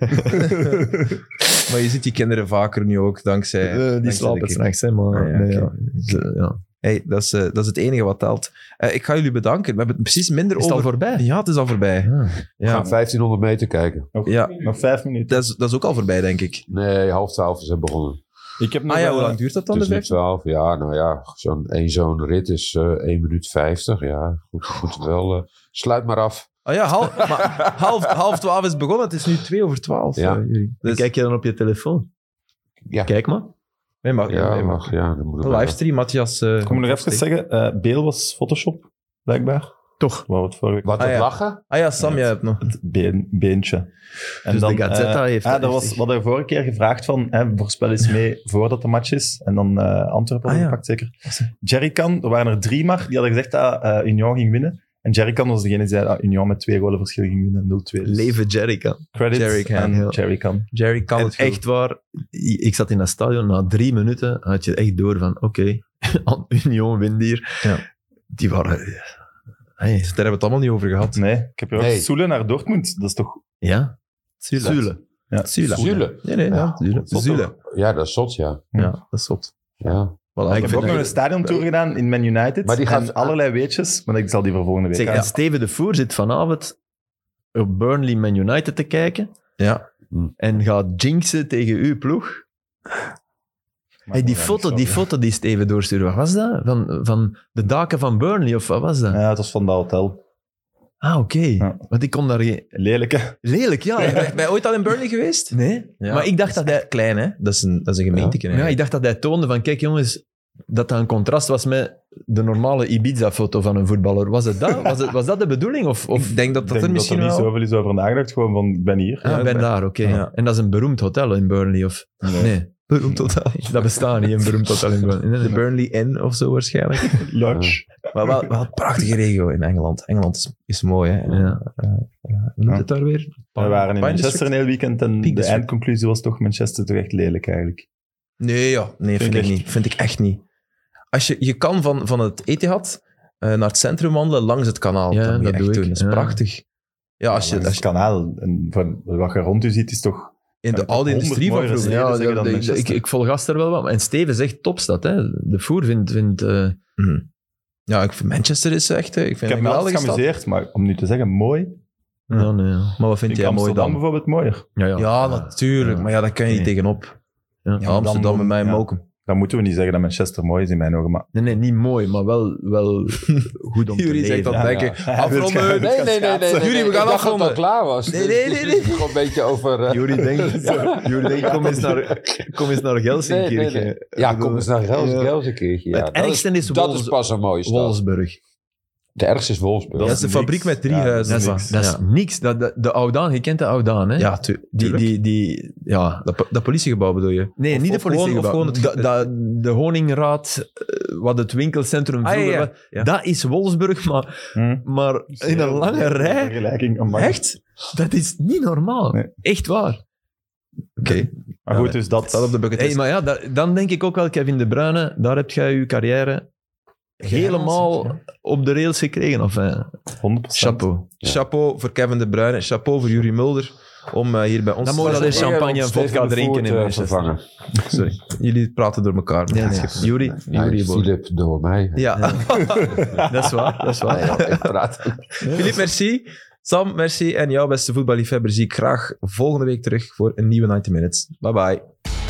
S1: Maar je ziet die kinderen vaker nu ook, dankzij...
S2: Eh, die
S1: dankzij de
S2: slapen
S1: kinderen.
S2: s'nachts, hè, maar...
S1: Ah, ja,
S2: nee, ja.
S1: oké.
S2: Ze- ja.
S1: Hey, dat, is, eh, dat is het enige wat telt. Eh, ik ga jullie bedanken. We hebben het precies minder
S2: Is het
S1: over...
S2: al voorbij? Ah.
S1: Ja, het is al voorbij.
S3: We gaan
S1: Ja,
S3: 1500 meter kijken.
S1: ja
S4: Nog vijf minuten.
S1: dat, is, dat is ook al voorbij, denk ik.
S3: Nee, half twaalf is het begonnen.
S4: Ik heb nog eh,
S1: Ah ja,
S2: eh,
S4: wel-
S1: hoe lang duurt dat dan?
S3: Het is
S1: de
S3: nu
S1: vijf?
S3: twaalf. Ja, nou ja, zo'n één zo'n rit is eh 1 minuut 50. Ja, goed, goed wel. eh, sluit maar af.
S1: Ah ja, half, maar half, half twaalf is begonnen. Het is nu twee over twaalf.
S3: Ja.
S1: eh, jullie.
S2: Dan
S1: Dus-
S2: kijk je dan op je telefoon.
S3: Ja.
S2: Kijk maar.
S1: Nee, mag.
S3: Ja,
S1: nee,
S3: mag. Ja, dan moet het
S1: Een
S3: wel.
S1: livestream, Matthias. eh,
S4: Ik moet nog even zeggen, eh Beel was Photoshop, blijkbaar.
S2: Toch.
S4: Waar we het vorige week
S3: Wat,
S1: Ah,
S3: het
S1: ja.
S3: lachen?
S1: Ah ja, Sam, jij hebt nog.
S4: het been- beentje. En
S2: Dus de
S4: eh,
S2: Gazzetta heeft
S4: ah,
S2: dat
S4: dat
S2: echt
S4: was
S2: echt.
S4: wat er vorige keer gevraagd van, hè, voorspel eens mee voordat de match is. En dan eh Antwerpen
S1: Ah,
S4: had
S1: ja.
S4: gepakt, zeker. Jerrycan, er waren er drie maar, die hadden gezegd dat eh, Union ging winnen. En Jerrycan was degene die zei dat Union met twee golen verschil ging winnen, 0-2. Dus
S2: Leven Jerrican.
S4: credits
S1: Jerrycan,
S4: aan
S2: ja.
S4: Jerrycan.
S1: Jerry kan
S2: En
S1: het goed.
S2: echt waar, i- ik zat in dat stadion, na drie minuten had je echt door van, oké, Union wint hier.
S1: Ja.
S2: Die waren... eh, Hey,
S1: Daar hebben we het allemaal niet over gehad.
S4: Nee, ik heb hier ook
S3: Nee.
S4: Soelen naar Dortmund. Dat is toch...
S2: ja?
S1: Zule.
S2: Zule.
S4: Ja,
S1: Zule.
S3: Zule.
S1: Nee, nee, ja.
S3: Ja.
S1: Zule.
S3: Zot,
S1: Zule.
S3: Ja, dat is zot, ja.
S1: Ja, dat is zot.
S3: ja.
S1: Voilà.
S2: ik
S4: Ik heb Hm. ook nog een stadiontour gedaan in Man United.
S3: Maar die gaat-
S4: en allerlei weetjes, maar ik zal die voor volgende week
S2: Zeg,
S4: houden.
S2: en Steven de Voer zit vanavond op Burnley Man United te kijken
S1: Ja.
S2: en gaat jinxen tegen uw ploeg. Hey, die,
S4: Maar-
S2: foto, die foto die Steven doorstuurde, wat was dat? Van, van de daken van Burnley of wat was dat?
S4: Ja, het was van dat hotel.
S2: Ah, oké.
S4: Ja.
S2: Want ik kon daar... geen-
S4: Lelijke.
S2: Lelijk, ja.
S1: Ben ben je ooit al in Burnley geweest?
S2: Nee? maar ik dacht dat hij...
S1: Klein, hè? Dat is een, dat is een gemeenteken.
S2: Ja,
S1: eigenlijk.
S2: ik dacht dat hij toonde van, kijk jongens, dat dat een contrast was met de normale Ibiza-foto van een voetballer. Was het dat? Was, het, was dat de bedoeling? Of, of
S1: ik denk dat
S4: Ik
S1: dat er
S4: denk dat
S1: misschien
S4: er niet
S1: wel...
S4: zoveel is over nagedacht. Gewoon van, ik ben hier.
S2: Ah, ik ben daar, oké.
S1: Ja.
S2: En dat is een beroemd hotel in Burnley, of... Nee.
S1: Beroemd hotel.
S2: Dat bestaat niet, een beroemd hotel in Burnley. Nee, nee,
S1: De
S2: nee.
S1: Burnley Inn of zo waarschijnlijk.
S4: Lodge.
S1: Maar wel, wel een prachtige regio in Engeland. Engeland is, is mooi, hè? En,
S2: Ja.
S1: eh, eh, hoe noemt
S4: Ja.
S1: het daar weer?
S4: We waren in
S1: Pine
S4: Manchester een
S1: District?
S4: heel weekend en de
S1: District.
S4: eindconclusie was toch Manchester toch echt lelijk eigenlijk.
S1: Nee, ja. nee vind, ik
S4: Vind ik echt.
S1: niet. Vind ik echt niet. Als je, je kan van, van het Etihad eh, naar het centrum wandelen langs het kanaal.
S2: Ja,
S1: dat moet je
S2: dat
S1: echt
S2: doe ik,
S1: doen. Dat is
S2: ja.
S1: prachtig. Ja, als je,
S4: Langs
S1: als
S4: het
S1: je
S4: kanaal en van, wat je rond u ziet is toch...
S1: in de
S4: Ja,
S1: oude
S4: honderd
S1: industrie van
S4: mooiere
S1: vroeger...
S4: steden
S2: Ja,
S4: zeggen dan
S2: dat- ik, ik,
S4: Manchester.
S2: ik volg Aster wel wat. En Steven zegt topstad, hè. De voer vindt... vindt eh,
S1: Mhm. Ja, ik vind Manchester is echt... eh, Ik
S4: Ik
S1: vind
S4: heb
S1: het
S4: me
S1: een
S4: altijd
S1: geweldige stad.
S4: geamuseerd, maar om nu te zeggen mooi, vind
S2: ja, nee, ja.
S1: Maar wat vind
S4: ik
S1: jij mooi
S4: Amsterdam
S1: dan?
S4: bijvoorbeeld mooier.
S2: Ja, ja.
S1: Ja, natuurlijk.
S2: Ja.
S1: Maar ja, daar kan je niet
S4: Nee.
S1: tegenop.
S2: Ja.
S1: Ja, Amsterdam bij mij
S4: ja.
S1: ook.
S4: Dan moeten we niet zeggen dat Manchester mooi is in mijn ogen, maar...
S2: Nee, nee, niet mooi, maar wel, wel goed om te
S1: Jury zegt
S2: leven.
S1: dat
S4: Ja,
S1: denk ik.
S4: ja. Ja,
S1: Afronden.
S4: wil
S3: Nee,
S4: je-
S3: nee, nee. nee,
S1: Jullie,
S3: nee,
S1: we
S3: nee.
S1: gaan
S3: ik dacht dat het
S1: afronden.
S3: al klaar was.
S1: Nee, nee, nee, nee.
S3: Dus het is nog een beetje over... eh,
S2: Jury denkt, Jury denkt kom, eens naar, kom eens naar
S3: nee, nee,
S2: Gelsenkirchen.
S3: nee. Ja, kom eens naar Gels,
S2: Ja.
S3: Gelsenkirchen. Ja,
S2: Het
S3: dat
S2: ergste is,
S3: is, dat
S2: Wols-
S3: is pas een mooie stad.
S2: Wolfsburg.
S3: De ergste is Wolfsburg.
S1: Dat
S4: Dat
S1: is de
S4: is
S1: fabriek
S4: niks.
S1: met drie
S4: Ja,
S1: huizen.
S2: Dat is,
S4: Dat
S1: niks.
S2: dat is
S1: ja.
S2: niks. Dat, dat- de Oudaan, je kent de Oudaan, hè?
S1: Ja, tu-
S2: die, die, die, ja.
S1: dat, dat politiegebouw bedoel je?
S2: Nee,
S1: Of-
S2: niet
S1: of
S2: de
S1: gewoon-
S2: politiegebouw.
S1: of gewoon het-
S2: Da- da- de Honingraad, eh, wat het winkelcentrum
S1: Ah, ja,
S2: vroeger
S1: ja.
S2: was.
S1: Ja.
S2: Dat is Wolfsburg, maar,
S4: Hm?
S2: maar in een lange rij,
S4: Vergelijking, amai.
S2: echt? Dat is niet normaal.
S4: Nee.
S2: Echt waar.
S1: Oké.
S4: Maar goed, dus dat...
S1: Staat op de bucketlist.
S2: Hey, maar ja, da- dan denk ik ook wel, Kevin De Bruyne, daar heb jij je carrière helemaal op de rails gekregen. Of, eh,
S4: 100%.
S2: chapeau.
S1: Chapeau voor Kevin De Bruyne. Chapeau voor Jurie Mulder. Om eh, hier bij ons
S2: Dan mogen we dat
S1: zijn.
S2: eens champagne en vodka drinken
S3: eh,
S2: in Manchester.
S3: vervangen.
S1: Sorry. Jullie praten door elkaar.
S2: Nee, nee. Jury,
S3: Nee,
S2: Jury Boer.
S3: Filip door mij.
S1: Ja.
S2: Dat is waar, dat is waar.
S3: Ah, Ja, ik praat.
S1: Philippe, merci. Sam, merci. En jou, beste voetballiefhebber, zie ik graag volgende week terug voor een nieuwe 90 Minutes. Bye bye.